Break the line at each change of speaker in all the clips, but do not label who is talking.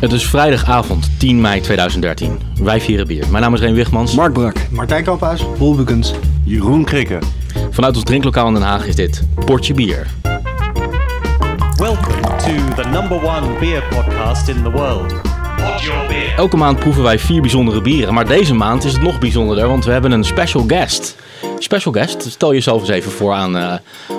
Het is vrijdagavond 10 mei 2013. Wij vieren bier. Mijn naam is Reen Wichmans.
Mark Brak,
Martijn Kamphuis.
Paul Bukens.
Jeroen Krikke.
Vanuit ons drinklokaal in Den Haag is dit Portje Bier.
Welcome to the number one beer podcast in the world. What your beer?
Elke maand proeven wij vier bijzondere bieren. Maar deze maand is het nog bijzonderder, want we hebben een special guest. Special guest, stel jezelf eens even voor aan eh,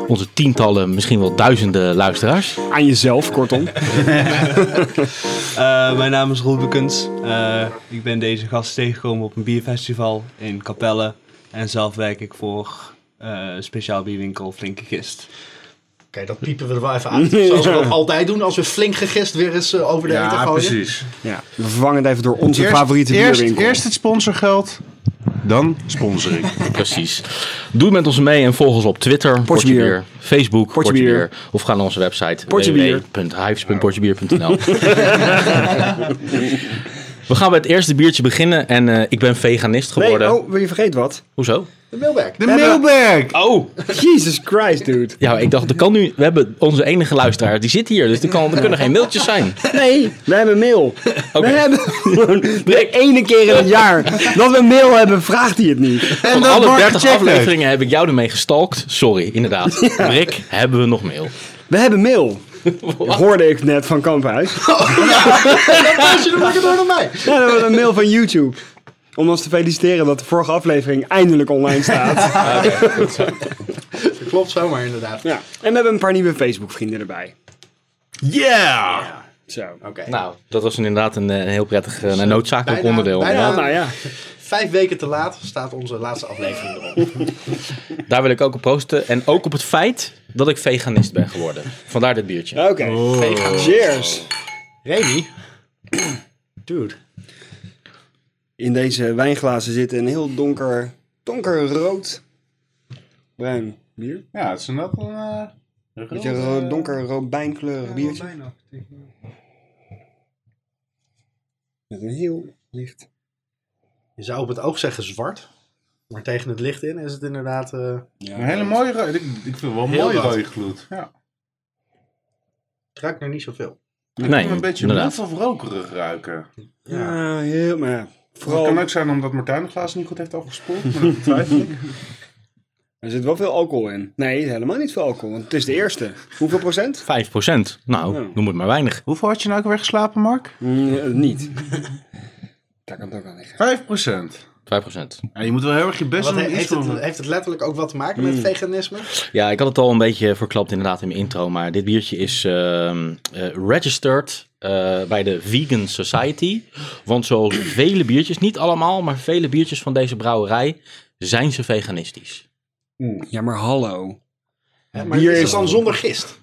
onze tientallen, misschien wel duizenden luisteraars.
Aan jezelf, kortom.
Eh, mijn naam is Roel Bukens. Eh, ik ben deze gast tegengekomen op een bierfestival in Capelle. En zelf werk ik voor eh, speciaal bierwinkel Flinke Gist.
Oké, dat piepen we er wel even uit. Zoals we dat altijd doen als we flink gegist weer eens eh, over de eten gooien.
Ja, we vervangen het even door onze
Eerst-
favoriete
eerst,
bierwinkel.
Eerst het sponsorgeld, dan sponsoring.
Precies. Doe met ons mee en volg ons op Twitter,
Portje
Portje
Bier.
Bier, Facebook, Portje,
Portje
Bier.
Bier.
Of ga naar onze website
Portje Bier.
www.hives.portjebier.nl We gaan bij het eerste biertje beginnen en eh, ik ben veganist
Nee,
geworden.
oh, je vergeet wat.
Hoezo?
De mailback.
De mailbag!
Oh!
Jesus Christ, dude.
Ja, maar ik dacht, dat kan nu. We hebben onze enige luisteraar, die zit hier, dus er, kan, er kunnen geen mailtjes zijn.
Nee, we hebben mail.
Oké.
We hebben gewoon de ene keer in het jaar dat we mail hebben, vraagt hij het niet.
En
Van
dat
alle
Mark
30
gecheckt heeft.
afleveringen heb ik jou ermee gestalkt. Sorry, inderdaad. Rick, hebben we nog mail?
We hebben mail. Hoorde ik net van Kamphuis.
Als je er lekker door naar mij.
Ja, we hebben een mail van YouTube. Om ons te feliciteren dat de vorige aflevering eindelijk online staat.
Dat klopt zomaar inderdaad.
Ja. En we hebben een paar nieuwe Facebook vrienden erbij.
Yeah!
Zo.
Oké.
Nou, dat was een- inderdaad een, eh, een heel prettig eh, een noodzakelijk
Bijna-
onderdeel.
bijna
Ja.
Nou ja.
Vijf weken te laat staat onze laatste aflevering erop.
Daar wil ik ook op proosten. En ook op het feit dat ik veganist ben geworden. Vandaar dit biertje.
Oké. Cheers.
Remy. Dude.
In deze wijnglazen zit een heel donker, donkerrood bruin bier.
Ja, het is een dat een... eh,
Beetje een ro- donkerrood bijnkleurig biertje. Met een heel licht...
Je zou op het oog zeggen zwart. Maar tegen het licht in is het inderdaad... eh,
een hele mooie rode... Ik, ik vind het wel een
Heel
mooie
wat.
rode gloed. Ja.
het ruikt naar niet zoveel.
Nee,
een beetje
inderdaad.
mof of rokerig ruiken.
Ja.
Ja, heel... Maar ja,
Dat
vooral...
kan ook zijn omdat Martijn de glazen niet goed heeft afgespoeld. Maar dat twijfel ik.
Er zit wel veel alcohol in. Nee, helemaal niet veel alcohol, want het is de eerste. Hoeveel procent?
5 procent. Nou,
Ja.
noem het maar weinig.
Hoeveel had je nou ook weer geslapen, Mark? 5%.
Mm, niet. Daar kan het ook aan liggen.
Ja,
5 procent.
je moet wel heel erg je best
Wat
doen.
he-
om iets
heeft,
te
het,
doen.
heeft het letterlijk ook wat te maken met veganisme?
Ja, ik had het al een beetje verklapt inderdaad in mijn intro. Maar dit biertje is ehm, eh, registered eh, bij de Vegan Society. Want zoals vele biertjes, niet allemaal, maar vele biertjes van deze brouwerij zijn ze veganistisch.
Ja, maar hallo.
Hè, Maar
Bier
is het
is-
dan zonder gist?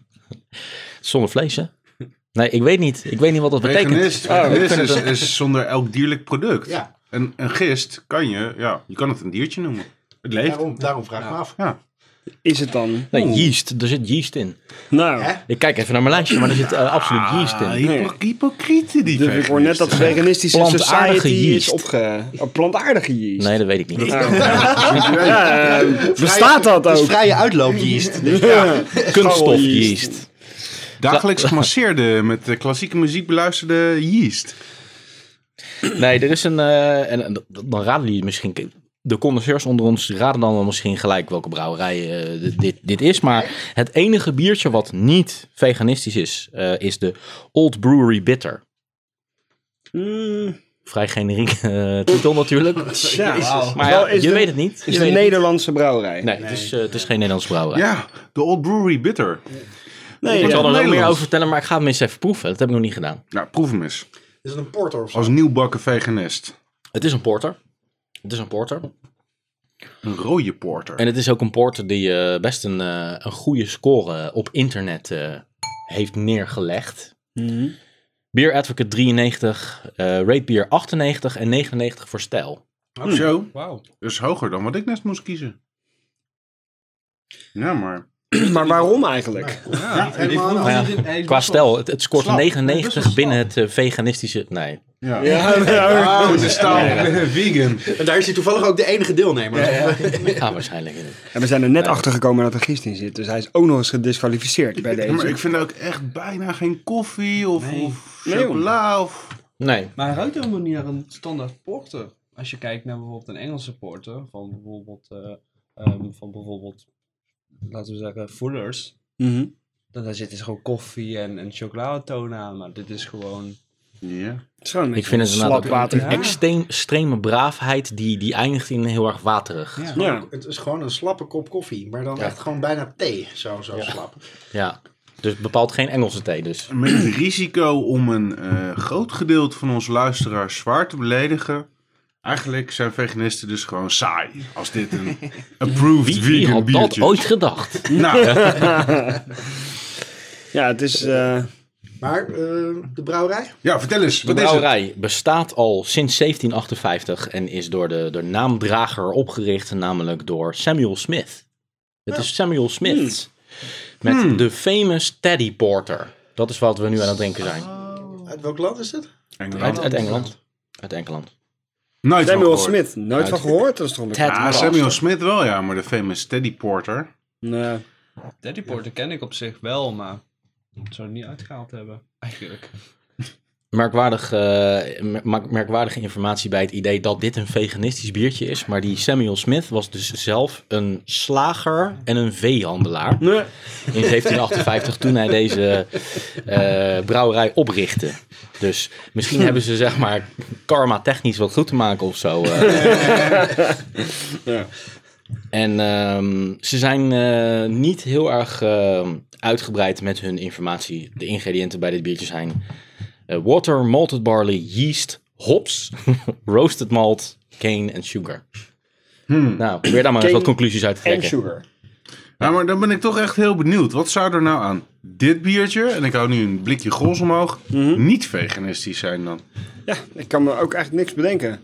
Zonder vlees, hè? Nee, ik weet niet. Ik weet niet wat dat betekent. Oh,
Veganist, veganist
ik vind
is,
het
is zonder elk dierlijk product.
Ja.
En een gist kan je, ja, je kan het een diertje noemen. Het leeft.
Daarom, daarom vraag ik me af.
Ja.
Is het dan?
Nee, yeast. Er zit yeast in.
Nou,
Ik kijk even naar mijn lijstje, maar er zit eh, absoluut yeast
Ah,
in.
hypo- hypocrieten die
dus ik hoor net dat de veganistische
Plantaardige
society is
yeast.
opge... Oh, plantaardige yeast.
Nee, dat weet ik niet.
Ja, eh, bestaat dat
Het is
ook?
vrije uitloopyeast. Dus
Kunststof
Gewoon
yeast.
Dagelijks gemasseerde met eh, klassieke muziek beluisterde yeast.
Nee, er is een. eh, en, en dat- dan raden jullie misschien. De connoisseurs onder ons raden dan wel misschien gelijk welke brouwerij eh, dit- dit, dit is. Maar het enige biertje wat niet veganistisch is, eh, is de Old Brewery Bitter.
Mm,
Vrij generiek eh, titel natuurlijk.
tja.
Maar
Wel,
ja,
is
je
het-
weet het niet.
Is
Je
het een
weet het niet.
Nederlandse brouwerij?
Nee, het is, eh, het is geen Nederlands brouwerij.
Ja, de Old Brewery Bitter.
ik
ja.
zal er nog meer
Nederlands.
over vertellen, maar ik ga hem eens even proeven. Dat heb ik nog niet gedaan.
Nou, proef hem eens.
Is het een porter of zo?
Als nieuwbakken veganist.
Het is een porter. Het is een porter.
Een rode porter.
En het is ook een porter die eh, best een, eh, een goede score op internet eh, heeft neergelegd.
Mhm.
Beer Advocate 93, eh Rate Beer 98 en 99 voor
Oh,
stijl.
Nou, Zo,
Wauw.
dus hoger dan wat ik net moest kiezen. Ja, maar...
Maar waarom eigenlijk?
Ja, ik
helemaal
voel-
aan.
Nou ja, qua stijl, het, het scoort
Slap.
99 binnen het eh, veganistische... Nee,
Ja.
Ja,
Oh, de staal. Vegan.
En daar is hij toevallig ook de enige deelnemer.
ah, waarschijnlijk niet.
we zijn er net achter gekomen dat er gist in zit, dus hij is ook nog eens gedisqualificeerd bij
Ja, maar
deze.
ik vind ook echt bijna geen koffie of, of
Nee, joh.
chocola. Of...
Nee.
Maar hij ruikt helemaal niet naar een standaard porter. Als je kijkt naar bijvoorbeeld een Engelse porter, van bijvoorbeeld, eh, ehm, van bijvoorbeeld laten we zeggen, Fullers.
Mhm.
Dan daar zit is gewoon koffie en, en chocoladetoon aan, maar dit is gewoon...
Ja.
Het is gewoon een
Ik
beetje
vind het
slap
inderdaad ook
water.
een extreem, extreme braafheid die, die eindigt in heel erg waterig. Ja.
Ja.
Het is gewoon een slappe kop koffie, maar dan
Ja.
echt gewoon bijna thee. Zo, zo slap.
Dus bepaalt geen Engelse thee dus.
Met het risico om een eh, groot gedeelte van onze luisteraars zwaar te beledigen. Eigenlijk zijn veganisten dus gewoon saai. Als dit een approved
Wie, wie
vegan
had dat
biertje is.
ooit gedacht?
Nou,
Ja, het is... eh,
Maar eh, de brouwerij?
ja, vertel eens.
De
Wat is het?
brouwerij bestaat al sinds 1758 en is door de, de naamdrager opgericht, namelijk door Samuel Smith. Het is Samuel Smith
Hmm.
met de famous Teddy Porter. Dat is wat we nu aan het drinken zijn.
Oh.
Uit welk land is dit?
Uit,
Engeland.
uit Engeland. Uit Engeland.
Nooit van
Samuel
gehoord.
Smith, nooit van gehoord. Dat is toch een
Ted
Ah, Samuel Smith wel, ja, maar de famous Teddy Porter.
Nee.
Daddy porter ken ik op zich wel, maar ik zou het niet uitgehaald hebben, eigenlijk.
Merkwaardig, eh, mer- merkwaardige informatie bij het idee dat dit een veganistisch biertje is. Maar die Samuel Smith was dus zelf een slager en een
Hmm.
veehandelaar.
Nee.
in 1758 toen hij deze eh, brouwerij oprichtte. Dus misschien hebben ze zeg maar karma technisch wat goed te maken of zo. eh.
Ja.
En ehm, ze zijn eh, niet heel erg ehm, uitgebreid met hun informatie. De ingrediënten bij dit biertje zijn eh, water, malted barley, yeast, hops, roasted malt, cane en sugar. Nou, probeer daar maar eens
Hmm. Cane
wat conclusies uit te
En
trekken.
sugar.
Nou, maar dan ben ik toch echt heel benieuwd. Wat zou er nou aan dit biertje, en ik hou nu een blikje gols omhoog,
Mhm.
niet veganistisch zijn dan?
Ik kan me ook eigenlijk niks bedenken.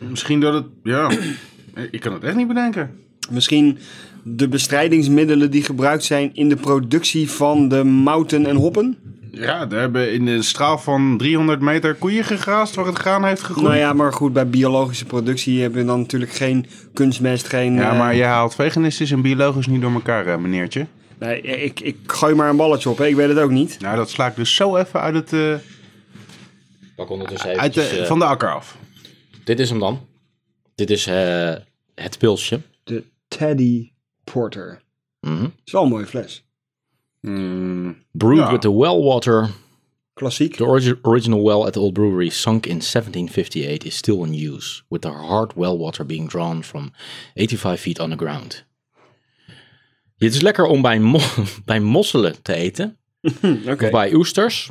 Misschien dat het, ja, ik kan het echt niet bedenken.
Misschien de bestrijdingsmiddelen die gebruikt zijn in de productie van de mouten en hoppen?
Ja, daar hebben in een straal van 300 meter koeien gegraast waar het graan heeft gegroeid.
Nou ja, maar goed, bij biologische productie heb je dan natuurlijk geen kunstmest, geen...
Ja,
eh,
maar je haalt veganistisch en biologisch niet door elkaar, hè, meneertje.
nee, ik, ik gooi maar een balletje op, hè. ik weet het ook niet.
Nou, dat sla ik dus zo even uit het, eh,
Pak ondertussen
uit de,
eventjes, eh,
van de akker af.
Dit is hem dan. Dit is eh, het pilsje.
De Teddy Porter.
Mhm.
Dat is wel een mooie fles.
Mm,
Brewed
Ja.
with the well water.
Klassiek.
The origi- original well at the old brewery, sunk in 1758, is still in use, with the hard well water being drawn from 85 feet underground. Dit is lekker om bij, mo- bij mosselen te eten,
Oké.
of bij oesters,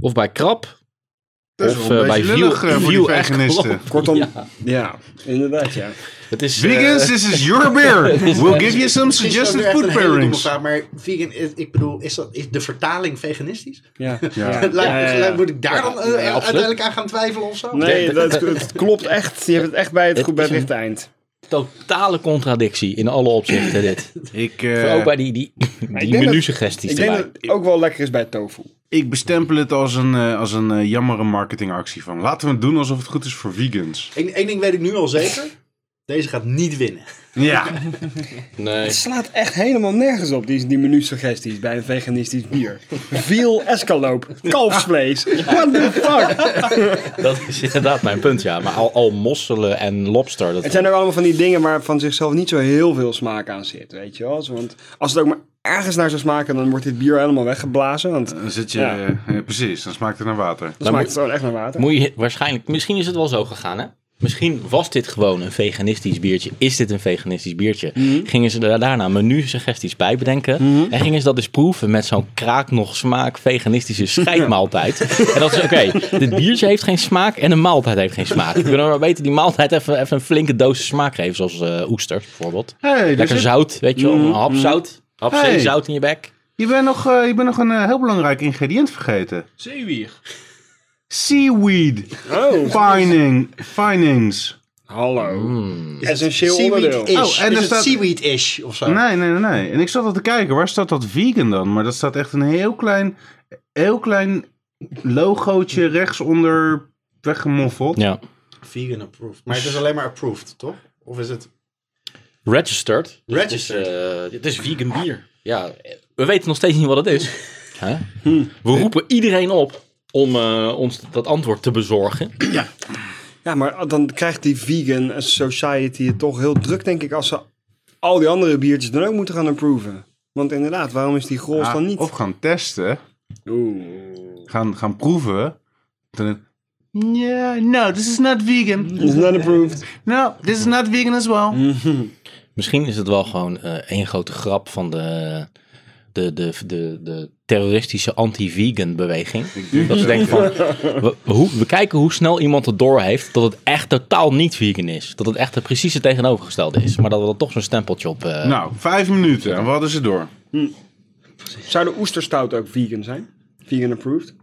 of bij krab.
dat is
Of,
wel een
eh, bij
beetje
Viel-
lullig, eh, voor die
Viel echt
veganisten.
Kortom,
Ja.
ja. inderdaad, ja.
Het is, eh,
Vegans, this is your beer. We'll give you some suggested food pairings.
maar vegan, is- ik bedoel, is, dat, is de vertaling veganistisch?
Ja,
Ja.
ja,
Lijkt-
ja, ja.
lijkt- Moet ik daar dan eh,
absoluut.
uiteindelijk aan gaan twijfelen of zo?
Nee, dat, het klopt echt. Je hebt het echt bij het,
Het
goed bij het
is
rechte eind.
totale contradictie in alle opzichten dit.
Ik,
Ook
eh
bij die, die,
denk
die
dat-
menu-suggesties
Ik denk
erbij.
dat het ook wel lekker is bij tofu.
ik bestempel het als een, eh, als een eh, jammere marketingactie van laten we het doen alsof het goed is voor vegans.
Eén één ding weet ik nu al zeker. Deze gaat niet winnen.
Ja,
Nee.
Het slaat echt helemaal nergens op, die, die menu-suggesties bij een veganistisch bier. Veel escaloop, kalfsvlees, what the fuck?
Dat is inderdaad mijn punt, ja. Maar al, al mosselen en lobster, dat
Het zijn ook allemaal van die dingen waar van zichzelf niet zo heel veel smaak aan zit, weet je wel. Zo, Want als het ook maar ergens naar zou smaken, dan wordt dit bier helemaal weggeblazen. Want dan
dan zit je,
Ja.
eh, eh, precies, dan smaakt het naar water.
smaakt het gewoon echt naar water.
moet je waarschijnlijk... Misschien is het wel zo gegaan, hè? Misschien was dit gewoon een veganistisch biertje. Is dit een veganistisch biertje?
Mhm.
Gingen ze daar daarna menu-suggesties bij bedenken. En gingen ze dat eens proeven met zo'n kraak nog smaak veganistische scheidmaaltijd. en dat is oké. dit biertje heeft geen smaak en een maaltijd heeft geen smaak. We kunnen maar beter die maaltijd even, even een flinke dosis smaak geven. Zoals eh, oesters bijvoorbeeld.
Hey, dus
Lekker
het-
zout, weet je wel. Een hap zout. Hap
Hey.
zeezout in je bek.
je, bent nog, eh, je bent nog een eh, heel belangrijk ingrediënt vergeten.
Zeewier.
Seaweed.
Oh,
Fining, findings.
hallo. Essentieel onderdeel.
Seaweed-ish.
Oh, en er
is het
staat-
seaweed-ish of zo?
Nee, nee, nee, nee. En ik zat al te kijken, waar staat dat vegan dan? Maar dat staat echt een heel klein, heel klein logootje rechtsonder weggemoffeld.
Ja.
Vegan approved. Maar het is alleen maar approved, toch? Of is het...
Registered. Dus
Registered.
Het is, eh, het is vegan Hmm. bier. Ja, we weten nog steeds niet wat het is. Hè? We roepen iedereen op om eh, ons dat antwoord te bezorgen.
Ja, maar dan krijgt die vegan society het toch heel druk, denk ik, als ze al die andere biertjes dan ook moeten gaan approven. Want inderdaad, waarom is die grols
Ja,
dan niet?
Of gaan testen,
Oeh.
gaan, gaan proeven. Dan, yeah, no, this is not vegan.
Is not approved.
No, this is not vegan as well.
Misschien is het wel gewoon eh, één grote grap van de, de, de, de, de terroristische anti-vegan beweging. Dat ze denken van, we, hoe, we kijken hoe snel iemand het door heeft dat het echt totaal niet vegan is. Dat het echt het precies het tegenovergestelde is. Maar dat we er toch zo'n stempeltje op... eh,
Nou, vijf minuten en we hadden ze door.
Zou de oesterstout ook vegan zijn? Vegan approved?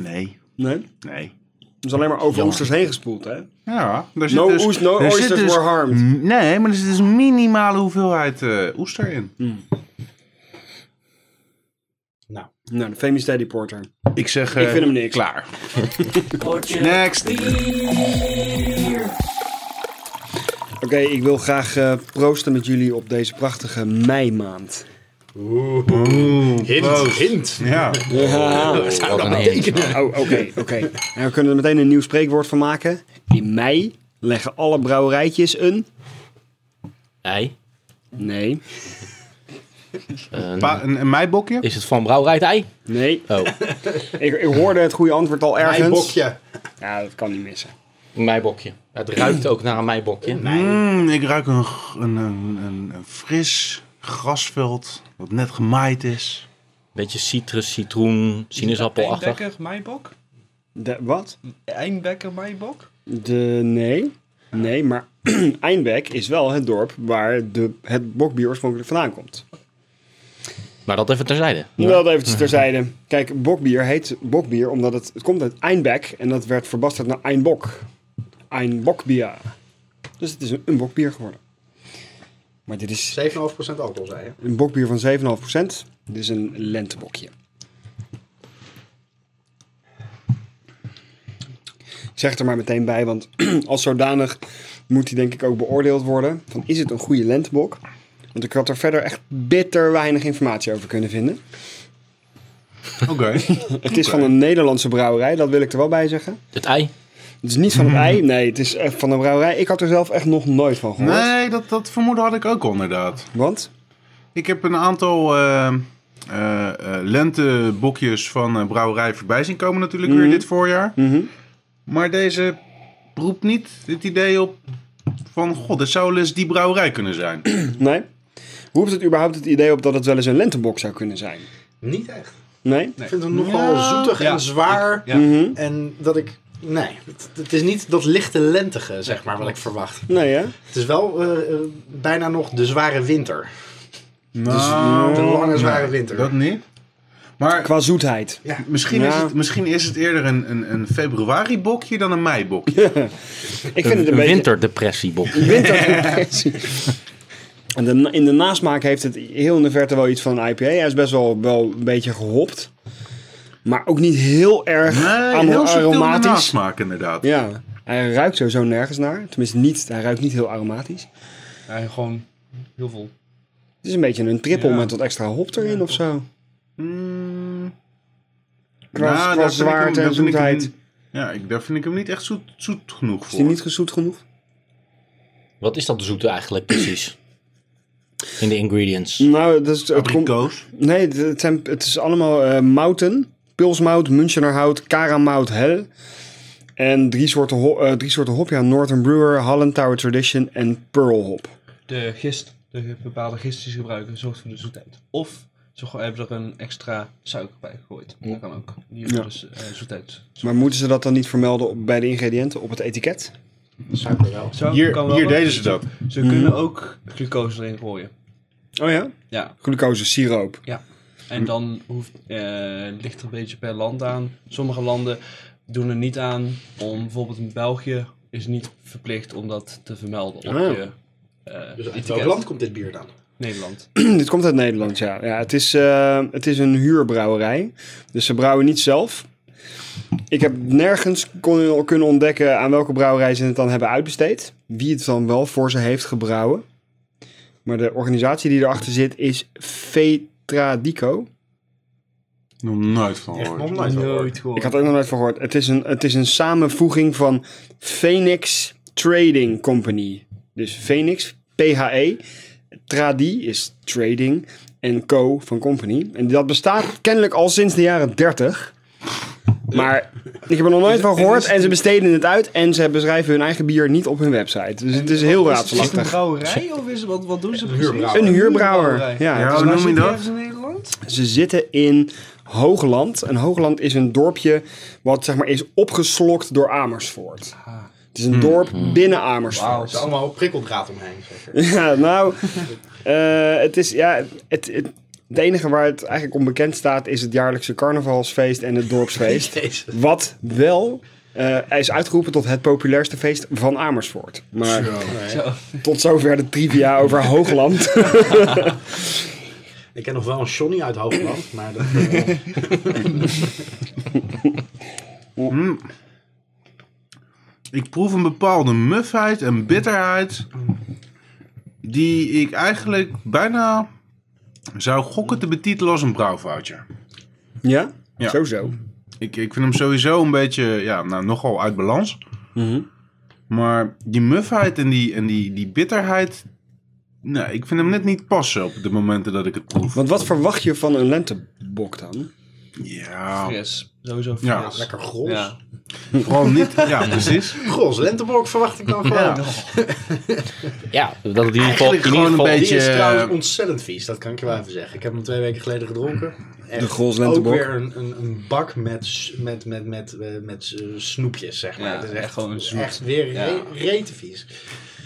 Nee,
Nee.
nee.
Dat is alleen maar over oesters heen gespoeld, hè?
Ja, daar zit
No,
dus,
oest- no
daar zit
oysters
dus-
were harmed.
Nee, maar er zit dus een minimale hoeveelheid eh, oester in.
Hmm. Nou, de famous daddy porter.
Ik zeg...
Ik vind hem niks.
Eh, Klaar. Next.
Oké, ik wil graag eh, proosten met jullie op deze prachtige meimaand.
Hint, hint.
Ja.
Wat zou dat betekenen?
Oh, oké, oké. En we kunnen er meteen een nieuw spreekwoord van maken. In mei leggen alle brouwerijtjes een...
ei.
Nee,
Eh,
Pa- een, een meibokje?
is het van brouwerij het ei?
nee.
Oh,
Ik, ik hoorde het goede antwoord al ergens.
Mijn bokje.
Ja, dat kan niet missen.
een meibokje. Het ruikt ook naar een meibokje.
Mm, ik ruik een, g- een, een, een, een fris grasveld wat net gemaaid is.
Beetje citrus, citroen, sinaasappelachtig.
Eindbekker, Maaibok?
De, wat?
Eindbekker, Maaibok?
De, nee. Nee, maar Eindbeek is wel het dorp waar de, het bokbier oorspronkelijk vandaan komt.
Maar dat even terzijde.
Dat eventjes terzijde. Kijk, bokbier heet bokbier omdat het, het komt uit Eindbek en dat werd verbasterd naar Eindbok. Eindbokbier. Dus het is een, een bokbier geworden. Maar dit is
7,5% alcohol, zei je.
een bokbier van 7,5%. Dit is een lentebokje. Ik zeg er maar meteen bij, want als zodanig moet die denk ik ook beoordeeld worden. Van is het een goede lentebok? Want ik had er verder echt bitter weinig informatie over kunnen vinden.
Oké.
Het is van een Nederlandse brouwerij, dat wil ik er wel bij zeggen.
Het ei.
Het is niet van het ei, nee, het is echt van een brouwerij. Ik had er zelf echt nog nooit van gehoord.
Nee, dat, dat vermoeden had ik ook al inderdaad.
Want?
Ik heb een aantal eh, eh, eh, lentebokjes van eh, brouwerij voorbij zien komen natuurlijk
Hmm.
weer dit voorjaar. Maar deze roept niet het idee op van... God, dit zou wel eens die brouwerij kunnen zijn.
Nee? Roept het überhaupt het idee op dat het wel eens een lentebok zou kunnen zijn?
Niet echt.
Nee?
Ik vind het nogal zoetig
Ja.
en zwaar.
Ja.
En dat ik... Nee, het, het is niet dat lichte lentige, zeg maar, wat ik verwacht.
Nee, hè?
Het is wel eh, eh, bijna nog de zware winter.
Nou,
De lange, zware winter.
dat niet. Maar
Qua zoetheid.
misschien, is
Ja.
het, misschien is het eerder een, een, een februari-bokje dan een mei-bokje.
Ik vind het een
Een
beetje...
winterdepressiebok.
Winterdepressie. En de, na- in de nasmaak heeft het heel in de verte wel iets van een IPA. Hij is best wel, wel een beetje gehopt. Maar ook niet heel erg
Nee,
amo-
heel subtiel in de
aromatisch.
nasmaak inderdaad.
Ja, hij ruikt sowieso nergens naar. Tenminste, niet, hij ruikt niet heel aromatisch.
Ja, gewoon heel veel.
Het is een beetje een trippel
Ja.
met wat extra hop erin of zo.
Mm,
Qua, qua
nou, daar vind ik hem-
zwaarte
daar
en
vind ik hem-
zoetheid.
Ja, ik, daar vind ik hem niet echt zoet, zoet genoeg voor.
Is die niet gezoet genoeg?
Wat is dat zoete eigenlijk precies? In de ingredients.
Nou, dat is... het komt-
Abrikoos.
nee, het- het, zijn, het is allemaal eh, mouten. Pulsmout, Münchenerhout, Karamout, Hel. En drie soorten, ho- eh, drie soorten hop. Ja, Northern Brewer, Holland Tower Tradition en Pearl Hop.
De gist, de bepaalde gist die ze gebruiken, zorgt voor de zoetheid. Of ze go- hebben er een extra suiker bij gegooid. Dat kan ook. Die heeft
Ja.
dus eh, zoetheid.
Maar moeten ze dat dan niet vermelden op- bij de ingrediënten op het etiket?
Suiker wel.
Suiker kan
Hier,
wel,
hier
maar
deden ze dat. Mm.
Ze kunnen ook glucose erin gooien.
Oh ja?
Ja.
Glucose, siroop.
Mm.
En dan hoeft, eh, ligt er een beetje per land aan. Sommige landen doen er niet aan om, bijvoorbeeld in België is niet verplicht om dat te vermelden op
Ah.
Oh.
je eh
Dus uit welk
etiket.
land komt dit bier dan?
Nederland.
Dit komt uit Nederland, ja. ja het, is, eh, het is een huurbrouwerij. Dus ze brouwen niet zelf. Ik heb nergens kon, kunnen ontdekken aan welke brouwerij ze het dan hebben uitbesteed. Wie het dan wel voor ze heeft gebrouwen. Maar de organisatie die erachter zit is Vetradico.
Nog nooit van
Echt nog
gehoord.
nooit
Nooit
gehoord.
gehoord.
Ik had er ook nog nooit van gehoord. Het is een, het is een samenvoeging van Phoenix Trading Company. Dus Phoenix, PHE. Tradi is trading. En Co van company. En dat bestaat kennelijk al sinds de jaren 30. Maar ik heb er nog nooit van gehoord. En ze besteden het uit. En ze beschrijven hun eigen bier niet op hun website. Dus het is heel
Is het een
raadselachtig.
brouwerij of is het, wat, wat doen ze precies?
huurbrouwer.
Een huurbrouwer. Ja,
Ja,
Dus
hoe
waar
noem je
zit die
dat?
ergens in Nederland?
Ze zitten in Hoogland. En Hoogland is een dorpje wat zeg maar is opgeslokt door Amersfoort. Het is een dorp binnen
Wauw, het
Amersfoort.
is allemaal prikkeldraad omheen. zeker.
Ja, nou, eh, het is ja, het, het, het enige waar het eigenlijk onbekend staat is het jaarlijkse carnavalsfeest en het dorpsfeest.
Jezus.
Wat wel eh, is uitgeroepen tot het populairste feest van Amersfoort. Maar
Zo.
tot zover de trivia over Hoogland.
Ik ken nog wel een Johnny uit Hoogland, maar dat, eh,
Ik proef een bepaalde mufheid en bitterheid. Die ik eigenlijk bijna zou gokken te betitelen als een brouwfoutje.
ja?
Ja.
Sowieso.
Ik, ik vind hem sowieso een beetje, ja, nou, nogal uit balans. Maar die mufheid en die, en die, die bitterheid. Nou, ik vind hem net niet passen op de momenten dat ik het proef.
Want wat verwacht je van een lentebok dan?
Ja,
Fris. Sowieso fris.
Ja.
ja, lekker gros.
Ja.
vooral niet. Ja, precies.
Gros, Lenteborg verwacht ik dan gewoon.
Ja.
Ja, dat het in ieder geval...
Eigenlijk
In ieder
gewoon een
geval
beetje-
Die is
eh,
trouwens ontzettend vies, dat kan ik je wel even zeggen. Ik heb hem twee weken geleden gedronken. Echt,
De Grols Lentebok.
Ook weer een, een, een bak met, s- met, met, met, eh, met eh, snoepjes, zeg maar.
Ja,
het is
echt
echt,
gewoon zoet.
echt weer
Ja.
re, rete vies.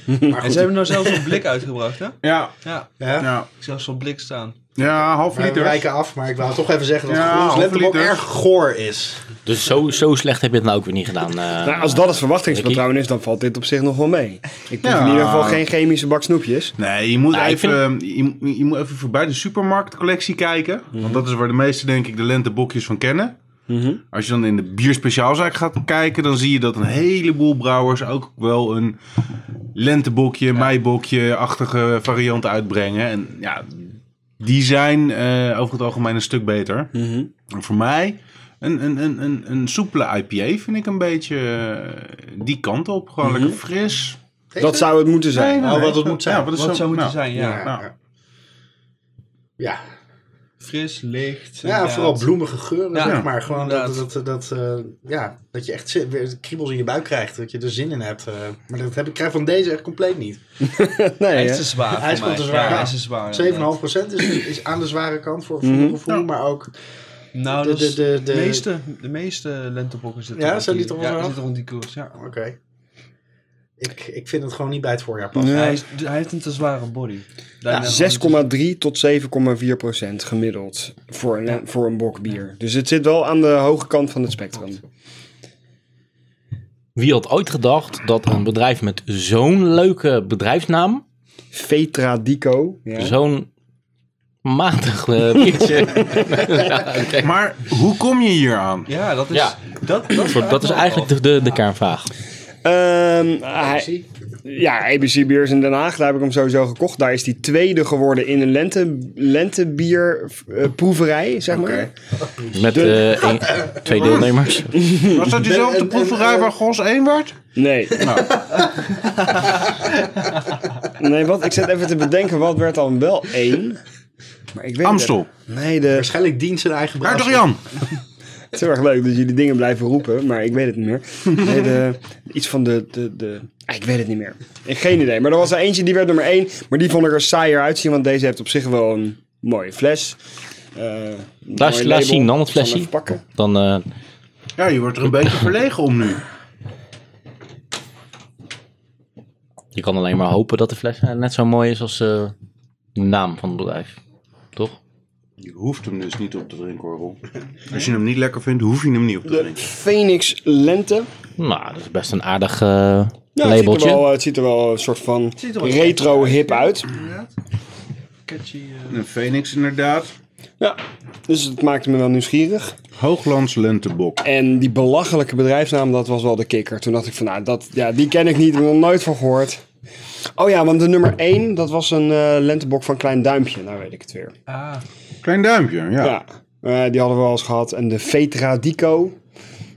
Maar
En
goed,
ze hebben nou zelfs een blik uitgebracht, hè?
Ja,
Ja. dus.
hè?
ja,
Zelfs zo'n blik staan.
ja half
Wij
liter.
wijken af, maar ik wou toch even zeggen dat
Ja,
ja, Grols
halve
Lenteborg
dus.
liter.
erg goor is.
Dus zo, zo slecht heb je het nou ook weer niet gedaan. eh.
Nou, als dat het verwachtingspatroon is, dan valt dit op zich nog wel mee. Ik proef
Ja.
in ieder geval geen chemische bak snoepjes.
Nee, je moet,
Nou, ik
even, je, je- je moet even voorbij de supermarktcollectie kijken. Want dat is waar de meesten, denk ik, de lentebokjes van kennen. Als je dan in de bierspeciaalzaak gaat kijken, dan zie je dat een heleboel brouwers ook wel een lentebokje, meibokje-achtige variant uitbrengen. En ja, die zijn eh, over het algemeen een stuk beter. En Voor mij, een, een, een, een, een soepele IPA vind ik een beetje eh, die kant op. Gewoon lekker fris.
Dat zou het moeten zijn.
nou, wat het moet zijn.
Ja, wat het
Wat zou moeten
nou,
zijn, ja.
Ja.
nou.
Ja,
Fris, licht.
ja, vooral bloemige geuren,
Ja.
zeg maar. Gewoon dat,
Inderdaad.
dat, dat, eh, ja, dat je echt zin- weer kriebels in je buik krijgt, dat je er zin in hebt. eh. maar dat heb ik krijg van deze echt compleet niet. 7,5%
Nee,
Hij is
hè?
te zwaar
Hij is
voor mij.
gewoon te zwaar.
Ja, hij is te zwaar.
is, is aan de zware kant voor, voor mijn gevoel, maar ook...
Nou,
De-
dat is
de- de- de-
meeste, de meeste lentebokken zitten
Ja,
rond
zijn die
die-
toch
ja,
wel zo?
zitten rond die koers, ja.
Oké. Ik, ik vind het gewoon niet bij het voorjaar passen.
Ja.
Hij, is- hij heeft een te zware body. Daarna-
6,3 tot 7,4 procent gemiddeld voor een, voor een bok bier. Dus het zit wel aan de hoge kant van het spectrum.
Wie had ooit gedacht dat een bedrijf met zo'n leuke bedrijfsnaam...
Vetra Dico. Ja.
zo'n matig eh, biertje...
Maar hoe kom je hier aan?
Ja, dat is...
Ja.
Dat, dat,
dat is eigenlijk de, de, de kernvraag.
Ehm, hij- ja, ABC Beers in Den Haag, daar heb ik hem sowieso gekocht. Daar is die tweede geworden in een lente, lentebierproeverij, zeg maar.
Met eh, één- twee deelnemers.
Was dat diezelfde
en-
proeverij waar Gos 1 werd?
Nee.
Nou.
nee, wat? Ik zit even te bedenken, wat werd dan wel één? Maar ik weet
Amstel.
het- Nee, de,
Waarschijnlijk dient zijn eigen bras.
Hertog Jan.
het is heel erg leuk dat jullie dingen blijven roepen, maar ik weet het niet meer. Nee, de, iets van de... de, de ah, ik weet het niet meer. Ik, geen idee. Maar er was er eentje, die werd nummer één. Maar die vond ik er saaier uitzien, want deze heeft op zich wel een mooie fles. Eh,
Laat,
mooi
laat
label.
zien dan het
Ik zal hem
flesje.
even pakken.
Dan, eh,
Ja, je wordt er een beetje verlegen om nu.
je kan alleen maar hopen dat de fles eh, net zo mooi is als eh, de naam van het bedrijf. Toch?
Je hoeft hem dus niet op te drinken hoor, Roel. Als je hem niet lekker vindt, hoef je hem niet op te
De
drinken.
Phoenix Lente.
Nou, dat is best een aardig eh,
Ja, het, ziet er
labeltje.
wel, eh, het ziet er wel een soort van
ziet er wel
retro-hip uit.
Catchy, eh,
Een Phoenix inderdaad.
Ja, dus het maakte me wel nieuwsgierig.
Hooglands lentebok.
En die belachelijke bedrijfsnaam, dat was wel de kikker. Toen dacht ik van, nou, dat, ja, die ken ik niet, heb ik nog nooit van gehoord. Oh ja, want de nummer 1, dat was een eh, lentebok van Klein Duimpje. Nou weet ik het weer.
ah,
Klein duimpje, ja.
Ja. Eh, die hadden we al eens gehad. En de Vetra Dico.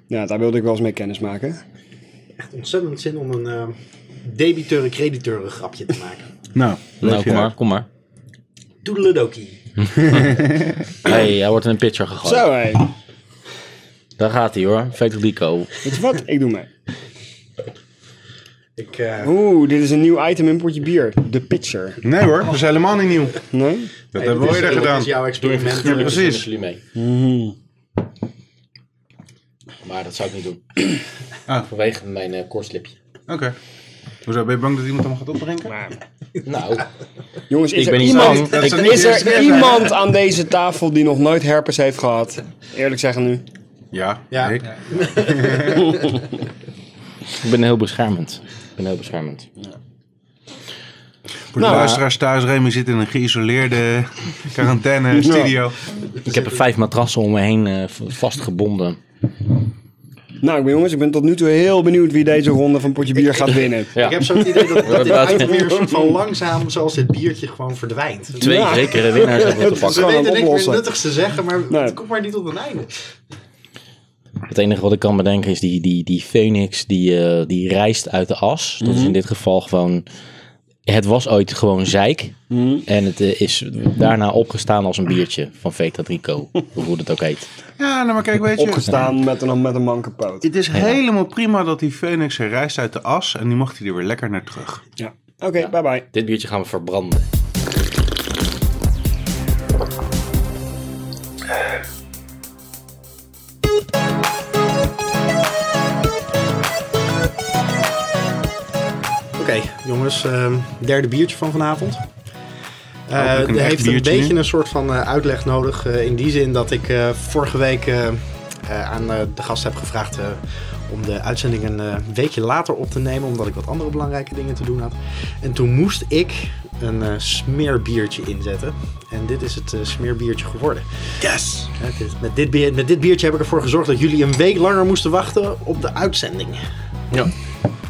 Ja, daar wilde ik wel eens mee kennis maken.
Echt ontzettend zin om een eh debiteuren-crediteuren grapje te maken.
Nou,
eh,
Nou, kom maar, kom maar.
Toedeledokie.
hey, hij wordt in een pitcher gegooid.
Zo, hé.
Daar gaat hij hoor. Fatal Dico.
Weet je wat? Ik doe mee.
Ik, eh,
Oeh, dit is een nieuw item in een potje bier. De pitcher.
Nee hoor, dat is helemaal niet nieuw.
Nee?
Dat hebben we
dit is-
eerder
Dit
gedaan.
is jouw experiment.
Ja, precies.
jullie mee.
Mhm.
Maar dat zou ik niet doen.
Ah.
Vanwege mijn uh, korslipje.
Oké. Hoezo, ben je bang dat iemand hem gaat opdrinken?
Nou,
Jongens, is
Ik
er,
ben niet
iemand,
bang. Dat
is
is
niet de eerste
er
keer.
iemand aan deze tafel die nog nooit herpes heeft gehad? Eerlijk zeggen nu.
Ja,
Ja.
ik.
ik ben heel beschermend. Ik ben heel beschermend.
Voor de luisteraars thuis, Remy zit in een geïsoleerde quarantaine-studio.
Ik heb er vijf matrassen om me heen eh, v- vastgebonden.
Nou, ik ben, jongens, ik ben tot nu toe heel benieuwd wie deze ronde van potje bier gaat winnen.
Ja.
Ik heb zo'n idee dat, dat dit
hebben
item weer een soort van langzaam, zoals dit biertje, gewoon verdwijnt.
Twee
Ja.
zekere winnaars hebben we te pakken.
Ze
gaan hem
weten niks meer
oplossen.
nuttigs te zeggen, maar
Nee.
het komt maar niet tot een einde.
Het enige wat ik kan bedenken is die, die, die phoenix die, eh, die rijst uit de as. Dat is in dit geval gewoon... Het was ooit gewoon zeik. En het eh, is daarna opgestaan als een biertje van Veta Rico. Of hoe dat ook heet.
Ja, nou maar kijk, weet je...
Opgestaan met een, met een mankenpoot.
Het is helemaal prima dat die Phoenix er reist uit de as en die mocht hij er weer lekker naar terug.
Ja. Oké, bye bye.
Dit biertje gaan we verbranden.
Oké, jongens, ehm, derde biertje van vanavond. Eh
Hopelijk een
er
echt
heeft een
biertje
beetje
nu.
een soort van eh, uitleg nodig. eh, in die zin dat ik eh, vorige week eh, eh, aan eh, de gast heb gevraagd eh, om de uitzending een eh, weekje later op te nemen. Omdat ik wat andere belangrijke dingen te doen had. En toen moest ik een eh, smeerbiertje inzetten. En dit is het eh, smeerbiertje geworden.
Yes!
Ja, het is- met, dit bier- met dit biertje heb ik ervoor gezorgd dat jullie een week langer moesten wachten op de uitzending.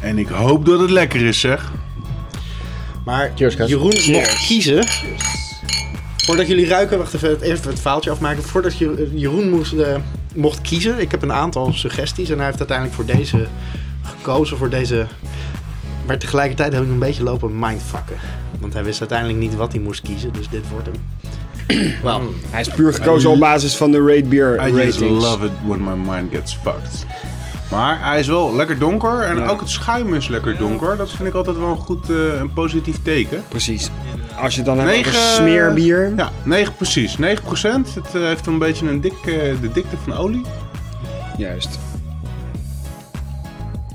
En ik hoop dat het lekker is, zeg.
Maar
Cheers, Cas.
Jeroen mocht kiezen. Voordat jullie ruiken, wacht even, even het faaltje afmaken. Voordat Je- Jeroen moest, eh, mocht kiezen, ik heb een aantal suggesties. En hij heeft uiteindelijk voor deze gekozen, voor deze... Maar tegelijkertijd heb ik een beetje lopen mindfucken. Want hij wist uiteindelijk niet wat hij moest kiezen, dus dit wordt hem. Wel,
Hij is puur gekozen op basis van de Raid Beer
I just
ratings.
love it when my mind gets fucked. Maar hij is wel lekker donker en ook het schuim is lekker donker. Dat vind ik altijd wel een goed eh, een positief teken.
Precies. Als je het dan hebt over
Negen-
smeerbier.
Ja, 9 precies. 9 procent. Het eh, heeft een beetje een dik, eh, de dikte van olie.
Juist.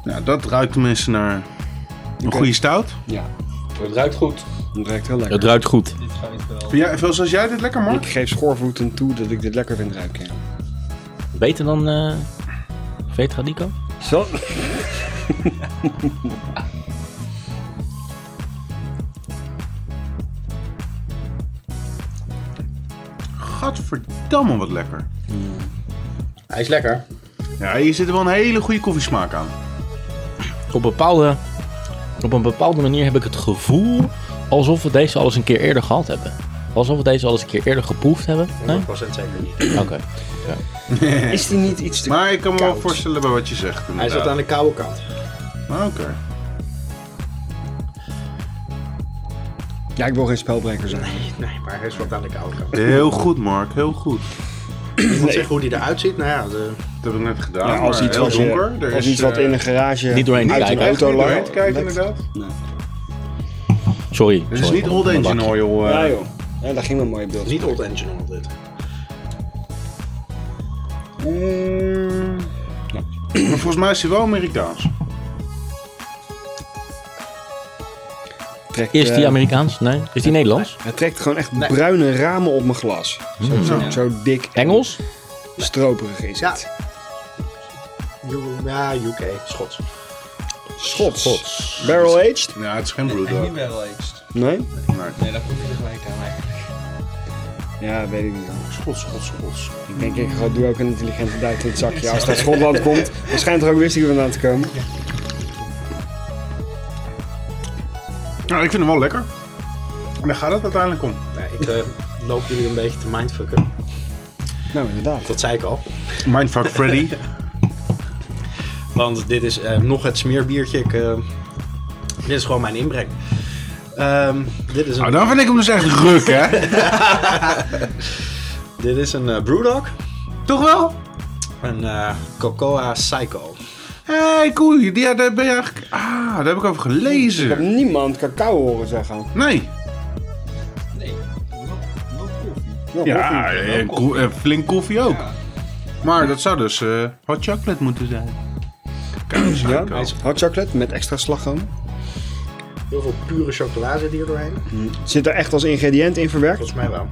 Nou, dat ruikt tenminste naar een goede stout.
Ja.
Het ruikt goed.
Dat ruikt heel lekker.
Het ruikt goed.
Dit ruikt wel.
Ja, veel zoals jij dit lekker, Mark?
Ik geef schoorvoeten toe dat ik dit lekker vind ruiken.
Beter dan eh Vetra Dico?
Zo.
Gadverdamme wat lekker.
Hmm. hij is lekker.
Ja, hier zit wel een hele goede koffiesmaak aan.
Op, bepaalde, op een bepaalde manier heb ik het gevoel alsof we deze al eens een keer eerder gehad hebben. Alsof we deze al eens een keer eerder geproefd hebben. Nee?
100% zeker niet.
Oké.
Is die niet iets te...
Maar ik kan me wel
Koud.
voorstellen bij wat je zegt.
Hij
Inderdaad. Ah,
zat aan de koude kant.
Oké.
Ja, ik wil geen spelbreker zijn.
Nee, maar hij is wat aan de koude kant.
Heel goed, Mark. Heel goed.
Ik moet zeggen hoe die eruit ziet. Nou ja, de-
Dat heb ik net gedaan.
Ja, als
maar
iets
heel
wat, je-
donker. Er
als
is,
iets wat
eh,
in een garage
Niet doorheen te
uit een
kijken.
Echt
auto
niet doorheen
lang.
te kijken, inderdaad.
Sorry.
Dit Dus is
sorry
niet
voor
Old
mijn
Engine
bakje.
Oil. eh.
Ja joh. Ja, daar ging wel een mooie beeld.
niet old engine on dit.
Mm. Maar volgens mij is hij wel Amerikaans.
Trekt,
Is die
eh,
Amerikaans? Nee. Eh, Is die Nederlands?
Het trekt gewoon echt bruine ramen op mijn glas. Zo, zo, zo dik en
Engels?
stroperig is
Ja.
het.
U- Ja, UK, Schots.
Schots. Barrel aged?
Ja, het is geen
En
Brewdog.
niet wel aged.
Nee?
Nee,
Nee, daar kom je er gelijk aan eigenlijk.
Ja, weet ik niet.
Schots, schots, schots.
Ik denk, ik ga- doe ook een intelligente duit in het zakje. Als het uit Schotland komt, dan schijnt er ook whisky vandaan te komen.
Nou, ik vind hem wel lekker. En daar gaat het uiteindelijk om.
Nou, ik eh, loop jullie een beetje te mindfucken.
Nou, inderdaad.
Dat zei ik al.
Mindfuck Freddy.
Want dit is eh, nog het smeerbiertje. Ik, eh, dit is gewoon mijn inbreng. Ehm, dit is een,
Nou, dan vind ik hem dus echt ruk, hè?
dit is een eh, Brewdog.
Toch wel?
Een eh, Cocoa Psycho.
Hé, hey, cool. Ja, daar ben je eigenlijk... Ah, daar heb ik over
Ik heb
gelezen.
niemand cacao horen zeggen.
Nee.
Ja,
Ja, eh, ko- eh, flink koffie ook. Maar dat zou dus eh, hot chocolate moeten zijn. Kijk,
Ja,
ja,
hot chocolate met extra slagroom.
Heel veel pure chocola zit hier doorheen.
Zit er echt als ingrediënt in verwerkt?
Volgens mij wel.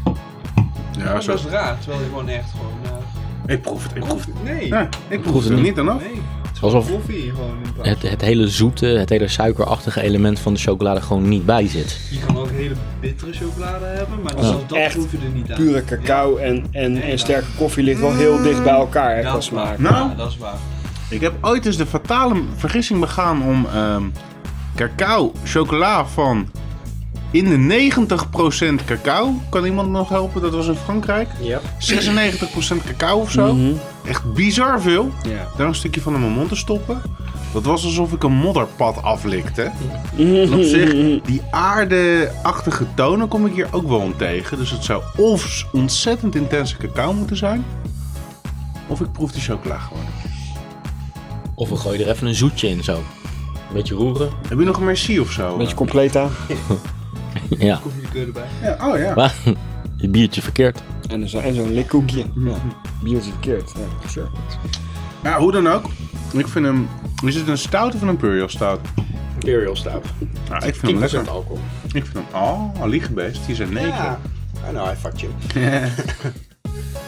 ja,
Dat is
zo. is-
best raar, terwijl je gewoon echt gewoon... eh,
Ik proef het, ik proef het.
nee,
Ja, ik proef het er niet dan af.
nee. Het is
Alsof-
gewoon koffie gewoon in plaats
Het, het hele zoete, het hele suikerachtige element van de chocolade gewoon niet bij zit.
Je kan ook hele bittere chocolade hebben, maar
Ja.
zelfs dat
Echt
proef je er niet aan.
Pure cacao en, en, en sterke koffie ligt wel heel dicht bij elkaar hè,
Ja,
qua
dat is waar.
smaak.
Nou.
Ja, dat is waar.
Ik heb ooit eens de fatale vergissing begaan om ehm, cacao, chocola van in de 90% cacao. Kan iemand me nog helpen? Dat was in Frankrijk.
Ja.
96% cacao of zo.
Mhm.
Echt bizar veel.
Ja.
Daar een stukje van in mijn mond te stoppen. Dat was alsof ik een modderpad aflikte. En op zich, die aardeachtige tonen kom ik hier ook wel aan tegen. Dus het zou of ontzettend intense cacao moeten zijn. Of ik proef de chocola gewoon.
Of we gooien er even een zoetje in zo. Een beetje roeren.
Heb je nog een merci of zo?
Beetje completa.
Ja.
Koffie de keur erbij.
Ja, oh ja.
Maar, je biertje verkeerd.
En zo'n en zo'n likkoekje. Ja. Bier is verkeerd. Ja, sure.
Ja, Nou, hoe dan ook. Ik vind hem... Is het een stout of een imperial stout?
Imperial stout.
Ja, ik vind hem lekker.
10% alcohol.
Ik vind hem... Oh, liegebeest. Die zijn negen.
Ja. eh, I know, I fucked you.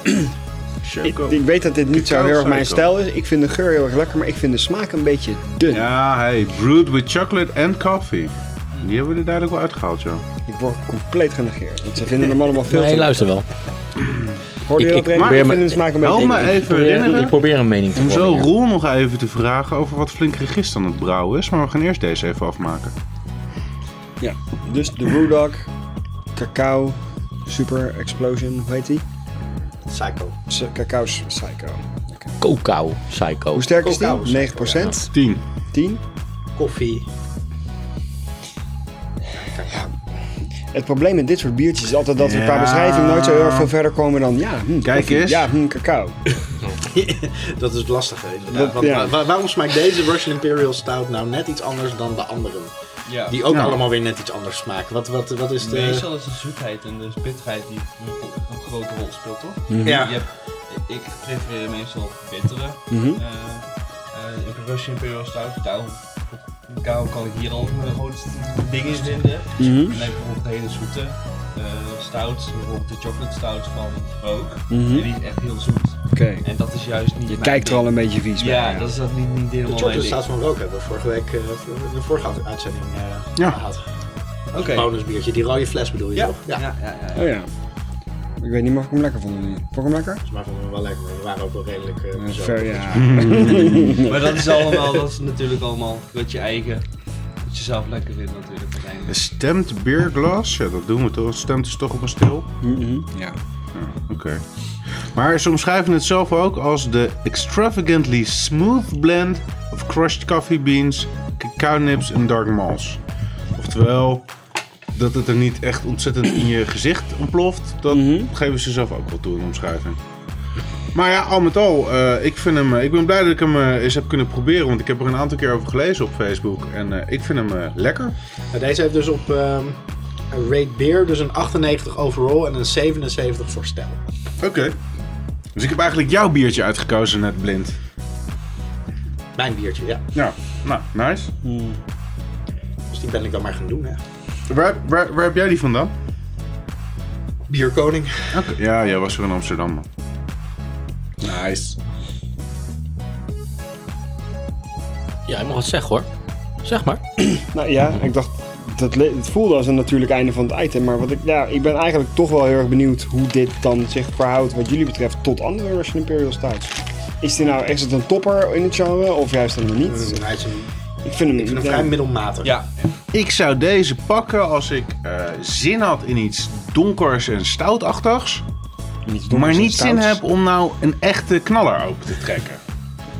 Ik,
Choco.
ik weet dat dit niet zo
Cacao
heel erg mijn
suiker.
stijl is. Ik vind de geur heel erg lekker, maar ik vind de smaak een beetje dun.
Ja, hey. Brewed with chocolate and coffee. Die hebben we er duidelijk wel uitgehaald, joh.
Ik word compleet genegeerd. Want ze vinden hem allemaal veel
Nee,
te
luister wel.
Hoor je
Ik-
dat,
ik-
Remy?
maar-
Ik vind de smaak een beetje
Help me
eh.
even
Ik
herinneren
probeer een mening te
om zo
vormen.
Roel nog even te vragen over wat flink gist aan het brouwen is. Maar we gaan eerst deze even afmaken.
Ja. Dus de Brewdog, cacao, super explosion, hoe heet die?
Psycho.
S- Cacao s- psycho.
Cacao psycho.
Hoe sterk is die?
Cacao
9%,
psycho,
10.
10.
Koffie.
Het probleem met dit soort biertjes is altijd dat we qua
Ja.
beschrijving nooit zo heel erg veel verder komen dan ja, hm,
Kijk
koffie,
eens.
Ja, hm, cacao.
dat is het lastige inderdaad.
Dat-
Want
ja.
wa- wa- waarom smaakt deze Russian Imperial Stout nou net iets anders dan de anderen?
Ja.
Die ook
Ja.
allemaal weer net iets anders smaken. Wat, wat, wat is de...
Meestal is de zoetheid en de bitterheid die een, een grote rol speelt, toch?
Ja.
Je hebt, ik prefereer meestal bittere.
Hm?
eh, eh, een Russian Imperial Stout, cacao. Cacao kan ik hier al de grootste dingen in vinden.
Hm?
En dan heb je bijvoorbeeld de hele zoete eh stout, bijvoorbeeld de chocolate stout van Rook. En die is echt heel zoet.
Oké.
En dat is juist niet
Je
mijn
kijkt er
ding.
al een beetje vies bij.
Ja, dat is dat niet, niet
De
helemaal mijn
chocolate
ding.
staat van rook hebben we vorige week eh, in de vorige uitzending eh,
Ja.
gehad.
Oké.
Bonusbiertje, die rode fles bedoel je
Ja.
toch?
Ja, ja, ja. ja.
Oh ja. Ik weet niet meer of ik hem lekker vond. of niet. Vond ik hem lekker?
Maar vonden we wel lekker. We waren ook wel redelijk eh,
Eh,
bezopen.
Ver, ja.
Maar dat is allemaal, dat is natuurlijk allemaal wat je eigen, wat je zelf lekker vindt natuurlijk uiteindelijk.
Een stemd beerglas? Ja, dat doen we toch. Het stemt is toch op een stil.
ja.
Oké. Maar ze omschrijven het zelf ook als de extravagantly smooth blend of crushed coffee beans, cacao nips en dark mals. Oftewel, dat het er niet echt ontzettend in je gezicht ontploft, dat geven ze zelf ook wel toe in de omschrijving. Maar ja, al met al, eh, ik, vind hem, eh, ik ben blij dat ik hem eh, eens heb kunnen proberen, want ik heb er een aantal keer over gelezen op Facebook. En eh, ik vind hem eh, lekker.
Nou, deze heeft dus op ehm Rate Beer dus een 98 overall en een 77 voor stijl.
Oké. Dus ik heb eigenlijk jouw biertje uitgekozen net blind.
Mijn biertje, ja.
Ja, nou, nice.
Dus die ben ik dan maar gaan doen, hè.
Waar, waar, waar heb jij die vandaan?
Bierkoning.
Ja, jij was weer in Amsterdam, man. Nice.
Ja, je mag het zeggen hoor. Zeg maar.
Nou ja, ik dacht, dat le- het voelde als een natuurlijk einde van het item. Maar wat ik, ja, ik ben eigenlijk toch wel heel erg benieuwd hoe dit dan zich verhoudt, wat jullie betreft, tot andere Russian Imperial Stouts. Is dit nou, is het een topper in het genre of juist helemaal
Dat is
niet?
een uitje.
Ik vind hem,
Ik vind hem
ja.
vrij middelmatig.
Ja,
Ik zou deze pakken als ik eh, zin had in iets donkers en stoutachtigs.
Niets
maar
donkers en
niet zin
stouts.
heb om nou een echte knaller open te trekken.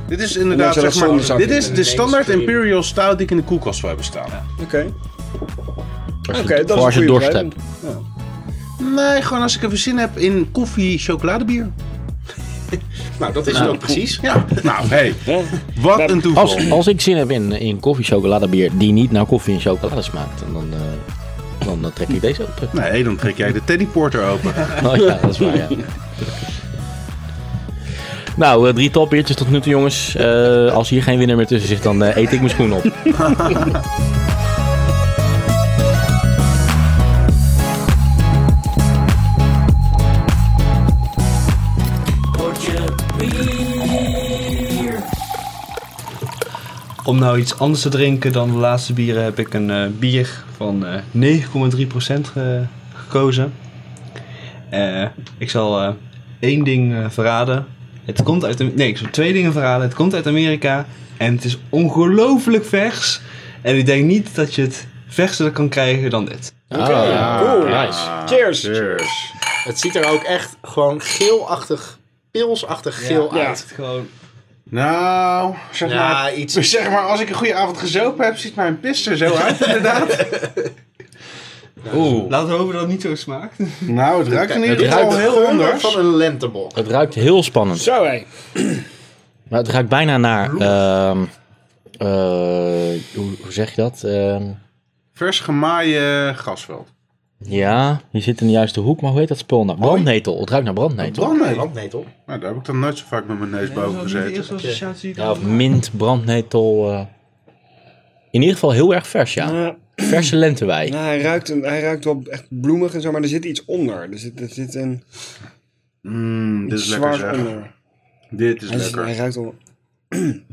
Dit is inderdaad,
En dan
zeg
is er een
maar,
zonnezak
dit
in
is
en
de
een
standaard
mainstream.
Imperial Stout die ik in de koelkast wil hebben staan.
Oké.
Als je,
Oké, dat
voor
is
als je
een goede
dorst
beschrijving.
hebt.
Nee, gewoon als ik even zin heb in koffie, chocoladebier.
Nou, dat is het ook precies.
Ja, nou hey,
Ja.
wat een toeval.
Als, als ik zin heb in, in koffie, chocoladebier die niet naar koffie en chocolade smaakt, en dan, eh, dan eh, trek ik deze open.
Nee, dan trek jij de Teddy Porter open.
Oh ja, dat is waar, ja. Nou, eh, drie topbeertjes tot nu toe, jongens. Eh, als hier geen winnaar meer tussen zit, dan eh, eet ik mijn schoen op.
Om nou iets anders te drinken dan de laatste bieren heb ik een eh, bier van eh 9,3% ge- gekozen. Eh, ik zal eh, één ding eh, verraden. Het komt uit... Am- Nee, ik zal twee dingen verraden. Het komt uit Amerika en het is ongelooflijk vers. En ik denk niet dat je het verser kan krijgen dan dit.
Ah, nice.
Cheers.
Cheers.
Het ziet er ook echt gewoon geelachtig, pilsachtig geel
Ja.
uit.
Gewoon...
Nou, zeg
Ja,
maar, Dus
iets-
zeg maar, als ik een goede avond gezopen heb, ziet mijn pis er zo uit inderdaad. Oeh.
Laten we hopen dat het niet zo smaakt.
Nou, het ruikt in
Het
ieder geval
ruikt
heel
Geuren
anders.
Van een lentebok.
Het ruikt heel spannend.
Zo hé.
Maar het ruikt bijna naar... ehm, eh, hoe, hoe zeg je dat? Ehm,
Vers gemaaien gasveld.
ja, je zit in de juiste hoek, maar hoe heet dat spul nou? Brandnetel. Het ruikt naar brandnetel.
Brandnetel.
Brandnetel.
Nou, daar heb ik dan nooit zo vaak met mijn neus boven gezeten.
Ja, of mint, brandnetel. eh. In ieder geval heel erg vers, ja.
Ja.
Verse lentewei.
Eh, Nou, hij, ruikt een, hij ruikt wel echt bloemig en zo, maar er zit iets onder. Er zit, er zit een
Mm, dit
iets
is lekker
zwaars
zeg.
onder.
Dit is
Hij, zit- hij
lekker.
ruikt al...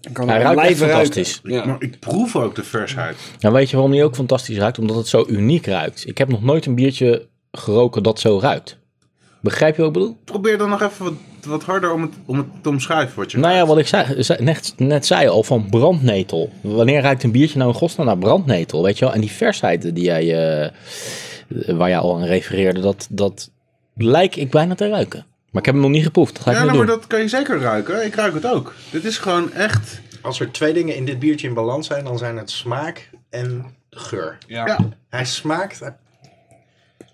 Ik kan
Hij
hem
ruikt echt
blijven ruiken.
fantastisch.
Ja.
Maar ik proef ook de versheid.
Nou, weet je waarom die ook fantastisch ruikt? Omdat het zo uniek ruikt. Ik heb nog nooit een biertje geroken dat zo ruikt. Begrijp je wat ik bedoel?
Probeer dan nog even wat, wat harder om het, om het te omschrijven wat je
Nou ja, wat ik zei, zei- net, net zei al van brandnetel. Wanneer ruikt een biertje nou in godsnaam naar brandnetel? Weet je wel? En die versheid die jij, eh, waar jij al aan refereerde, dat, dat lijkt ik bijna te ruiken. Maar ik heb hem nog niet geproefd. Dat ga ik
Ja,
nu
nou,
doen.
maar dat kan je zeker ruiken. Ik ruik het ook. Dit is gewoon echt...
Als er twee dingen in dit biertje in balans zijn, dan zijn het smaak en de geur.
Ja.
Hij smaakt eh,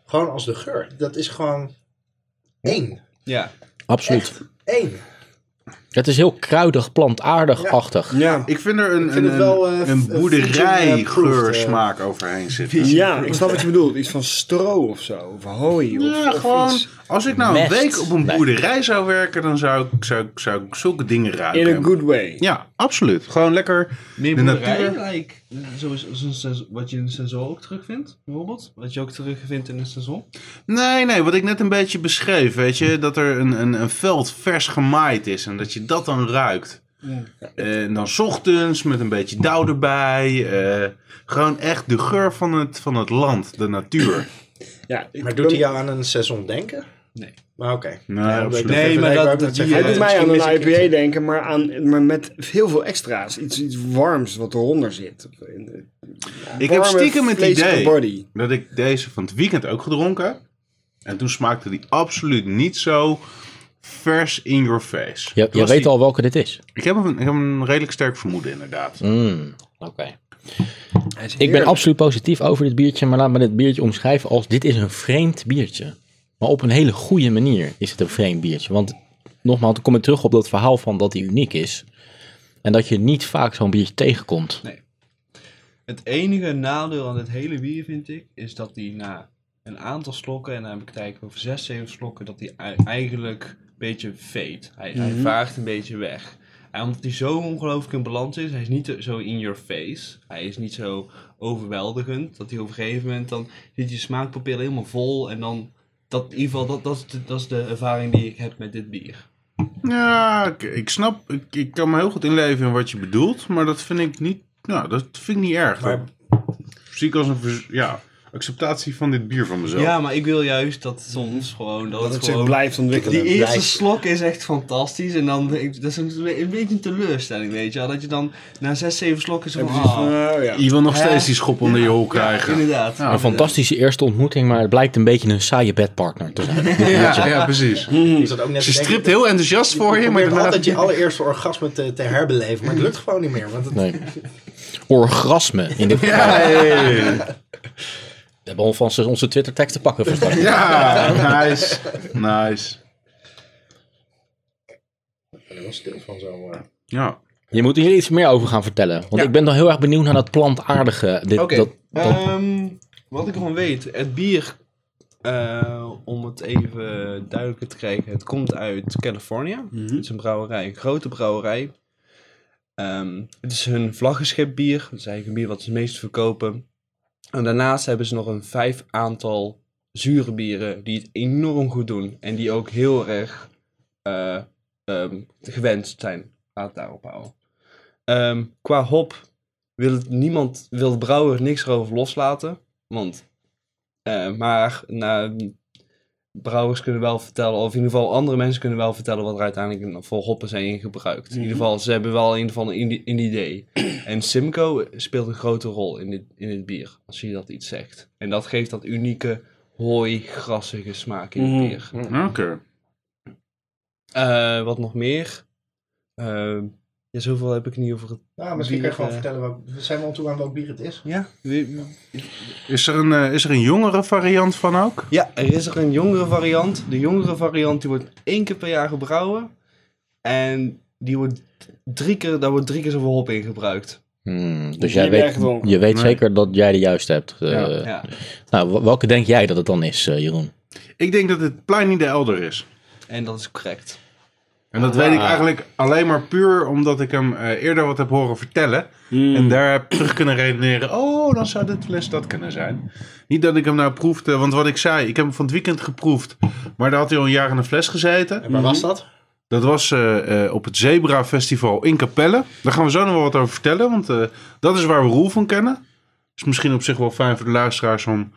gewoon als de geur. Dat is gewoon één.
ja.
Absoluut.
Eén.
Het is heel kruidig, plantaardig-achtig.
Ja.
Ik vind er een,
vind
een,
het wel, eh,
een-
f-
een
eh, future-proofed, eh.
boerderijgeursmaak overheen zitten.
ja, ik snap wat je bedoelt. Iets van stro of zo. Of hooi. Of,
Ja,
of
gewoon...
iets.
Als ik nou een
Mest.
week op een
Nee.
boerderij zou werken, dan zou ik, zou, ik- zou ik zulke dingen
In a
ruiken.
good way.
Ja, absoluut. Gewoon lekker
Meer
de
boerderij,
natuur.
like, zoals, zoals- zoals- wat je in de seizoen ook terugvindt, bijvoorbeeld. Wat je ook terugvindt in de seizoen.
Nee, nee, wat ik net een beetje beschreef, weet je, dat er een, een, een veld vers gemaaid is en dat je dat dan ruikt. En dan 's ochtends met een beetje dauw erbij. eh, gewoon echt de geur van het, van het land, de natuur.
Ja, ik
Maar
ben-
doet hij jou aan een seizoen denken?
Nee.
Maar oké.
Nee,
Ja,
absoluut.
ik-
Nee,
even-
maar
ik
dat-
wou net
dat
zeggen,
Hij
die,
doet
eh,
mij aan
misschien
een
mis ik
IPA denken, maar, aan, maar met heel veel extra's. Iets, iets warms wat eronder zit.
Ik heb stiekem het
met
idee
Body.
dat ik deze van het weekend ook gedronken heb. En toen smaakte die absoluut niet zo vers in your face.
Je,
Toen
je
was
weet
die-
al welke dit is.
Ik heb, een, ik heb een redelijk sterk vermoeden inderdaad.
Mm, Oké. Ik ben absoluut positief over dit biertje, maar laat me dit biertje omschrijven als dit is een vreemd biertje. Maar op een hele goede manier is het een vreemd biertje. Want nogmaals, dan kom ik terug op dat verhaal van dat hij uniek is. En dat je niet vaak zo'n biertje tegenkomt.
Het enige nadeel aan dit hele bier, vind ik, is dat die na een aantal slokken, en dan heb ik het eigenlijk over zes, zeven slokken, dat die ei- eigenlijk een beetje veet. Hij,
Mhm.
hij vaagt een beetje weg. En omdat hij zo ongelooflijk in balans is, hij is niet zo in your face. Hij is niet zo overweldigend, dat hij op een gegeven moment dan zit je smaakpapillen helemaal vol en dan... Dat, in ieder geval, dat, dat, is de, dat is de ervaring die ik heb met dit bier.
Ja, ik, ik snap, ik, ik kan me heel goed inleven in wat je bedoelt, maar dat vind ik niet, nou, dat vind ik niet erg.
Maar-
Dat zie ik als een, vers- ja, acceptatie van dit bier van mezelf.
Ja, maar ik wil juist dat soms gewoon... Dat,
Dat
het
het zich
gewoon...
blijft ontwikkelen.
Die eerste
blijft-
slok is echt fantastisch. En dan, ik, dat is een, een beetje een teleurstelling, weet je wel. Dat je dan na zes, zeven slokken zo
En
van...
precies van,
ah,
eh, ja.
Je wil nog
Hè?
steeds die schop onder je hol
ja,
krijgen.
inderdaad.
Ja,
inderdaad.
Een fantastische eerste ontmoeting, maar het blijkt een beetje een saaie bedpartner te zijn.
Ja, ja, precies.
Is dat ook net
Ze
te denken
stript
dat-
heel enthousiast voor je,
Je
maar
probeert
daarna...
altijd je allereerste orgasme te, te herbeleven, maar het lukt gewoon niet meer. Want het,
Nee. Orgasme in dit geval.
Hey.
We hebben alvast onze Twitter-tekst te pakken voor straks.
Ja, nice. Nice.
Ik ben wel stil van zo. eh.
Ja.
Je moet hier iets meer over gaan vertellen. Want ik ben dan heel erg benieuwd naar dat plantaardige. Dit,
Oké,
dat, dat-
ehm, wat ik ervan weet, het bier, eh, om het even duidelijker te krijgen, het komt uit Californië.
Mhm.
Het is een brouwerij, een grote brouwerij. Ehm, het is hun vlaggenschip bier, dat is eigenlijk een bier wat ze het meest verkopen. En daarnaast hebben ze nog een vijf aantal zure bieren die het enorm goed doen. En die ook heel erg eh, ehm, gewenst zijn. Laat het daarop houden. Ehm, qua hop wil het niemand, wil de brouwer niks erover loslaten. Want, eh, maar nou, brouwers kunnen wel vertellen, of in ieder geval andere mensen kunnen wel vertellen wat er uiteindelijk voor hoppen zijn gebruikt. In ieder geval, ze hebben wel in ieder geval een indi- een idee. En Simcoe speelt een grote rol in dit, in dit bier, als je dat iets zegt. En dat geeft dat unieke, hooi, grassige smaak in het
Mhm.
bier.
Oké.
Hmm.
Eh, wat nog meer? Eh, ja, zoveel heb ik niet over het...
Nou, misschien kan je gewoon
Bier, eh.
vertellen, welk, zijn we al toe aan welk bier het is?
Ja?
Is er, een, eh, is er een jongere variant van ook?
Ja, er is er een jongere variant. De jongere variant die wordt één keer per jaar gebrouwen. En die wordt drie keer, daar wordt drie keer zoveel hop in gebruikt.
Hmm, dus
Die
jij
heb jij
weet,
gedronken.
je weet
Nee.
zeker dat jij de juiste hebt. Eh,
Ja.
Ja.
Nou, w- welke denk jij dat het dan is, eh, Jeroen?
Ik denk dat het Pliny de Elder is.
En dat is correct.
En dat weet ik
Ah.
eigenlijk alleen maar puur omdat ik hem eh, eerder wat heb horen vertellen.
Hmm.
En daar heb terug kunnen redeneren. Oh, dan zou dit les dat kunnen zijn. Niet dat ik hem nou proefde, want wat ik zei, ik heb hem van het weekend geproefd. Maar daar had hij al een jaar in een fles gezeten. Mhm.
En waar was dat?
Dat was eh, eh, op het Zebra Festival in Capelle. Daar gaan we zo nog wel wat over vertellen, want eh, dat is waar we Roel van kennen. Is misschien op zich wel fijn voor de luisteraars om,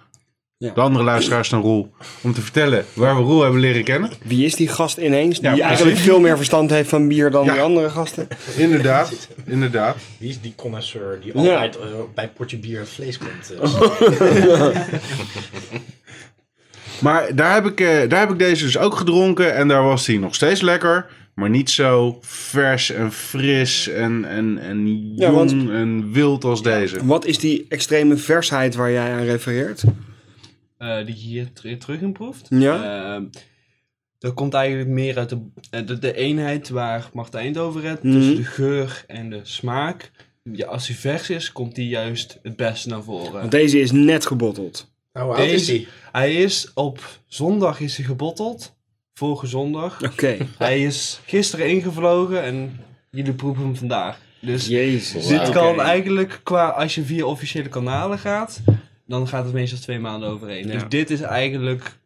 Ja.
de andere luisteraars dan Roel, om te vertellen waar we Roel hebben leren kennen.
Wie is die gast ineens? Die
precies.
eigenlijk veel meer verstand heeft van bier dan
Ja.
die andere gasten.
Inderdaad, inderdaad.
Wie is die connoisseur die eh,
altijd,
bij een potje bier vlees komt? eh?
Maar daar heb, ik, eh, daar heb ik deze dus ook gedronken en daar was die nog steeds lekker. Maar niet zo vers en fris en, en, en jong
Ja, want-
en wild als deze.
Wat is die extreme versheid waar jij aan refereert?
Eh, die je hier ter- terug in proeft.
Ja.
Eh, dat komt eigenlijk meer uit de, eh, de, de eenheid waar Martijn het over had.
Mhm.
Tussen de geur en de smaak. Ja, als die vers is, komt die juist het beste naar voren.
Want deze is net gebotteld.
nou, hoe oud is
Deze-
die?
Hij is op zondag is hij gebotteld. Vorige zondag.
Oké.
Hij is gisteren ingevlogen en jullie proeven hem vandaag. Dus
Jezus.
dit
Wauw.
kan eigenlijk qua, als je via officiële kanalen gaat, dan gaat het meestal twee maanden overheen. Dus
Ja.
dit is eigenlijk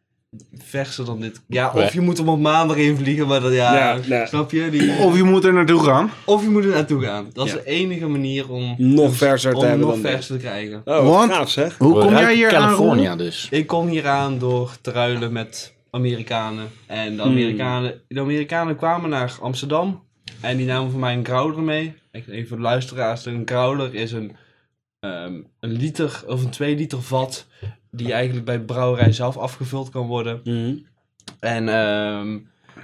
verser dan dit. Ja,
Ja.
of je moet hem op maandag invliegen, maar dat, ja,
Ja, ja.
snap je? Die,
Of je moet er naartoe gaan.
of je moet er naartoe gaan. Dat is
Ja.
de enige manier om, dus
Nog verser te
om
hebben
nog
dan dit.
verser te krijgen.
Oh, wat
Want-
gaaf zeg.
Hoe kom jij hier aan, Roel?
California dus.
Ik kom hier aan door te ruilen met Amerikanen. En de Amerikanen, de Amerikanen kwamen naar Amsterdam. En die namen voor mij een growler mee. Ik even voor de luisteraars. Een growler is een, ehm, een liter of een 2 liter vat. Die eigenlijk bij de brouwerij zelf afgevuld kan worden.
Mhm.
En ehm,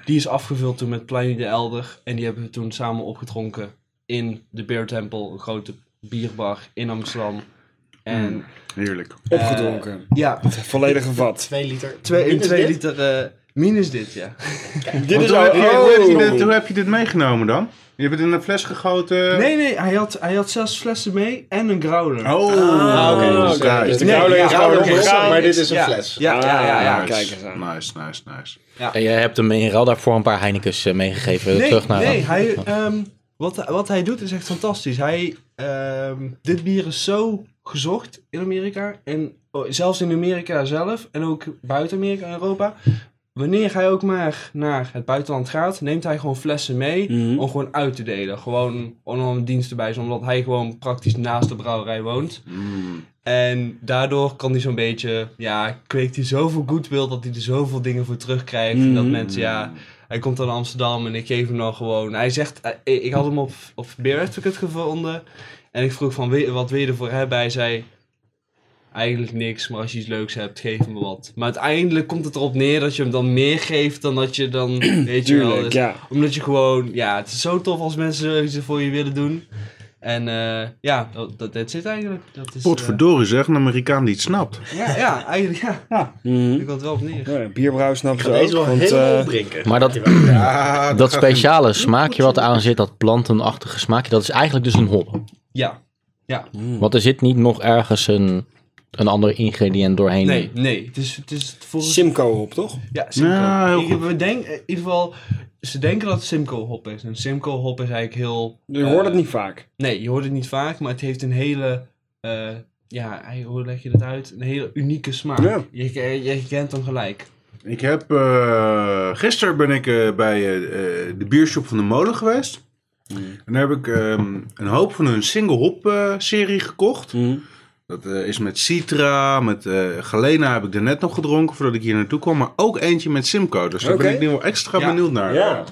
die is afgevuld toen met Pliny de Elder. En die hebben we toen samen opgetronken in de Beer Temple. Een grote bierbar in Amsterdam. En eh,
Heerlijk.
Opgedronken.
ja,
Volledig gevat.
Twee liter.
Twee, in
Minus
twee
dit?
liter eh, minus dit, ja.
Dit
Want
is
hoe,
al...
heb je, hoe, heb je dit, hoe
Oh.
heb je dit meegenomen dan? Je hebt het in een fles gegoten.
Nee, nee, hij had, hij had zes flessen mee en een growler.
Oh,
Ah, oké.
nice.
Oké, dus
nice.
de koude
ja,
is gewoon
koude is
opgegaan,
zo,
maar dit is...
is een
ja,
fles.
Ja, ja, ja. ja.
Ah, kijk eens aan.
Nice, nice, nice.
En jij hebt hem in ruil daarvoor een paar Heineken's eh, meegegeven.
Nee,
terug naar
nee hij, ehm, wat, wat hij doet is echt fantastisch. Hij, ehm, dit bier is zo gezocht in Amerika. En oh, zelfs in Amerika zelf en ook buiten Amerika en Europa. Wanneer hij ook maar naar het buitenland gaat, neemt hij gewoon flessen mee
Mhm.
om gewoon uit te delen. Gewoon om een dienst erbij is, omdat hij gewoon praktisch naast de brouwerij woont. En daardoor kan hij zo'n beetje, ja, kweekt hij zoveel goodwill dat hij er zoveel dingen voor terugkrijgt. En dat
Mhm.
mensen, ja, hij komt dan naar Amsterdam en ik geef hem dan gewoon. Hij zegt, eh, ik ik had hem op, op Beer Advocate gevonden. En ik vroeg van, wil je- wat wil je ervoor hebben? Hij zei, eigenlijk niks, maar als je iets leuks hebt, geef me wat. Maar uiteindelijk komt het erop neer dat je hem dan meer geeft dan dat je dan, weet je wel.
Tuurlijk,
dus-
ja.
Omdat je gewoon, ja, het is zo tof als mensen iets voor je willen doen. En eh, ja, dat, dat, dat zit eigenlijk. Dat is, eh,
Potverdorie zeg, een Amerikaan die het snapt.
ja, ja, eigenlijk ja.
Mhm.
Ik had het wel op neer.
Ja, bierbrouwen snappen
Ik
ze
ga deze
ook.
wel
Want,
helemaal
eh,
opdrinken.
Maar dat, dat speciale smaakje wat aan zit, dat plantenachtige smaakje, dat is eigenlijk dus een hop.
Ja.
Want er zit niet nog ergens een, een ander ingrediënt doorheen.
Nee, nee. Het is, het is volgens
Simcoe op, toch?
Ja, Simcoe.
Ja, heel
Ik-
goed.
we denk, in ieder geval, ze denken dat het Simcoe hop is. En Simcoe hop is eigenlijk heel...
Je
eh,
hoort het niet vaak.
Nee, je hoort het niet vaak, maar het heeft een hele... eh, ja, hij- hoe leg je dat uit? Een hele unieke smaak.
Ja.
Je, je, je kent hem gelijk.
Ik heb, eh, gisteren ben ik eh, bij eh, eh, de biershop van de molen geweest.
Mm.
En daar heb ik ehm, een hoop van hun single hop eh, serie gekocht.
Mm.
Dat eh, is met Citra, met eh, Galena heb ik er net nog gedronken voordat ik hier naartoe kwam. Maar ook eentje met Simcoe. Dus daar
Oké.
ben ik nu wel extra
Ja.
benieuwd naar.
Ja.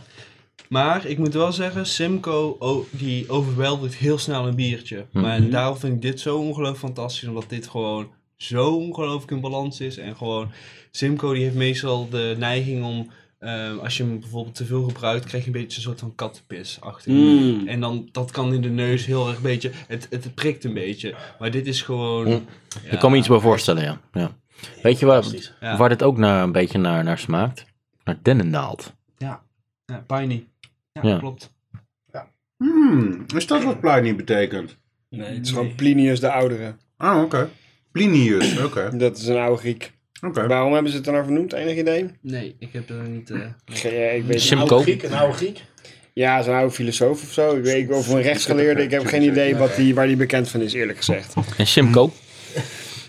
Maar ik moet wel zeggen, Simcoe o- die overweldigt heel snel een biertje.
Mhm.
Maar daarom vind ik dit zo ongelooflijk fantastisch, omdat dit gewoon zo ongelooflijk in balans is. En gewoon, Simcoe die heeft meestal de neiging om, eh, als je hem bijvoorbeeld te veel gebruikt, krijg je een beetje een soort van kattenpis achter. je.
Mhm.
Mm.
En dan, dat kan in de neus heel erg een beetje, het, het prikt een beetje. Maar dit is gewoon...
Mm. Ik kan me iets bij voorstellen, ja. ja. Weet je waar,
Fantastisch.
Ja.
waar dit ook naar, een beetje naar, naar smaakt? Naar dennennaald.
Ja, piney. Ja,
Ja.
klopt.
Hmm, is dat wat Pliny betekent?
Nee, het is gewoon Plinius de Oudere.
Ah, oké. Plinius, oké.
Dat is een oude Griek.
Oké.
Waarom hebben ze het dan vernoemd? Enig idee?
Nee, ik heb er niet... eh,
Geen- ja, ik weet
Sim-
niet.
Een
Simcoe.
oude Griek, een oude Griek.
Ja, zo'n oude filosoof of zo. Ik weet, of een rechtsgeleerde. Ik heb geen idee wat die, waar die bekend van is, eerlijk gezegd.
En Simcoe,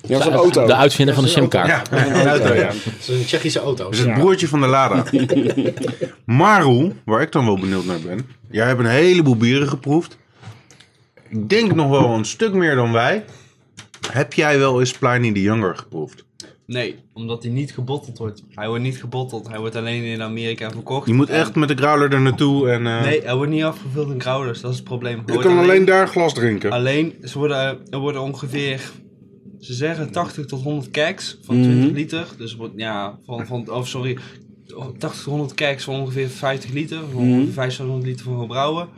Dat was een auto.
de uitvinder van de simkaart.
Ja, een auto, ja.
Dat is een Tsjechische auto.
Dus het broertje van de Lada. Maru, waar ik dan wel benieuwd naar ben. Jij hebt een heleboel bieren geproefd. Ik denk nog wel een stuk meer dan wij. Heb jij wel eens Pliny the Younger geproefd?
Nee, omdat hij niet gebotteld wordt. Hij wordt niet gebotteld, hij wordt alleen in Amerika verkocht.
Je moet echt met de growler er naartoe en... eh,
Nee, hij wordt niet afgevuld in growlers, dat is het probleem. Hij
je
wordt
kan alleen daar glas drinken.
alleen, ze worden, eh, er worden ongeveer, ze zeggen 80 tot 100 keks van
Mhm.
20 liter. Dus er wordt, ja, van, van, oh sorry, 80 tot 100 keks van ongeveer 50 liter. Van
Mhm.
ongeveer 500 liter van gebrouwen.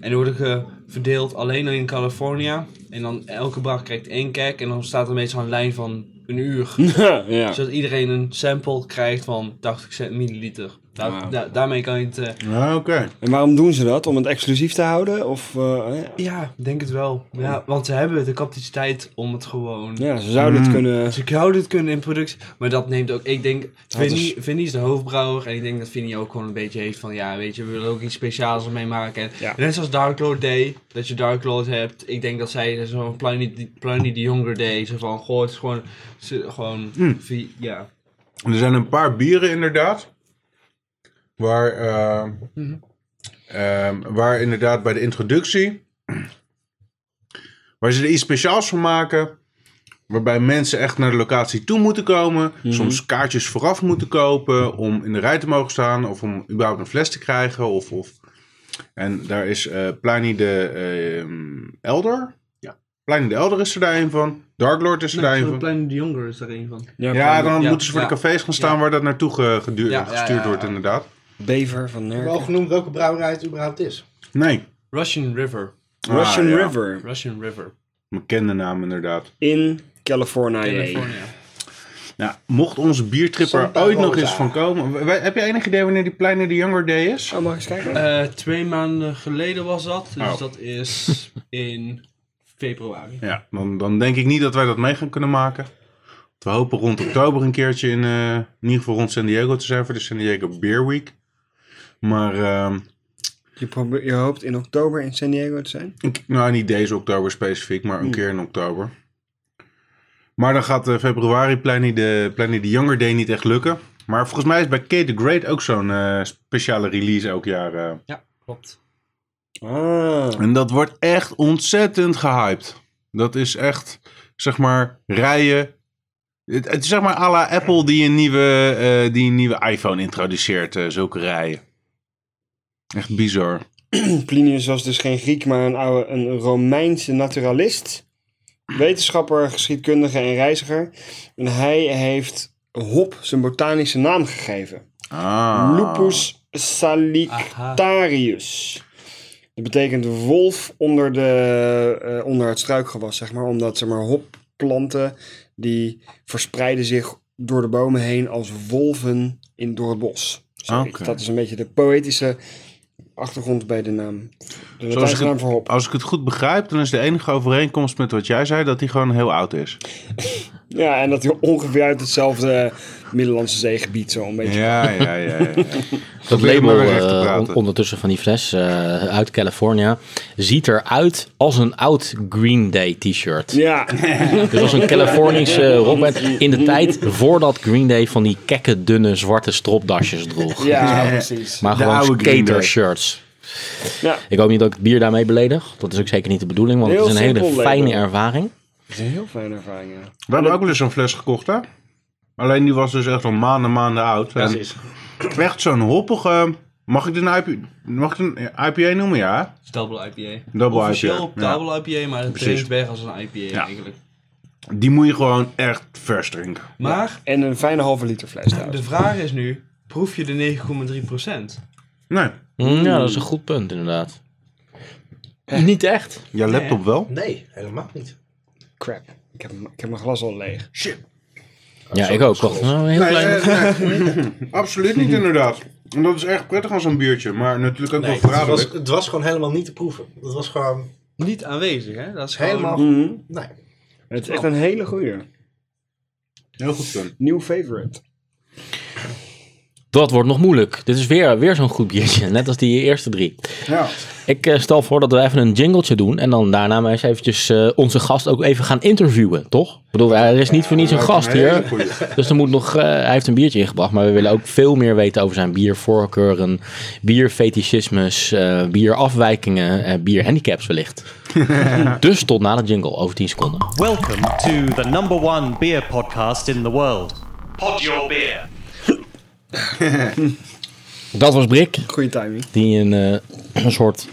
En die worden ge- verdeeld alleen in California. En dan elke brak krijgt één kek. En dan staat er meestal een lijn van een uur.
ja.
Zodat iedereen een sample krijgt van 80 cent milliliter. Daar,
Wauw.
da- daarmee kan je het... eh,
Ah, oké.
En waarom doen ze dat? Om het exclusief te houden? Of, eh,
ja, ik denk het wel. Ja, want ze hebben de capaciteit om het gewoon...
ja, ze zouden het
Mm.
kunnen...
Ze zouden het kunnen in productie. Maar dat neemt ook... Ik denk... Vinnie, Vinnie is de hoofdbrouwer. En ik denk dat Vinnie ook gewoon een beetje heeft van... Ja, weet je, we willen ook iets speciaals ermee maken. En
Ja.
Net zoals Dark Lord Day. Dat je Dark Lord hebt. Ik denk dat zij zo'n Pliny, Pliny the Younger Day. Zo van... Goh, het is gewoon... ze- gewoon vi- ja.
Er zijn een paar bieren inderdaad. Waar, eh, ehm, waar inderdaad bij de introductie. Waar ze er iets speciaals van maken. Waarbij mensen echt naar de locatie toe moeten komen. Soms kaartjes vooraf moeten kopen. Om in de rij te mogen staan. Of om überhaupt een fles te krijgen. Of, of. En daar is eh Pliny de ehm, Elder. Ja. Pliny de Elder is er daar een van. Dark Lord is er daar een van.
Pliny the Younger is daar een van.
Ja, dan
Ja,
moeten ze voor
ja.
de cafés gaan staan waar dat naartoe ge- gedu-
Ja, ja,
gestuurd
ja, ja.
wordt, inderdaad.
Bever van
Wel
Nerken.
genoemd welke brouwerij het überhaupt is.
Nee.
Russian River.
Russian
Ah, ja.
River
Russian River.
Bekende naam, inderdaad.
in California.
California.
Nou, mocht onze biertrip er
Santa
ooit nog
Rosa.
eens van komen. w- w- heb je enig idee wanneer die Pleine de Younger Day is?
Oh, mag ik eens kijken?
Eh, twee maanden geleden was dat. Dus
Oh.
dat is in februari.
Ja, dan, dan denk ik niet dat wij dat mee gaan kunnen maken. We hopen rond oktober een keertje in, eh, in ieder geval rond San Diego te zijn voor de San Diego Beer Week. Maar ehm,
Je, probeert, je hoopt in oktober in San Diego te zijn?
Ik- Nou, niet deze oktober specifiek, maar een keer in oktober. Maar dan gaat eh, februari Planning de, Planning de Younger Day niet echt lukken. Maar volgens mij is bij Kate the Great ook zo'n eh, speciale release elk jaar. eh.
Ja, klopt.
Ah.
En dat wordt echt ontzettend gehyped. Dat is echt, zeg maar, rijen. Het, het is zeg maar à la Apple die een nieuwe, eh, die een nieuwe iPhone introduceert. eh, zulke rijen. Echt bizar.
Plinius was dus geen Griek, maar een, oude, een Romeinse naturalist, wetenschapper, geschiedkundige en reiziger. En hij heeft hop zijn botanische naam gegeven.
Ah.
Lupus salictarius. Dat betekent wolf onder, de, eh, onder het struikgewas, zeg maar. Omdat zeg maar, hopplanten die verspreiden zich door de bomen heen als wolven in, door het bos. Zoiets.
Oké.
Dat is een beetje de poëtische achtergrond bij de naam. De
Zoals ik
Latijnse
het-
naam voor hop.
Als ik het goed begrijp, dan is de enige overeenkomst met wat jij zei dat hij gewoon heel oud is.
Ja, en dat hij ongeveer uit hetzelfde Middellandse zeegebied zo een beetje.
Ja, ja, ja. ja,
Dat
Probeer
label
maar recht te
eh,
praten.
on- ondertussen van die fles eh, uit California ziet eruit als een oud Green Day t-shirt.
Ja,
Dus als een Californische rockband in de tijd voordat Green Day van die kekke dunne zwarte stropdasjes droeg.
ja, precies.
Maar
De
gewoon
oude Green
skater
Day.
shirts.
Ja.
Ik hoop niet dat ik het bier daarmee beledig. Dat is ook zeker niet de bedoeling, want
Heel
het is een hele
simpel label.
fijne ervaring.
Dat is een heel fijne ervaring, ja.
We hebben ook wel eens zo'n fles gekocht, hè? Alleen die was dus echt al maanden, maanden oud. En
Precies.
Echt zo'n hoppige... Mag ik dit een, IP, mag ik dit een IPA noemen, ja?
Double IPA.
Double
Officieel
IPA,
op
ja.
double IPA, maar het
Precies.
is weg als een IPA eigenlijk.
Die moet je gewoon echt vers drinken.
Maar
En een fijne halve liter fles trouwens.
de vraag is nu, proef je de 9,3%?
Nee, Hmm.
Mm, Ja, dat is een goed punt inderdaad. Niet echt.
jouw laptop wel.
Nee, helemaal niet.
Crap. Ik heb, m- ik heb mijn glas al leeg.
Ja, ik ook. Wacht, nou, een heel
Nee,
klein-
eh, nee. absoluut niet inderdaad. En dat is echt prettig aan zo'n biertje. Maar natuurlijk ook wel
het, was,
verraderlijk.
het was gewoon helemaal niet te proeven. Het was gewoon
Niet aanwezig, hè? Dat is gewoon-
helemaal...
Mhm.
Mm-hmm.
Nee.
Het is echt een hele goeie.
Heel goed punt.
Nieuw favorite.
Dat wordt nog moeilijk. Dit is weer, weer zo'n goed biertje. Net als die eerste drie.
Ja.
Ik eh, stel voor dat we even een jingletje doen. En dan daarna maar eens eventjes eh, onze gast ook even gaan interviewen. Toch? Ik bedoel, er is niet voor niets een gast
Hele
hier.
goeie.
Dus er moet nog, eh, hij heeft een biertje ingebracht. Maar we willen ook veel meer weten over zijn biervoorkeuren. Bierfetischismes. eh bierafwijkingen. eh bierhandicaps wellicht. dus tot na de jingle. Over 10 seconden.
Welcome to the number one beer podcast in the world. Pod Your Beer.
Dat was Brik.
Goeie timing.
Die een, eh, een soort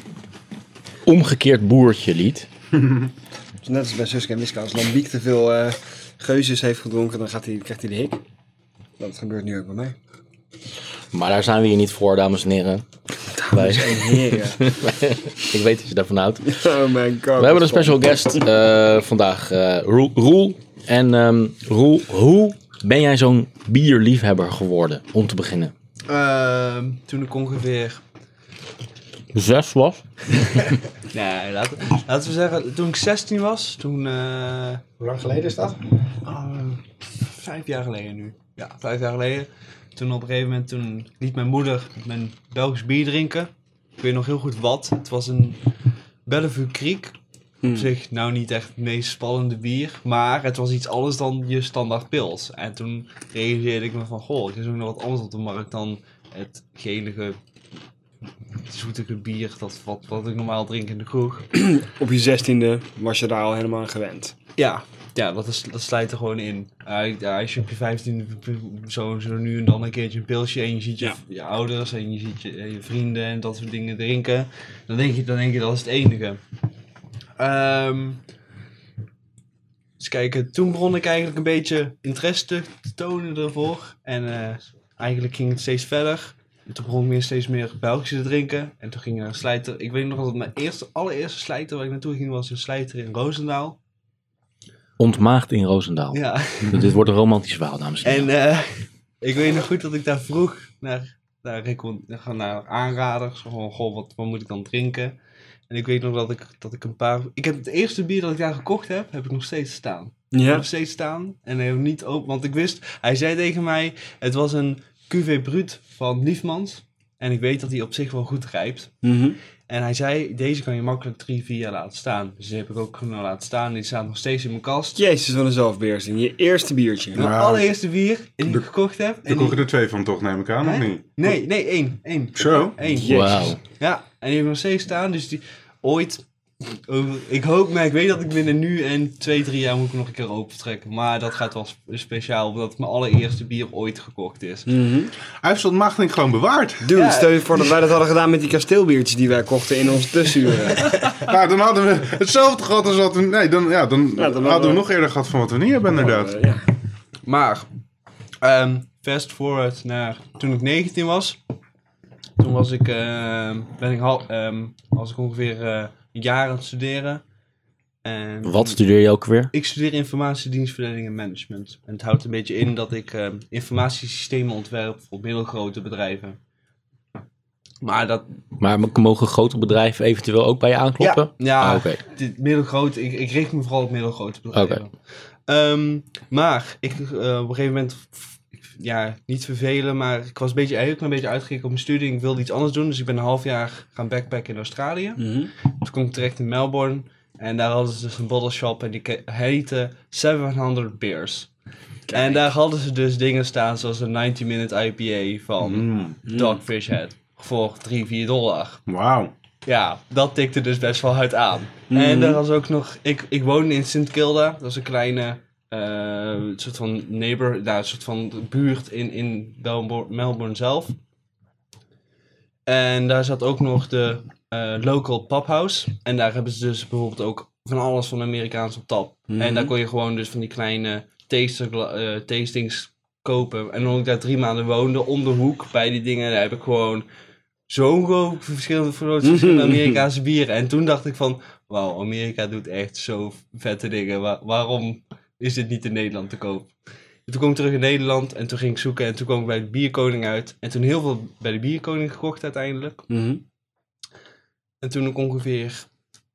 omgekeerd boertje liet.
Dus net als bij Suske en Wiska. Als Lambiek te veel eh, geuzes heeft gedronken, dan gaat hij, krijgt hij de hik. Dat gebeurt nu ook bij mij.
Maar daar zijn we hier niet voor, dames en heren. Wij-
Heren.
ik weet dat je daarvan houdt. We
oh mijn god.
hebben een special guest eh, vandaag, eh, Roel, Roel. En ehm, Roel, hoe ben jij zo'n bierliefhebber geworden, om te beginnen?
Ehm, toen ik ongeveer...
Zes was?
Nee, laten, laten we zeggen, toen ik 16 was, toen... eh,
Hoe lang geleden is dat?
Ah, vijf jaar geleden nu. Ja, vijf jaar geleden. Toen op een gegeven moment toen liet mijn moeder mijn Belgisch bier drinken. Ik weet nog heel goed wat. Het was een Bellevue Creek. Op zich nou niet echt het meest spannende bier. Maar het was iets anders dan je standaard pils. En toen realiseerde ik me van... Goh, er is ook nog wat anders op de markt dan het gelige... Zoetige bier, dat wat, wat ik normaal drink in de kroeg.
Op je zestiende was je daar al helemaal aan gewend.
Ja, ja dat, is, dat slijt er gewoon in. Hij- ja, als je op je 15 zo, zo nu en dan een keertje een pilsje en je ziet je,
Ja.
je ouders en je ziet je, eh, je vrienden en dat soort dingen drinken, dan denk je, dan denk je dat is het enige. Ehm eens kijken, toen begon ik eigenlijk een beetje interesse te tonen ervoor. En eh, eigenlijk ging het steeds verder. En toen begon ik meer steeds meer Belgische te drinken. En toen ging ik naar een slijter. Ik weet nog dat mijn eerste, allereerste slijter waar ik naartoe ging was een slijter in Roosendaal.
Ontmaagd in Roosendaal.
Ja,
Dit wordt een romantisch verhaal, dames en heren.
en eh, ik weet nog goed dat ik daar vroeg naar, naar, recon- gewoon naar aanraders. Gewoon, goh, wat, wat moet ik dan drinken? En ik weet nog dat ik, dat ik een paar... Ik heb het eerste bier dat ik daar gekocht heb, heb ik nog steeds staan.
Ja.
Nog steeds staan. En hij heb ik niet open, want ik wist... Hij zei tegen mij, het was een cuvée brut van Liefmans. En ik weet dat hij op zich wel goed rijpt.
Mhm.
En hij zei, deze kan je makkelijk drie, vier jaar laten staan. Dus die heb ik ook kunnen laten staan. Die staat nog steeds in mijn kast.
Jezus, wat een zelfbeheersing. Je eerste biertje.
Mijn
Maar-
allereerste bier en die ik gekocht heb. en
Daar
die-
kocht je er twee van toch, neem ik aan, of
Hè?
niet?
Nee, nee, één. één.
Zo?
Eén.
Wauw.
Ja, en die heb ik nog steeds staan. Dus die ooit... over- ik hoop, maar ik weet dat ik binnen nu en twee, drie jaar moet ik hem nog een keer open trekken. Maar dat gaat wel sp- speciaal, omdat het mijn allereerste bier ooit gekocht is.
Mhm.
Hij heeft zo'n maagding gewoon bewaard.
Dude,
Ja.
stel je voor dat wij dat hadden gedaan met die kasteelbiertjes die wij kochten in onze tussenuren.
Nou, dan hadden we hetzelfde gehad als wat we... Nee, dan, ja, dan, hadden, we...
hadden we-
nog eerder gehad van wat we niet hebben, inderdaad.
Eh, Ja.
Maar, ehm fast forward naar toen ik 19 was. Toen was ik, ehm, ben ik hal- ehm, was ik ongeveer eh, een jaar aan het studeren. En
Wat studeer je ook weer?
Ik studeer informatiedienstverlening en management. En het houdt een beetje in dat ik ehm, informatiesystemen ontwerp voor middelgrote bedrijven. Maar dat,
Maar m- mogen grote bedrijven eventueel ook bij je aankloppen?
ja,
Ah, Oké.
dit middelgroot, ik, ik richt me vooral op middelgrote bedrijven. Ehm, maar ik, eh, op een gegeven moment, f- ik- ja, niet vervelen, maar ik was een beetje, eigenlijk een beetje uitgekeken op mijn studie. en Ik wilde iets anders doen, dus ik ben een half jaar gaan backpacken in Australië.
Mhm.
Toen kwam ik terecht in Melbourne en daar hadden ze dus een bottle shop en die ke- heette 700 Beers. En daar hadden ze dus dingen staan zoals een 90-minute IPA van
Mm,
Dogfish Head voor 3, 4 dollar.
Wauw.
Ja, dat tikte dus best wel hard aan. En daar was ook nog. Ik, ik woonde in Sint Kilda. Dat is een kleine. eh, soort van neighbor. Nou, een soort van buurt in, in Melbourne, Melbourne zelf. En daar zat ook nog de eh, local pubhouse. En daar hebben ze dus bijvoorbeeld ook van alles van Amerikaans op tap. En daar kon je gewoon dus van die kleine taster, eh, tastings kopen. En omdat ik daar drie maanden woonde, om de hoek bij die dingen, daar heb ik gewoon zo'n groot verschillende, groot verschillende Amerikaanse bieren. En toen dacht ik van, wauw, Amerika doet echt zo vette dingen. Wa- waarom is dit niet in Nederland te koop? En toen kwam ik terug in Nederland en toen ging ik zoeken en toen kwam ik bij de Bierkoning uit. En toen heel veel bij de Bierkoning gekocht uiteindelijk.
Mhm.
En toen ik ongeveer,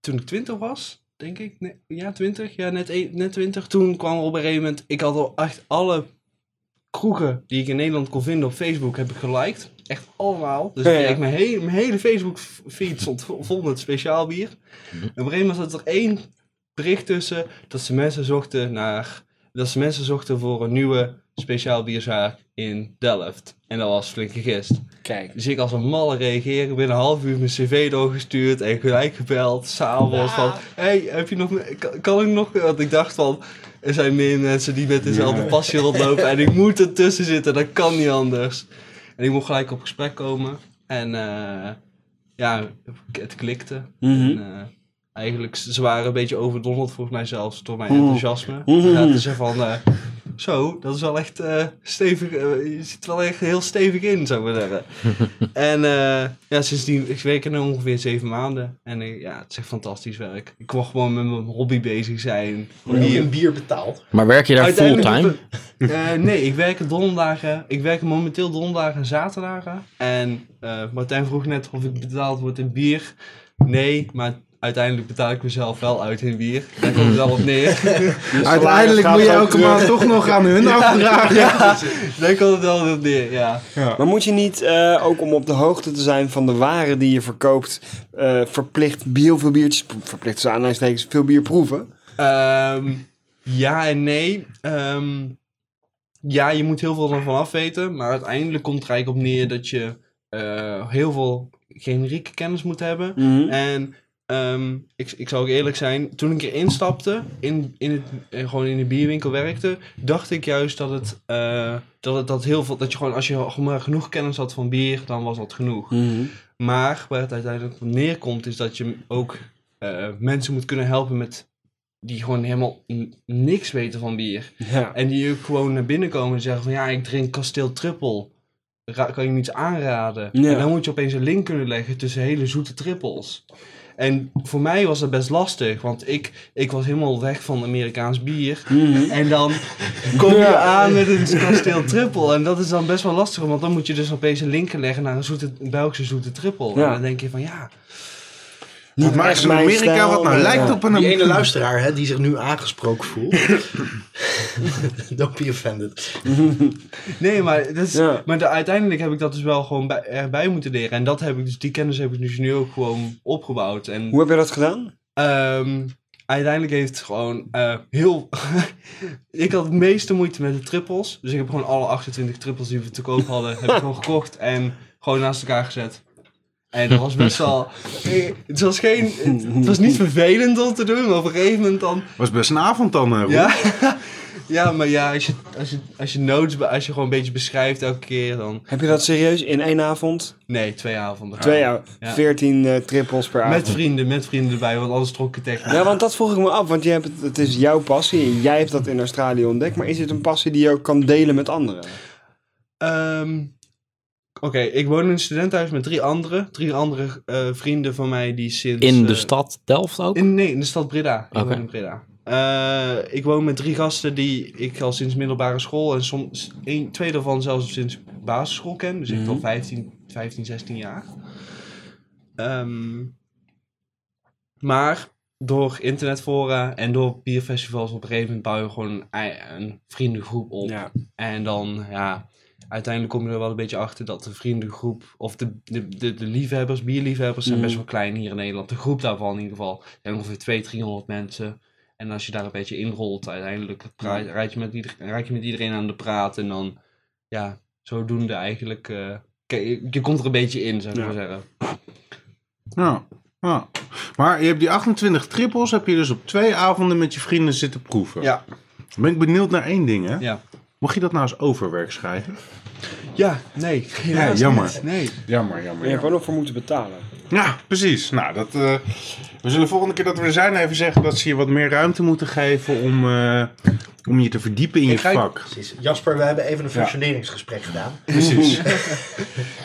toen ik twintig was, denk ik, nee, ja twintig, ja net, e- net twintig. Toen kwam er op een gegeven moment, ik had al echt alle kroegen die ik in Nederland kon vinden op Facebook, heb ik geliked. Echt allemaal. Dus
Ja,
ik-
ja.
ik- mijn, hele, mijn hele Facebook f- feed stond vo- vol met speciaal bier. En
Mhm.
op een gegeven moment zat er één bericht tussen dat ze mensen zochten naar, dat ze mensen zochten voor een nieuwe speciaal bierzaak in Delft. En dat was flink gegist.
Kijk.
Dus ik als een malle reageren, binnen een half uur mijn cv doorgestuurd en gelijk gebeld, s'avonds van, hey, heb je nog, me- kan, kan ik nog, want ik dacht van, er zijn meer mensen die met dezelfde passie rondlopen en ik moet ertussen zitten, dat kan niet anders. En ik mocht gelijk op gesprek komen en eh, ja, het klikte.
Mhm.
En, eh, eigenlijk, ze waren een beetje overdonderd volgens mij zelfs door mijn enthousiasme. Ja, dus van, eh, zo, dat is wel echt eh, stevig. eh, je zit wel echt heel stevig in, zou ik maar zeggen. en eh, ja, sindsdien, ik werk er nu ongeveer zeven maanden. En eh, ja, het is echt fantastisch werk. Ik kon gewoon met mijn hobby bezig zijn.
Wordt niet een bier betaald.
Maar werk je daar
Uiteindelijk
fulltime?
op de- eh, nee, ik werk donderdagen. Ik werk momenteel donderdagen en zaterdagen. En eh, Martijn vroeg net of ik betaald word in bier. Nee, maar uiteindelijk betaal ik mezelf wel uit in bier. Daar komt het wel op neer.
Uiteindelijk moet je
gaat ook
elke
terug.
maand toch nog aan hun afdragen.
ja, daar komt het wel op neer, ja.
Maar moet je niet, eh, ook om op de hoogte te zijn van de waren die je verkoopt, eh, verplicht heel veel biertjes, verplicht ze aanleidingstekens, veel bier proeven?
Ehm, ja en nee. Ehm, ja, je moet heel veel ervan af weten. Maar uiteindelijk komt het er eigenlijk op neer dat je eh, heel veel generieke kennis moet hebben.
Eh,
En ehm, ik, ik zou ook eerlijk zijn, toen ik erin stapte, in, in het, eh, gewoon in de bierwinkel werkte, dacht ik juist dat het, eh, dat het dat heel veel, dat je gewoon, als je gewoon maar genoeg kennis had van bier, dan was dat genoeg. Maar waar het uiteindelijk op neerkomt, is dat je ook eh, mensen moet kunnen helpen met die gewoon helemaal n- niks weten van bier.
Ja.
En die ook gewoon naar binnen komen en zeggen van ja, ik drink kasteel trippel. Ra- kan je me iets aanraden?
Ja.
En dan moet je opeens een link kunnen leggen tussen hele zoete trippels. En voor mij was dat best lastig, want ik, ik was helemaal weg van Amerikaans bier. En dan kom je aan met een kasteel trippel. En dat is dan best wel lastig, want dan moet je dus opeens een link leggen naar een zoete, Belgische zoete trippel.
Ja.
En dan denk je van ja,
Niet maar
echt
in
mijn
Amerika
stijl, eh,
wat nou
maar-
lijkt op een...
Die ene luisteraar hè, die zich nu aangesproken voelt. Don't be offended.
Nee, maar, dat is,
Ja.
maar de- uiteindelijk heb ik dat dus wel gewoon bij, erbij moeten leren. En dat heb ik dus, die kennis heb ik dus nu ook gewoon opgebouwd. En
Hoe heb je dat gedaan?
Ehm, uiteindelijk heeft gewoon eh, heel. ik had het meeste moeite met de trippels. Dus ik heb gewoon alle 28 trippels die we te koop hadden, heb ik gewoon gekocht en gewoon naast elkaar gezet. En dat was best wel. eh, Het was, geen, het, het was niet vervelend om te doen, maar op een gegeven moment dan.
was best een avond dan, eh, Roel.
Ja, ja maar ja, als je, als, je, als je notes, be- als je gewoon een beetje beschrijft elke keer, dan.
Heb je dat serieus in één avond?
Nee, twee avonden.
Twee jaar,
Ah, Ja.
veertien eh, trippels per avond.
Met vrienden, met vrienden erbij, want anders trok ik het echt. niet.
Ja, want dat vroeg ik me af, want je hebt, het- het is jouw passie en jij hebt dat in Australië ontdekt. Maar is het een passie die je ook kan delen met anderen?
Ehm, Oké, ik woon in een studentenhuis met drie andere, drie andere eh, vrienden van mij die sinds...
In de
eh,
stad Delft ook?
In, nee, in de stad Breda. Ik
Oké.
woon in Breda. Eh, ik woon met drie gasten die ik al sinds middelbare school en soms één, twee daarvan zelfs sinds basisschool ken. Dus
Mhm.
ik al 15, 15, 16 jaar. Ehm, maar door internetfora en door bierfestivals op een gegeven moment bouw je gewoon een, ei- een vriendengroep op.
Ja.
En dan, ja, uiteindelijk kom je er wel een beetje achter dat de vriendengroep, of de, de, de, de liefhebbers, bierliefhebbers, zijn best wel klein hier in Nederland. De groep daarvan in ieder geval, zijn ongeveer 200, 300 mensen. En als je daar een beetje inrolt, uiteindelijk pra- raak je, met ieder- raak je met iedereen aan de praat. En dan, ja, zodoende eigenlijk, eh, ke- je, je komt er een beetje in, zou ik
Ja.
maar zeggen.
Ja, ja. Maar je hebt die 28 trippels heb je dus op twee avonden met je vrienden zitten proeven.
Ja.
Dan ben ik benieuwd naar één ding, hè.
Ja,
Mocht je dat nou als overwerk schrijven?
ja nee. helaas niet.
jammer.
Nee.
Jammer, jammer,
Maar je hebt er nog voor moeten betalen.
Ja, precies. Nou, dat, eh, we zullen volgende keer dat we er zijn even zeggen dat ze je wat meer ruimte moeten geven om, eh, om je te verdiepen in je
ga-
vak.
Precies. Jasper, we hebben even een functioneringsgesprek gedaan.
Precies.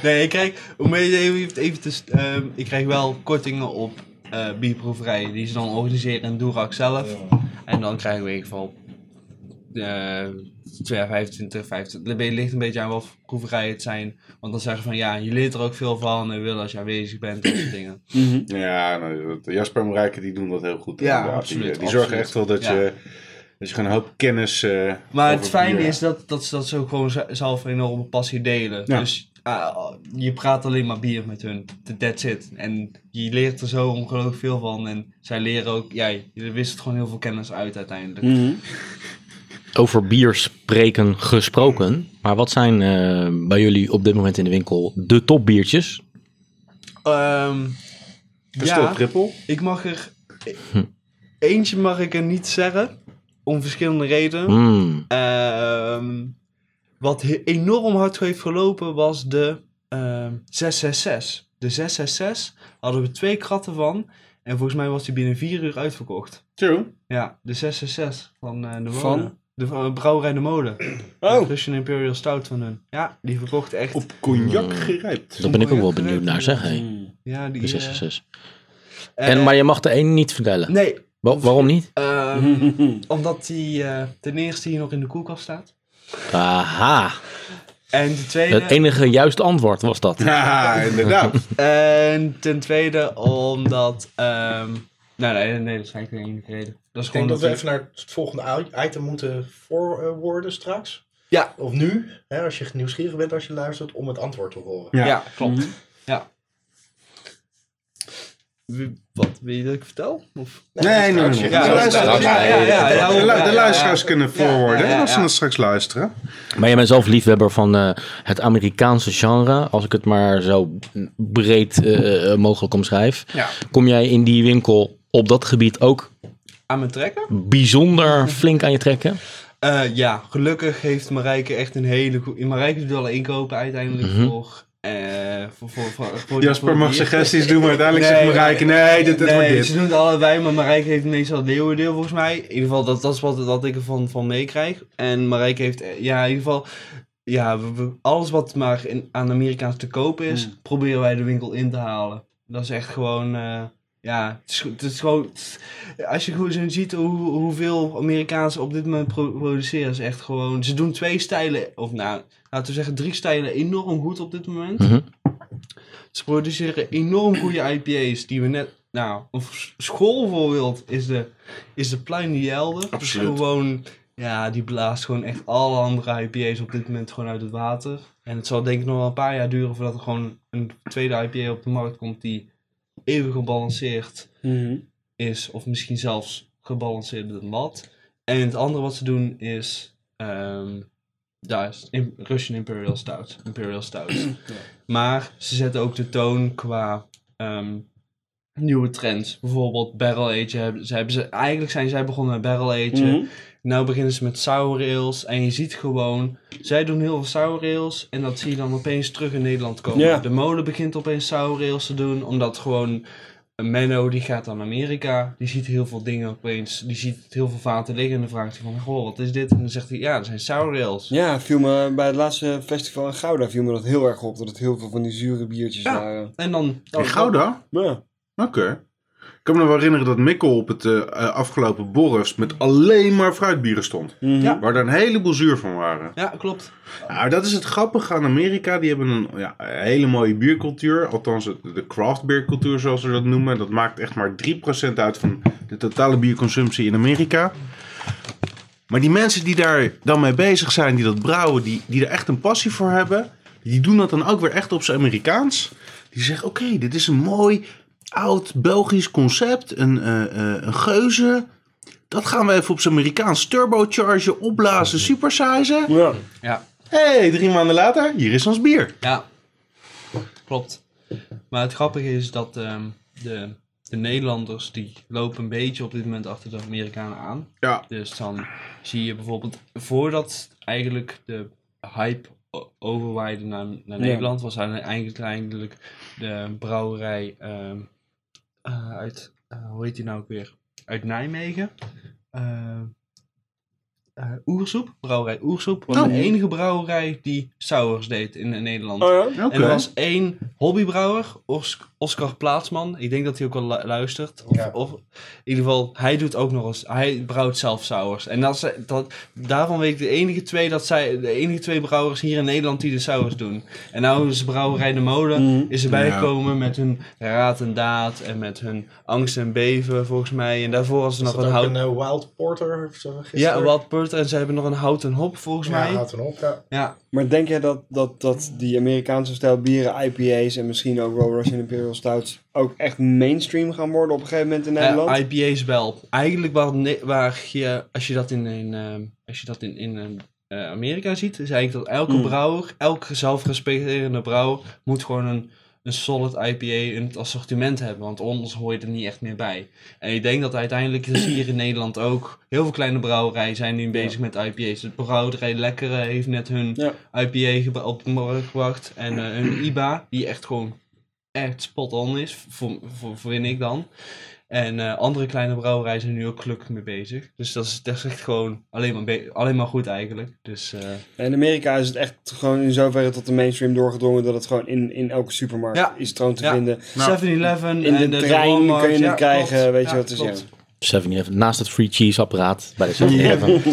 Nee, ik krijg, om even, even te, st- ehm, ik krijg wel kortingen op eh bierproeverijen die ze dan organiseren in Doerak zelf. En dan krijg ik in ieder geval eh, 25, 25. Het ligt een beetje aan wat voor proeverijen het zijn. Want dan zeggen ze van ja, je leert er ook veel van en we willen als je aanwezig bent, dat soort dingen.
Ja, nou, dat- Jasper en Rijken die doen dat heel goed.
Ja,
inderdaad.
absoluut,
Die, eh, die zorgen
absoluut.
echt wel dat,
Ja.
je, dat je gewoon een hoop kennis. eh,
Maar het
over
fijne
bier-
is dat, dat ze dat ze ook gewoon z- zelf een enorme passie delen.
Ja.
Dus ah, je praat alleen maar bier met hun. Th- That's it. En je leert er zo ongelooflijk veel van. En zij leren ook, ja, je wisselt gewoon heel veel kennis uit
Hm.
uiteindelijk.
Mhm.
Over bier spreken gesproken. Maar wat zijn eh, bij jullie op dit moment in de winkel de topbiertjes?
Ehm,
Kastel
ja,
Trippel.
ik mag er... Eentje mag ik er niet zeggen. Om verschillende redenen.
Mm,
Ehm, wat he- enorm hard heeft gelopen was de ehm, 666. De 666 hadden we twee kratten van. En volgens mij was die binnen vier uur uitverkocht.
True.
Ja, de 666 van eh, de molen.
Van?
De eh, brouwerij De Molen.
Oh,
Russian Imperial Stout van hun. Ja, die verkocht echt.
Op
Hmm.
cognac gerijpt.
daar ben ik ook wel benieuwd naar, zeg. Hey.
Ja, die...
De
eh,
666.
eh,
En, maar je mag de één niet vertellen.
Nee,
Wa- waarom niet?
ehm, omdat die eh, ten eerste hier nog in de koelkast staat.
Aha,
En de tweede...
het enige juiste antwoord was dat.
Ja, inderdaad.
En ten tweede omdat. ehm nou, nee, nee, dat is eigenlijk de enige reden. Dat is
Ik
gewoon
denk dat
dat
we even naar het volgende i- item moeten voorwoorden straks.
Ja.
Of nu, hè, als je nieuwsgierig bent als je luistert, om het antwoord te horen.
Ja, klopt. Ja. Wie- wat wil je dat ik vertel? Of?
Nee, nee, nee.
Ja,
nee. De luisteraars-
ja, ja, ja, ja,
de lu-
ja,
De
ja.
luisteraars kunnen voorwoorden
ja,
hè, als ze
ja.
dat straks luisteren.
Maar jij bent zelf liefhebber van eh, het Amerikaanse genre, als ik het maar zo breed eh, eh, mogelijk omschrijf.
Ja.
Kom jij in die winkel op dat gebied ook
Aan mijn trekken?
bijzonder flink aan je trekken?
Eh, ja, gelukkig heeft Marijke echt een hele goede. Marijke doet alle inkopen uiteindelijk voor, eh, voor, voor, voor, voor-
Jasper
voor
mag
die-
suggesties doen, maar uiteindelijk zegt
Nee,
Marijke, nee, dit, dit wordt
Nee,
dit.
ze doen het allebei, maar Marijke heeft meestal het leeuwendeel volgens mij. In ieder geval, dat, dat is wat dat ik ervan van meekrijg. En Marijke heeft, eh, ja, in ieder geval, ja, we- we- alles wat maar in, aan Amerikaans te koop is, proberen wij de winkel in te halen. Dat is echt gewoon, eh, ja, het is, go- het is gewoon, als je gewoon zo ziet hoe, hoeveel Amerikaans op dit moment pro- produceren, is echt gewoon, ze doen twee stijlen, of nou, laten we zeggen drie stijlen enorm goed op dit moment.
Mhm.
Ze produceren enorm goede IPA's die we net nou, een s- schoolvoorbeeld is de, is de Pluim die Helder.
Absoluut.
Gewoon, ja, die blaast gewoon echt alle andere IPA's op dit moment gewoon uit het water. En het zal denk ik nog wel een paar jaar duren voordat er gewoon een tweede IPA op de markt komt die even gebalanceerd is, of misschien zelfs gebalanceerde mat. En het andere wat ze doen is, ehm daar is Im- Russian Imperial Stout. Imperial Stout. Maar ze zetten ook de toon qua ehm, nieuwe trends. Bijvoorbeeld barrel age. Hebben, ze hebben ze, eigenlijk zijn zij begonnen met barrel age.
Mhm.
Nou beginnen ze met sour ales. En je ziet gewoon, zij doen heel veel sour ales. En dat zie je dan opeens terug in Nederland komen.
Ja.
De molen begint opeens sour ales te doen. Omdat gewoon een Menno die gaat naar Amerika, die ziet heel veel dingen opeens, die ziet heel veel vaten liggen en dan vraagt hij van, goh, wat is dit? En dan zegt hij, ja, dat zijn sour ales.
Ja, viel me, bij het laatste festival in Gouda viel me dat heel erg op. Dat het heel veel van die zure biertjes
Ja.
waren.
En dan...
In Gouda?
Ja.
Oké. Ik kan me nog wel herinneren dat Mikkel op het eh, eh, afgelopen borrels met alleen maar fruitbieren stond.
Ja.
Waar er een heleboel zuur van waren.
Ja, klopt.
Nou, dat is het grappige aan Amerika. Die hebben een ja, een hele mooie biercultuur. Althans, het- de craft beer cultuur zoals ze dat noemen. Dat maakt echt maar 3% uit van de totale bierconsumptie in Amerika. Maar die mensen die daar dan mee bezig zijn, die dat brouwen, die, die er echt een passie voor hebben, die doen dat dan ook weer echt op zijn Amerikaans. Die zeggen: Oké, dit is een mooi oud Belgisch concept, een, eh, eh, een geuze. Dat gaan we even op zijn Amerikaans turbochargen, opblazen, supersizen.
Ja.
Ja,
Hé, hey, drie maanden later, hier is ons bier.
ja. Klopt. Maar het grappige is dat ehm, de, de Nederlanders, die lopen een beetje op dit moment achter de Amerikanen aan.
Ja.
Dus dan zie je bijvoorbeeld, voordat eigenlijk de hype o- overwaaide naar, naar
Ja.
Nederland, was eigenlijk eigenlijk- eigenlijk de brouwerij ehm, eh, uit, eh, hoe heet die nou ook weer? Uit Nijmegen. Eh, eh, Oersoep, brouwerij Oersoep, was de enige brouwerij die sours deed in, in Nederland.
Oh ja?
Oké.
En er was één hobbybrouwer, Os- Oscar Plaatsman. Ik denk dat hij ook wel lu- luistert. Of, of, in ieder geval, hij doet ook nog eens. Hij brouwt zelf sours. En dat, is- eh, dat, daarvan weet ik de enige, twee dat zij, de enige twee brouwers hier in Nederland die de sours doen. En nou is brouwerij De Molen is erbij
Mm. Ja.
gekomen met hun raad en daad. En met hun angst en beven volgens mij. En daarvoor was er
Is
nog
dat
een
ook
hout...
een eh, Wild Porter? Of zo,
Ja,
gisteren?
Walt Purt. En ze hebben nog een houten hop volgens
Ja,
mij.
houdt een op. Ja.
Ja,
Maar denk jij dat, dat, dat die Amerikaanse stijl bieren, IPA's en misschien ook Royal Russian Imperial Stouts ook echt mainstream gaan worden op een gegeven moment in Nederland?
Eh, IPA's wel. Eigenlijk waar, ne- waar je, als je dat in, in, ehm, als je dat in, in ehm, eh, Amerika ziet, is eigenlijk dat elke
Mm.
brouwer, elke zelfrespecterende brouwer, moet gewoon een, een solid IPA in het assortiment hebben. Want anders hoor je er niet echt meer bij. En ik denk dat uiteindelijk is hier in Nederland ook heel veel kleine brouwerijen zijn nu bezig met IPA's. De brouwerij Lekkere heeft net hun
Ja.
IPA gebra- op de markt gebracht. En eh, hun IBA, die echt gewoon echt spot on is, voor, voor, voor vind ik dan. En eh, andere kleine brouwerijen zijn nu ook gelukkig mee bezig. Dus dat is, dat is echt gewoon alleen maar, be- alleen maar goed eigenlijk. Dus eh,
In Amerika is het echt gewoon in zoverre tot de mainstream doorgedrongen dat het gewoon in, in elke supermarkt
Ja.
is troon te
Ja.
vinden.
7-Eleven
in de
en eh,
trein
Walmart,
kun je het
ja,
krijgen,
klopt.
weet je
Ja,
wat te
klopt.
zeggen.
7-Eleven, naast het free cheese apparaat bij de 7-Eleven.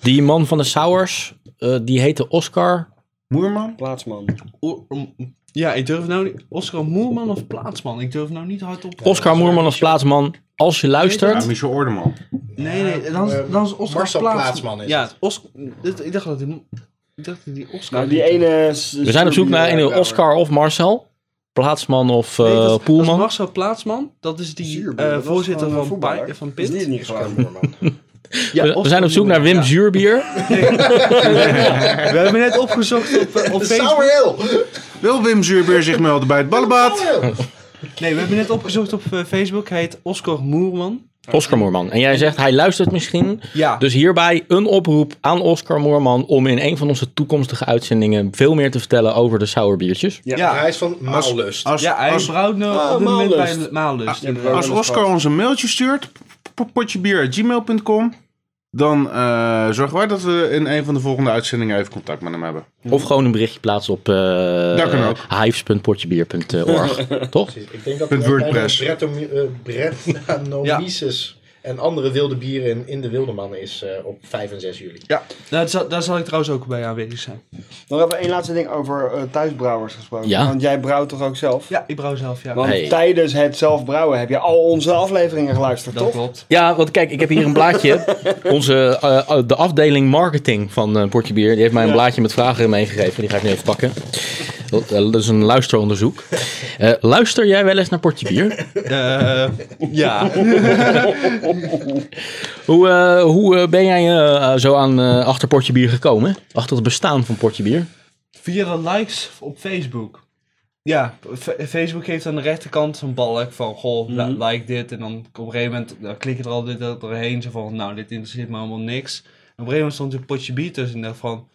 Die man van de Sours, eh, die heette Oscar.
Moerman?
Plaatsman.
Oer- om- Ja, ik durf nou niet... Oscar Moerman of Plaatsman? Ik durf nou niet hardop...
Oscar Moerman als plaatsman. Als je
Ja,
luistert,
Michel Ordeman.
Nee, nee, dan is,
Eh,
dan is Oscar
Marcel
Plaatsman.
Plaatsman is
Ja,
het.
Oscar... Ik dacht dat die... Ik dacht dat die Oscar...
Nou, die ene... s-
we zijn op zoek naar een Oscar of Marcel. Plaatsman of eh
Nee, dat, dat is
Poelman.
Marcel Plaatsman. Dat is die
Zuurbier,
eh,
dat is
voorzitter
gewoon een
van,
voetballer.
Pi- van
Is
PIT.
dit niet
Oscar
gewoon?
Moerman.
Ja,
we, we zijn op zoek naar Wim
Ja.
Zuurbier.
We hebben net opgezocht op, eh, op
De
Facebook.
Sour Ale!
Wil Wim Zuurbeer zich melden bij het ballenbad?
Sour Ale!
Nee, we hebben net opgezocht op eh, Facebook. Hij heet Oscar Moerman.
Oscar Moerman. En jij zegt, hij luistert misschien.
Ja.
Dus hierbij een oproep aan Oscar Moerman om in een van onze toekomstige uitzendingen veel meer te vertellen over de sourbiertjes.
ja.
Ah, Hij is van Maallust.
Als,
Ja, hij
als,
brouwt nu
Ah,
op dit moment
Maallust.
bij Maallust. inderdaad.
als Oscar ons een mailtje stuurt, potjebier.gmail.com, dan eh, zorgen wij dat we in een van de volgende uitzendingen even contact met hem hebben.
Of gewoon een berichtje plaatsen op
Dat kan ook.
eh hives.potjebier.org. Toch?
Ik denk dat
Met
hij ook bij de
WordPress.
Brettanomyces eh, En andere wilde bieren in, in de Wilderman is eh, op 5 en 6 juli.
Nou, daar zal- daar zal ik trouwens ook bij aanwezig zijn.
Nog even één laatste ding over eh, thuisbrouwers gesproken.
Ja.
Want jij brouwt toch ook zelf?
Ja, ik brouw zelf, ja.
Want
Hey.
tijdens het zelf brouwen heb je al onze afleveringen geluisterd,
dat
toch?
klopt.
Ja, want kijk, ik heb hier een blaadje. Onze, eh, eh, de afdeling marketing van eh Portje Bier, die heeft mij een
Ja.
blaadje met vragen meegegeven. Die ga ik nu even pakken. Dat eh, dat is een luisteronderzoek. Eh, luister jij wel eens naar Portje Bier?
Eh, ja.
Hoe, eh, hoe eh, ben jij eh, zo aan eh, achter Portje Bier gekomen? Achter het bestaan van Portje Bier?
Via de likes op Facebook. Ja, F- Facebook heeft aan de rechterkant zo'n balk van, goh, la- like dit. En dan op een gegeven moment dan klik je er al dit dat doorheen. Zo van, nou, dit interesseert me allemaal niks. En op een gegeven moment stond er een potje bier tussen. En dacht van,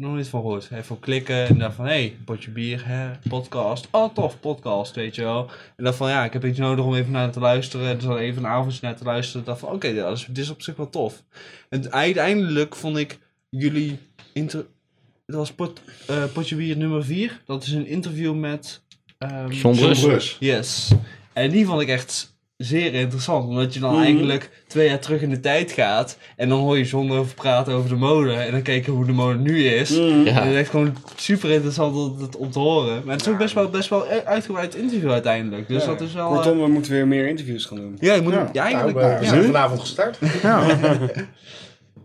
nog niet van gehoord. Even klikken en dacht van, hé, hey, potje bier, hè, podcast. Oh, tof, podcast, weet je wel. En dacht van, ja, ik heb iets nodig om even naar te luisteren. Dus dan even een avondje naar te luisteren. Dacht van, oké, ja, dat is- dit is op zich wel tof. En uiteindelijk vond ik jullie... Inter- dat was pot, eh, potje bier nummer 4. Dat is een interview met... ehm,
Zonder.
Brus.
Yes. En die vond ik echt zeer interessant, omdat je dan eigenlijk twee jaar terug in de tijd gaat en dan hoor je zonder over praten over de mode en dan kijken hoe de mode nu is. En dat
Ja.
is gewoon super interessant om dat om te horen. Maar het is ook best wel, best wel een uitgebreid interview uiteindelijk, dus
Ja.
dat is wel... eh,
Kortom, we moeten weer meer interviews gaan doen.
ja, ik moet
Ja.
ja, eigenlijk...
Nou, we
ja.
zijn
Hm?
vanavond gestart.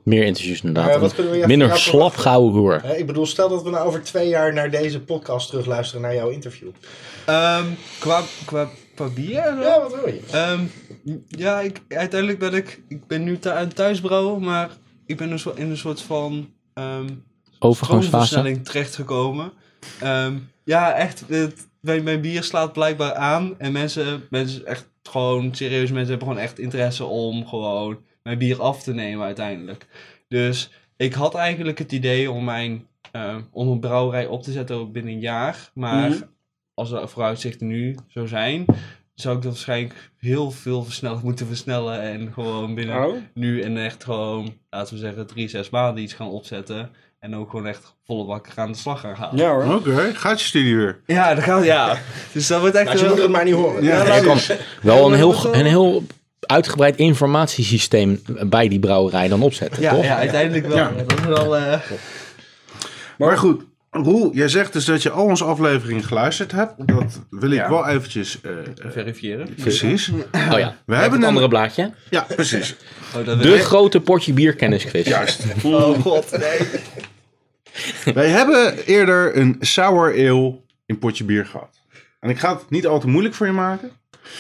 Meer interviews inderdaad.
Eh, wat kunnen we jou-
Minder
jou-
slap gouden hoer.
Hè, ik bedoel, stel dat we nou over twee jaar naar deze podcast terugluisteren naar jouw interview.
Ehm, qua, qua, qua bier?
Ja, wat wil je?
Ehm, ja, ik, uiteindelijk ben ik... Ik ben nu thu- een thuisbrouwer, maar ik ben een soort- in een soort van... ehm,
Overgangsfase.
stroomversnelling terechtgekomen. Ehm, ja, echt. het- mijn, mijn bier slaat blijkbaar aan. En mensen, mensen, echt gewoon serieus, mensen hebben gewoon echt interesse om gewoon mijn bier af te nemen uiteindelijk. Dus ik had eigenlijk het idee om mijn eh, om een brouwerij op te zetten binnen een jaar. Maar
Mhm.
als de vooruitzichten nu zo zijn, zou ik dat waarschijnlijk heel veel versnellen, moeten versnellen. En gewoon binnen
Oh?
nu en echt gewoon, laten we zeggen, drie, zes maanden iets gaan opzetten. En ook gewoon echt volle bak aan de slag gaan gaan.
Ja hoor.
Oké, gaat je studie weer.
ja dat gaat, ja. dus dat wordt echt
Nou, je
wel-
moet het maar niet horen.
Ja,
Er kwam wel een heel,
Ja, dat-
een heel uitgebreid informatiesysteem bij die brouwerij dan opzetten,
ja,
toch?
ja, uiteindelijk wel.
Ja.
Dat is wel eh,
Maar goed, Roel, jij zegt dus dat je al onze afleveringen geluisterd hebt. Dat wil ik wel eventjes... eh, eh,
verifiëren.
precies.
Oh ja,
We hebben
het
een...
andere blaadje.
Ja, precies.
Oh, dat
De grote potje bierkennisquiz.
Juist.
Oh god, nee.
Wij hebben eerder een sour ale in potje bier gehad. En ik ga het niet al te moeilijk voor je maken.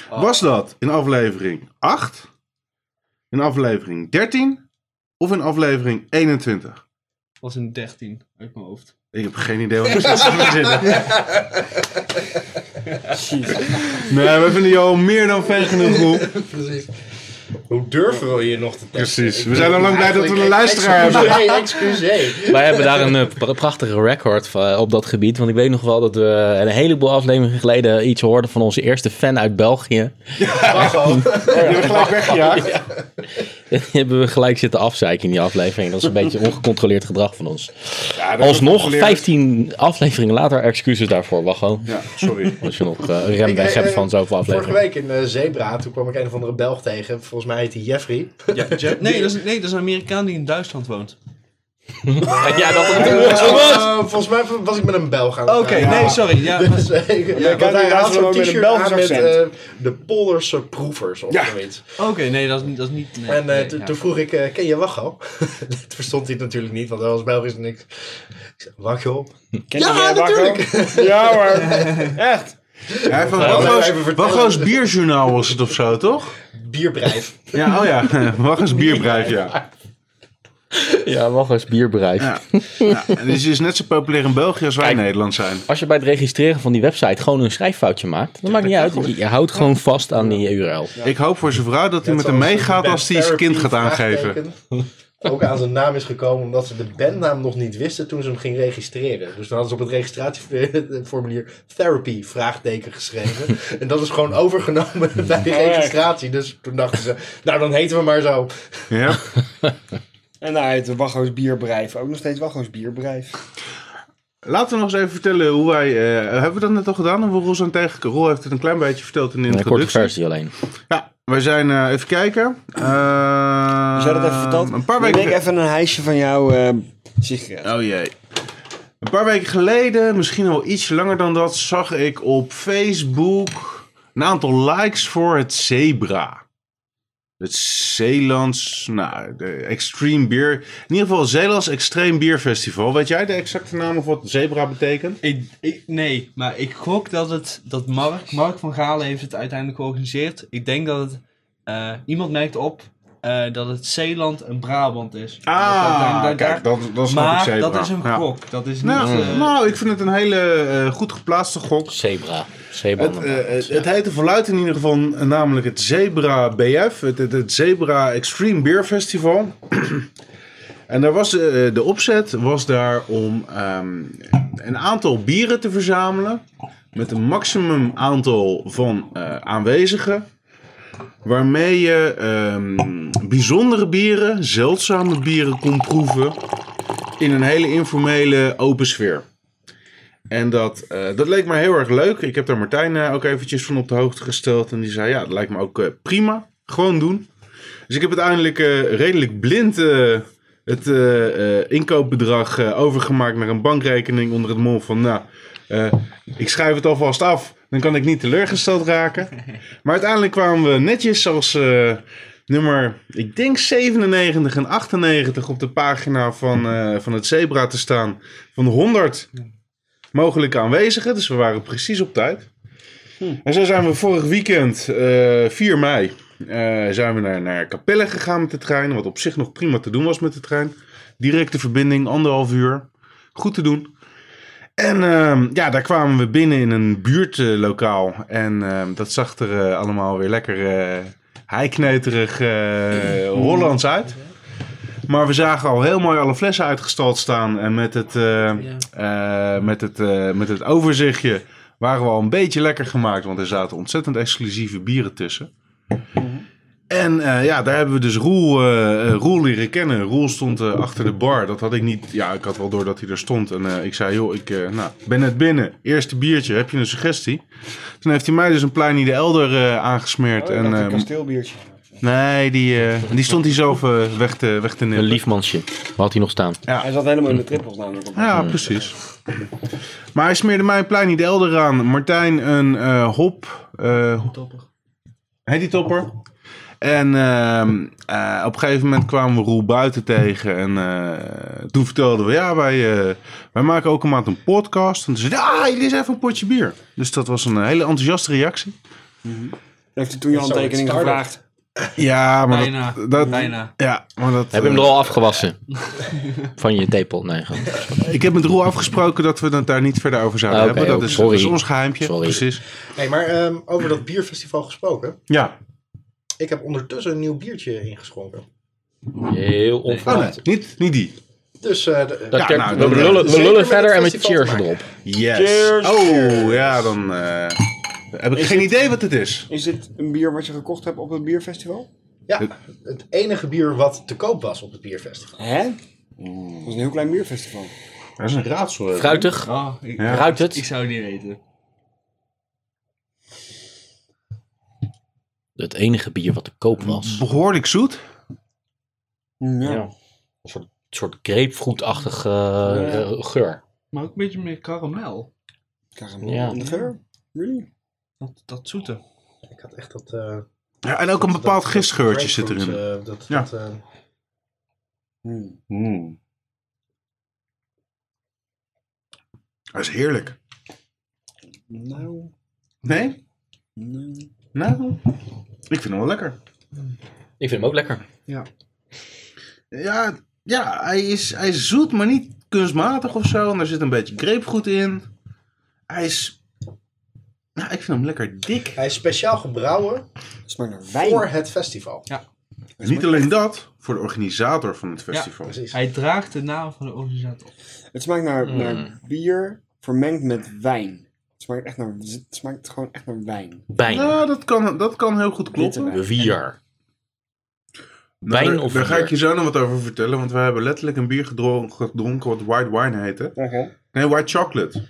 Oh.
Was dat in aflevering 8, in aflevering 13 of in aflevering 21?
was een 13 uit mijn hoofd.
Ik heb geen idee wat er zit te verzinnen. Nee, we vinden jou meer dan ver genoeg Roel.
Precies. Hoe durven we hier nog te testen?
Precies. We zijn al lang blij dat we een luisteraar hebben.
Nee, excuseer.
Wij hebben daar een eh, pra- prachtige record van, eh, op dat gebied. Want ik weet nog wel dat we een heleboel afleveringen geleden iets hoorden van onze eerste fan uit België.
Je hebt gelijk weggejaagd.
Die hebben we gelijk zitten afzeiken in die aflevering. Dat is een beetje ongecontroleerd gedrag van ons.
Ja, dat wordt
Alsnog,
geleerd.
15 afleveringen later, excuses daarvoor, Wacho.
Ja, sorry.
Als je nog eh, een remweg hebt van zoveel
Vorige
afleveringen.
week in eh, Zebra, toen kwam ik een of andere Belg tegen. Volgens mij heet hij Jeffrey.
Ja, Jeff- nee, dat is, nee, dat is een Amerikaan die in Duitsland woont.
Ja, dat
Oh,
Eh, volgens mij was ik met een Belg aan het
Oké, nee, sorry. Ja, maar-
Dus, eh, ik-
maar
want
kan
hij
die
had
luisteren
zo'n
ook met een
t-shirt
Belgisch
aan met eh,
accent.
de Poolse proevers of
Ja.
zoiets.
Oké, nee, dat is niet... Dat is niet nee,
En eh,
nee,
toen-
ja.
toen vroeg ik, eh, ken je Wacho? dat verstond hij natuurlijk niet, want hij was Belgisch en niks. Ik zei, Wacho?
Ken
Ja,
jij Bakko? Ja hoor. Echt.
Hij heeft
Nou, even
een
vertellen.
Wacho's bierjournaal was het of zo, toch?
Bierbrijf.
Ja, oh ja. Wacho's bierbrijf, ja.
Ja, Wacho's bierbedrijf.
Ja. ja. En die is dus net zo populair in België als wij in Nederland zijn.
Als je bij het registreren van die website gewoon een schrijffoutje maakt, dan maakt niet uit. Je, je houdt gewoon vast aan die URL.
Ik hoop voor zijn vrouw dat hij met hem
Zoals
meegaat
de
als hij zijn
therapy
kind gaat aangeven.
vraagteken Ook aan zijn naam is gekomen omdat ze de bandnaam nog niet wisten toen ze hem ging registreren. Dus dan hadden ze op het registratieformulier therapy vraagteken geschreven. en dat is gewoon overgenomen bij de registratie. Dus toen dachten ze, nou dan heten we maar zo.
Ja.
En hij heet Waggo's Bierbrijf. Ook nog steeds Waggo's Bierbrijf.
Laten we nog eens even vertellen hoe wij... eh, hebben we dat net al gedaan? Hoe we Roel zijn tegengekomen? Roel heeft het een klein beetje verteld in de
Een korte
introductie.
versie alleen.
Ja, We zijn, eh, even kijken. Uh,
Zou dat even verteld?
Ehm, Een paar
Neem
weken
ik even een hijsje van jouw eh sigaret.
Oh jee. Een paar weken geleden, misschien al iets langer dan dat, zag ik op Facebook een aantal likes voor het zebra. Het Zeelands, nou, de Extreme Beer. In ieder geval Zeelands Extreme Beer Festival. Weet jij de exacte naam of wat zebra betekent?
Ik, ik- nee, maar ik gok dat het dat Mark, Mark van Galen heeft het uiteindelijk georganiseerd. Ik denk dat het eh, iemand merkt op eh, dat het Zeeland en Brabant is.
Ah,
dat,
kijk, dat, dat snap ik
maar
zebra.
dat is een
Ja.
gok. Dat is niet.
Nou,
eh,
nou, ik vind het een hele eh, goed geplaatste gok.
Zebra. Zebra.
Het, eh, het, het heette vooruit in ieder geval eh, namelijk het Zebra BF, het, het, het Zebra Extreme Beer Festival. en daar was, eh, de opzet was daar om ehm, een aantal bieren te verzamelen met een maximum aantal van eh, aanwezigen. Waarmee je ehm, bijzondere bieren, zeldzame bieren kon proeven in een hele informele open sfeer. En dat, eh, dat leek me heel erg leuk. Ik heb daar Martijn eh, ook eventjes van op de hoogte gesteld. En die zei, ja, dat lijkt me ook eh, prima. Gewoon doen. Dus ik heb uiteindelijk eh, redelijk blind eh, het eh, eh, inkoopbedrag eh, overgemaakt naar een bankrekening onder het mond van, nou, eh, ik schrijf het alvast af. Dan kan ik niet teleurgesteld raken. Maar uiteindelijk kwamen we netjes als eh, nummer, ik denk 97 en 98 op de pagina van, eh, van het Zebra te staan. Van de 100 mogelijke aanwezigen. Dus we waren precies op tijd. En zo zijn we vorig weekend, eh, 4 mei, eh, zijn we naar, naar Capelle gegaan met de trein. Wat op zich nog prima te doen was met de trein. Directe verbinding, anderhalf uur. Goed te doen. En ehm, ja, daar kwamen we binnen in een buurtlokaal. En ehm, dat zag er eh, allemaal weer lekker eh heikneterig eh, Hollands uit. Maar we zagen al heel mooi alle flessen uitgestald staan. En met het, eh, eh, met het, eh, met het overzichtje waren we al een beetje lekker gemaakt. Want er zaten ontzettend exclusieve bieren tussen. En eh, ja, daar hebben we dus Roel, eh, eh, Roel leren kennen. Roel stond eh, achter de bar. Dat had ik niet. Ja, ik had wel door dat hij er stond. En eh, ik zei, joh, ik eh, nou, ben net binnen. Eerste biertje, heb je een suggestie? Toen heeft hij mij dus een Pleini de Elder eh, aangesmeerd. en,
een
eh,
kasteelbiertje.
nee, die, eh, die stond hij zelf eh, weg, te, weg te
Een
nippen.
lief mansje. Wat had hij nog staan?
Hij zat helemaal in de trippels namelijk. Op.
Ja, precies. Maar hij smeerde mij een Pleini de Elder aan. Martijn een eh, hop. eh
topper.
Heet die topper. En ehm, eh, op een gegeven moment kwamen we Roel buiten tegen. En eh, toen vertelden we, ja, wij, eh, wij maken ook een maand een podcast. En toen zei hij, ah, dit is even een potje bier. Dus dat was een hele enthousiaste reactie.
Heeft hij toen je handtekening gevraagd?
Ja, maar
Bijna.
dat... dat-
Bijna.
Ja, maar dat...
Heb je hem
eh,
er al afgewassen? Van je tepel? Nee, gewoon.
Ik heb met Roel afgesproken dat we het daar niet verder over zouden
Ah, oké,
hebben. Dat
oké.
is,
Sorry.
dat is ons geheimpje.
Sorry.
Precies.
Nee, maar ehm, over dat bierfestival gesproken.
Ja.
Ik heb ondertussen een nieuw biertje ingeschonken.
Heel
Oh,
onverwacht.
nee, niet, niet die.
Dus eh, de-
Dat
Ja,
ter-
nou,
we,
dan-
lullen, we
Zeker
lullen
met
verder
het
en met
festival
cheers
te maken.
erop.
Yes.
Cheers.
Oh, ja, dan eh, heb ik geen idee wat het is.
Is dit een bier wat je gekocht hebt op het bierfestival?
ja, het enige bier wat te koop was op het bierfestival.
Hè? Dat was een heel klein bierfestival.
Dat is een raadsel. hè.
Fruitig?
Oh, ik,
Ja.
Ruikt het?
ik zou het niet weten.
Het enige bier wat te koop was.
Behoorlijk zoet.
Ja.
Ja. Een soort, soort grapefruitachtige eh, eh, geur.
Maar ook een beetje meer karamel.
Karamel.
Ja.
De geur? Really?
Dat, dat zoete.
Ik had echt dat... eh,
Ja, en ook een
dat-
bepaald
dat-
gistgeurtje
dat
zit erin.
grapefruit, eh, dat,
Ja.
dat, eh,
Hmm.
Mm. Dat is heerlijk.
Nou,
Nee?
nou.
Nou, ik vind hem wel lekker.
Ik vind hem ook lekker.
Ja, ja hij, is, hij is zoet, maar niet kunstmatig of zo. En daar zit een beetje grapefruit in. Hij is... Nou, ik vind hem lekker dik.
hij is speciaal gebrouwen
Het smaakt naar
voor
wijn.
het festival.
Niet alleen dat, voor de organisator van het festival.
Precies.
Hij draagt de naam van de organisator.
Het smaakt naar, naar bier vermengd met wijn. Het smaakt, echt naar, het smaakt gewoon echt naar wijn.
Wijn.
Nou, dat kan, dat kan heel goed kloppen.
eh,
Witte
Bier.
Nou,
Wijn
daar,
of eh,
daar ga
bier?
ik je zo nog wat over vertellen, want we hebben letterlijk een bier gedro- gedronken wat white wine heette. Nee, white chocolate.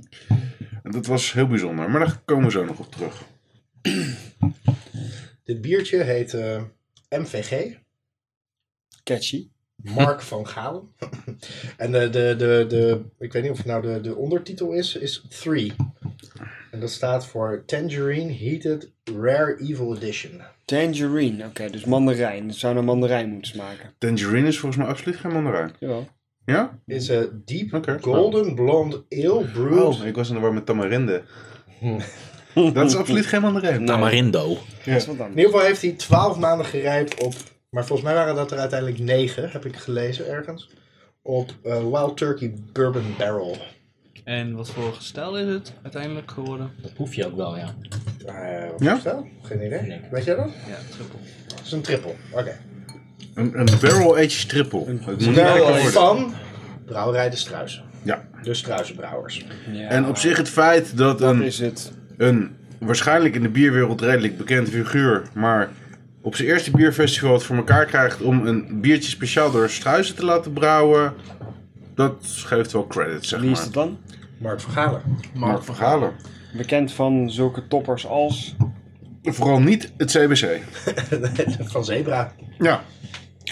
en dat was heel bijzonder, maar daar komen we zo nog op terug.
Dit biertje heet eh, MVG.
Catchy.
Mark van Galen. en de, de, de, de, ik weet niet of het nou de, de ondertitel is, is 3. En dat staat voor Tangerine Heated Rare Evil Edition.
Tangerine. Oké, dus mandarijn. Het zou naar mandarijn moeten smaken.
Tangerine is volgens mij absoluut geen mandarijn.
Jawel.
Ja?
Is a deep
Oké. nou.
golden blonde ale brewed.
Oh, ik was in de war met tamarinde. Nou, Dat is absoluut geen mandarijn.
Tamarindo.
Dat is wat dan.
In ieder geval heeft hij 12 maanden gerijpt op, maar volgens mij waren dat er uiteindelijk 9, heb ik gelezen ergens. Op eh, Wild Turkey Bourbon Barrel.
En wat voor gestel is het uiteindelijk geworden?
Dat proef je ook wel, ja.
Eh, wat
Ja?
is dat? Geen idee. Weet jij dat?
Ja, triple.
Dat is een triple. Oké.
Een, een barrel aged triple. Het moet niet
Barrel
lekker worden.
van Brouwerij de Struisen.
Ja.
De Struisenbrouwers.
Ja,
En op zich het feit dat
dat
een,
is het.
een waarschijnlijk in de bierwereld redelijk bekend figuur, maar op zijn eerste bierfestival het voor elkaar krijgt om een biertje speciaal door struisen te laten brouwen, dat geeft wel credit, zeg
Wie is
maar.
dat dan?
Mark van Galen.
Mark van Galen.
Bekend van zulke toppers als...
Vooral niet het CBC.
van Zebra.
Ja.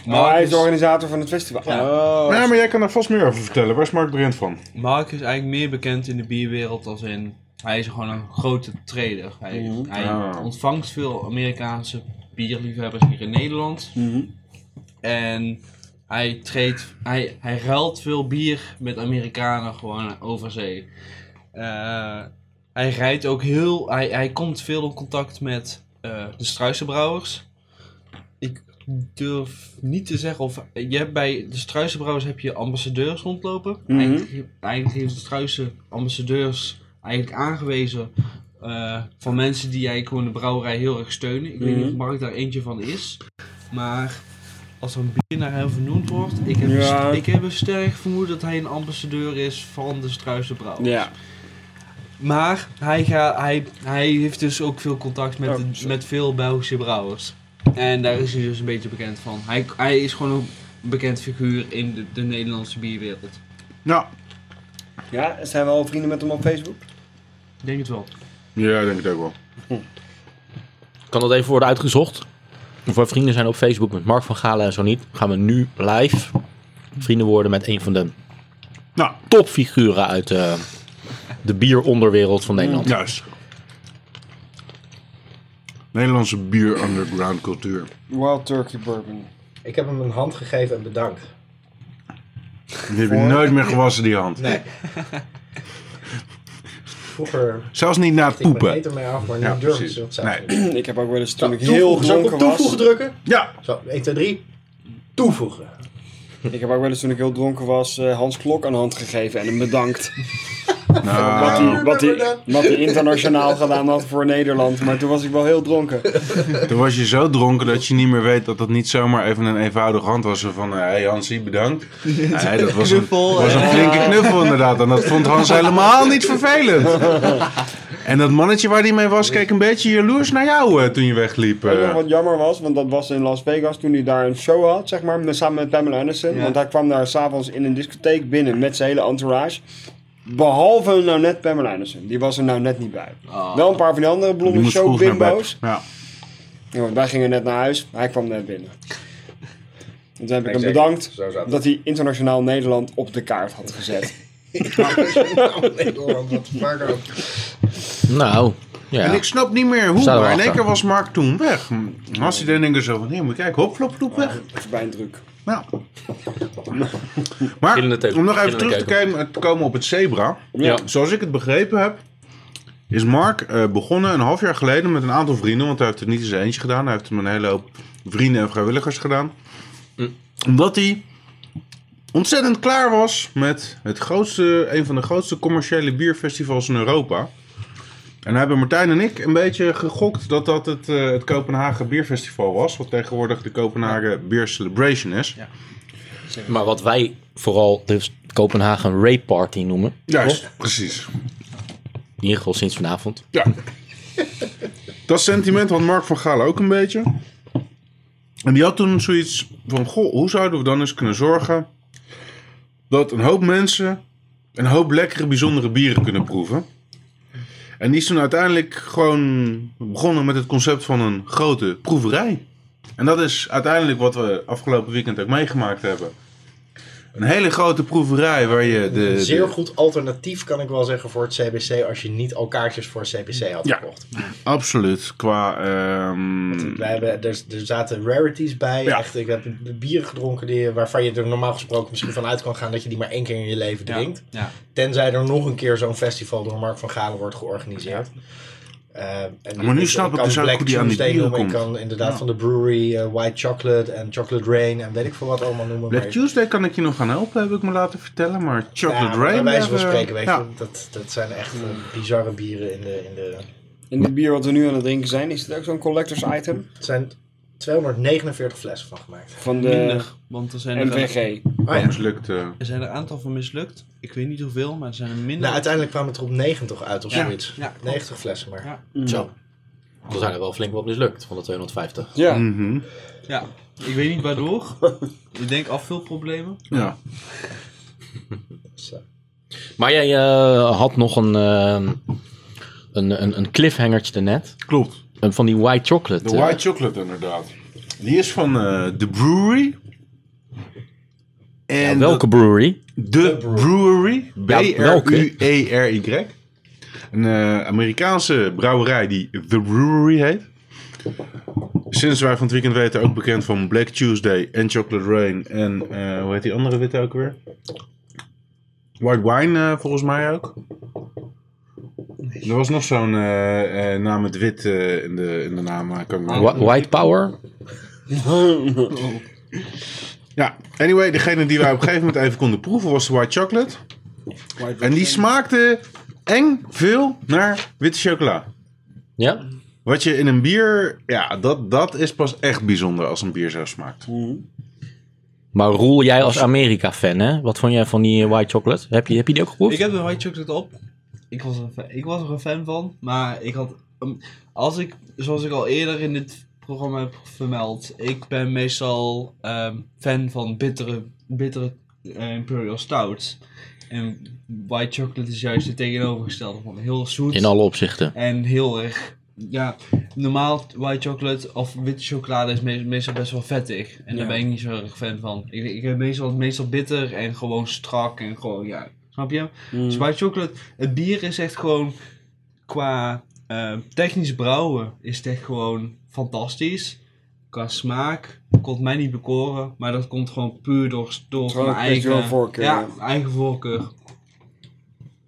Maar Nou, hij is de organisator van het festival. Oh,
Nee, maar jij kan daar vast meer over vertellen. Waar is Mark Brent van?
Mark is eigenlijk meer bekend in de bierwereld als in. Hij is gewoon een grote trader. Hij, hij
Ah.
ontvangt veel Amerikaanse bierliefhebbers hier in Nederland. En hij, treedt, hij, hij ruilt veel bier met Amerikanen gewoon over zee. Eh, hij rijdt ook heel. Hij, hij komt veel in contact met eh, de Struisenbrouwers. Ik durf niet te zeggen of. eh, Je hebt bij de Struisenbrouwers heb je ambassadeurs rondlopen.
Mhm.
eigenlijk, eigenlijk heeft de Struisen ambassadeurs eigenlijk aangewezen. eh, van mensen die eigenlijk gewoon de brouwerij heel erg steunen. Ik weet niet
Mhm.
of Mark daar eentje van is. Maar als er een bier naar hem vernoemd wordt, ik heb,
Ja.
ik heb een sterk vermoeden dat hij een ambassadeur is van de Struisenbrouwers.
Ja.
Maar hij, ga, hij, hij heeft dus ook veel contact met,
Oh, sorry.
met veel Belgische brouwers. En daar is hij dus een beetje bekend van. Hij, hij is gewoon een bekend figuur in de, de Nederlandse bierwereld.
Nou,
ja, zijn we al vrienden met hem op Facebook?
Ik denk het wel.
ja, ik denk het ook wel.
Kan dat even worden uitgezocht? Of we vrienden zijn op Facebook met Mark van Galen en zo niet. Gaan we nu live vrienden worden met een van de
Nou,
topfiguren uit eh, de bieronderwereld van Nederland.
juist. Nederlandse bier underground cultuur.
Wild Turkey Bourbon.
Ik heb hem een hand gegeven en bedankt.
Die heb je nooit meer gewassen, die hand.
Nee. Vroeger
Zelfs niet na het
tikte ik mijn
poepen.
eten mee af, maar nu
Ja,
durf ik
precies.
ze dat zelf
Nee.
niet.
Ik heb ook wel eens toen ik
Toevoegen.
heel
Zou ik op
dronken
toevoegen
was.
drukken?
Ja,
Zo, 1, 2, 3. Toevoegen.
Ik heb ook wel eens toen ik heel dronken was eh, Hans Klok een hand gegeven en hem bedankt. Wat
nou,
hij, wat, hij, wat hij internationaal gedaan had voor Nederland. Maar toen was ik wel heel dronken.
toen was je zo dronken dat je niet meer weet dat dat niet zomaar even een eenvoudige hand was. Zo Van, hé hey Hansie, bedankt. Nee, dat was een,
Knuffel,
was een
eh.
flinke knuffel inderdaad. En dat vond Hans helemaal niet vervelend. En dat mannetje waar hij mee was, keek een beetje jaloers naar jou eh, toen je wegliep. eh.
Weet je nog wat jammer was, want dat was in Las Vegas toen hij daar een show had, zeg maar, met- samen met Pamela Anderson. Want hij kwam daar s'avonds in een discotheek binnen met zijn hele entourage. Behalve nou net Pamela Anderson. Die was er nou net niet bij. Wel een paar van die andere
Ah. Die
blonde
moest vroeg naar
showbimbo's.
bed. Ja.
Ja, want wij gingen net naar huis, hij kwam net binnen. En toen heb ik hem
Exact.
bedankt
Zo zat
dat hij internationaal Nederland op de kaart had gezet.
Nederland, wat vaak ook.
Nou,
En
ja.
ik snap niet meer hoe,
Staan we
maar in één
achter.
keer was Mark toen weg. Hans die denk ik zo van, hier moet je kijken, hop, flop, flop, weg.
Dat is bij een druk.
Nou. Maar
Gillende teuken,
om nog even
gillende
terug te
keuken.
komen, te komen op het zebra.
Ja.
Zoals ik het begrepen heb, is Mark eh, begonnen een half jaar geleden met een aantal vrienden. Want hij heeft het niet in zijn eentje gedaan. Hij heeft het met een hele hoop vrienden en vrijwilligers gedaan. Omdat hij ontzettend klaar was met het grootste, een van de grootste commerciële bierfestivals in Europa. En daar hebben Martijn en ik een beetje gegokt dat dat het, eh, het Kopenhagen Bierfestival was. Wat tegenwoordig de Kopenhagen Beer Celebration is.
Maar wat wij vooral de Kopenhagen Rape Party noemen.
Juist, precies.
In ieder geval sinds vanavond.
Ja. dat sentiment had Mark van Gaal ook een beetje. En die had toen zoiets van: Goh, hoe zouden we dan eens kunnen zorgen dat een hoop mensen een hoop lekkere, bijzondere bieren kunnen proeven? En die is toen uiteindelijk gewoon begonnen met het concept van een grote proeverij. En dat is uiteindelijk wat we afgelopen weekend ook meegemaakt hebben. Een hele grote proeverij waar je de...
Een zeer
de-
goed alternatief kan ik wel zeggen voor het CBC als je niet al kaartjes voor het CBC had
Ja.
gekocht.
Absoluut. Qua. ehm,
Wij hebben, er, er zaten rarities bij.
Ja.
Echt, ik heb bieren gedronken die, waarvan je er normaal gesproken misschien van uit kan gaan dat je die maar één keer in je leven drinkt.
Ja.
Tenzij er nog een keer zo'n festival door Mark van Galen wordt georganiseerd. Eh, en
Maar nu snap ik
kan
dus ook
Black
hoe die aan die
Tuesday
bieren
noemen. Ik
komt.
kan inderdaad van de brewery eh, White Chocolate en Chocolate Rain en weet ik veel wat allemaal noemen.
Black
maar-
Tuesday kan ik je nog gaan helpen, heb ik me laten vertellen. Maar Chocolate
ja, maar
Rain.
Bij wijze van
eh,
spreken, weet
ja.
je, dat, dat zijn echt eh, bizarre bieren in de... In de
En dit bier wat we nu aan het drinken zijn, is dit ook zo'n collectors item?
er zijn 249 flessen van gemaakt.
Van de
Minder, want er zijn er,
MVG.
Dat mislukt. eh.
er zijn een aantal van mislukt. Ik weet niet hoeveel, maar er zijn er minder.
Nou, uiteindelijk kwam het er op 90 uit of
Ja.
zoiets.
Ja, klopt.
90 flessen maar.
Ja.
Zo. Er zijn er wel flink wat mislukt van de 250.
Ja.
Mhm.
Ja, ik weet niet waardoor. ik denk afvulproblemen.
ja.
Zo.
Maar jij eh, had nog een, eh, een, een, een cliffhangertje daarnet.
Klopt.
Eh, Van die white chocolate.
De
eh.
White Chocolate, inderdaad. Die is van eh The Brewery. En
Ja, welke brewery?
De Brewery.
Ja, welke?
B-R-U-E-R-Y. E Een eh, Amerikaanse brouwerij die The Brewery heet. Sinds wij van het weekend weten ook bekend van Black Tuesday en Chocolate Rain. En eh, hoe heet die andere witte ook weer? White Wine eh, volgens mij ook. Er was nog zo'n eh, eh, naam met wit eh, in, de, in de naam. maar ik kan me
Wh- White Power?
Ja, anyway, degene die wij op een gegeven moment even konden proeven was de white chocolate. en die smaakte eng veel naar witte chocola.
Ja?
Wat je in een bier, ja, dat, dat is pas echt bijzonder als een bier zo smaakt.
Mm.
Maar Roel, jij als Amerika-fan, hè? Wat vond jij van die eh, white chocolate? Heb je, heb je die ook geproefd?
Ik heb de White Chocolate op. Ik was, er een fan, ik was er een fan van, maar ik had... um, als ik, zoals ik al eerder in dit programma heb vermeld, ik ben meestal ehm, fan van bittere, bittere eh, Imperial Stouts. En White Chocolate is juist het tegenovergestelde van heel zoet.
In alle opzichten.
En heel erg, ja, normaal white chocolate of witte chocolade is me- meestal best wel vettig. En daar ben ik niet zo erg fan van. Ik, ik heb meestal, meestal bitter en gewoon strak en gewoon, ja, snap je? Dus white chocolate, het bier is echt gewoon, qua eh, technisch brouwen is het echt gewoon fantastisch. Qua smaak kon het mij niet bekoren, maar dat komt gewoon puur door, door
Gewoon
mijn
een kwestie
eigen
van voorkeur,
Ja,
ja.
mijn eigen voorkeur.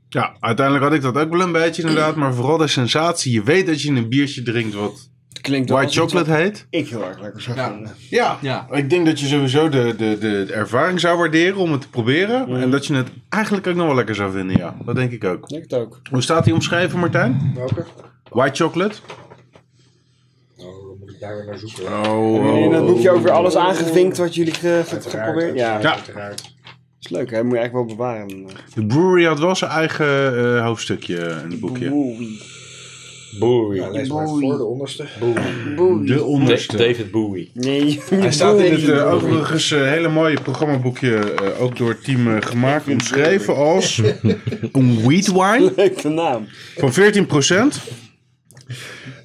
Ja, uiteindelijk had ik dat ook wel een beetje inderdaad, maar vooral de sensatie. Je weet dat je een biertje drinkt wat
Klinkt wel
white
als iets
chocolate heet.
wat Ik heel erg lekker zou
Ja.
vinden.
Ja,
Ja.
ik denk dat je sowieso de, de, de de ervaring zou waarderen om het te proberen. En dat je het eigenlijk ook nog wel lekker zou vinden, ja. Dat denk ik ook.
Ik het ook.
Hoe staat die omschreven, Martijn?
Welke?
White chocolate?
Oh, dan moet ik daar weer naar zoeken.
Oh,
Hebben jullie in dat boekje ook weer alles aangevinkt wat jullie ge- ge- geprobeerd? Ja.
Ja.
uiteraard.
is leuk hè, moet je eigenlijk wel bewaren.
De brewery had wel zijn eigen eh, hoofdstukje in het boekje.
Oei.
Ja, lees maar voor de onderste.
De onderste.
David Bowie.
Nee.
Hij staat in het eh, overigens eh, hele mooie programmaboekje, eh, ook door het team eh, gemaakt, omschreven als een wheat wine
Leuke naam.
van 14%.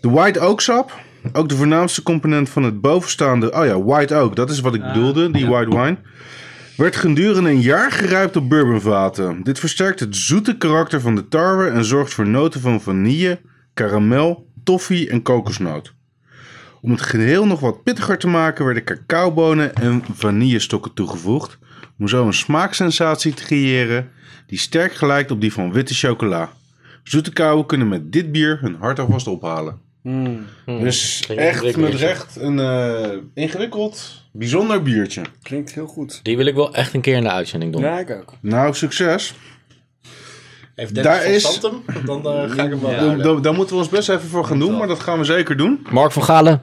De white oak sap, ook de voornaamste component van het bovenstaande, oh ja, white oak, dat is wat ik bedoelde, die white wine. Werd gedurende een jaar geruimd op bourbonvaten. Dit versterkt het zoete karakter van de tarwe en zorgt voor noten van vanille, karamel, toffee en kokosnoot. Om het geheel nog wat pittiger te maken werden cacaobonen en vanillestokken toegevoegd. Om zo een smaaksensatie te creëren die sterk gelijkt op die van witte chocola. Zoete kouwen kunnen met dit bier hun hart alvast ophalen. Dus
Geen
echt met
biertje.
recht een eh, ingewikkeld, bijzonder biertje.
Klinkt heel goed.
Die wil ik wel echt een keer in de uitzending doen.
Ja, ik ook.
Nou, succes.
Heeft
Daar
Dennis
is-
is... hem? Dan eh, ga ik hem wel
Daar,
ruilen.
daar- daar moeten we ons best even voor gaan doen, maar dat gaan we zeker doen.
Mark van Galen,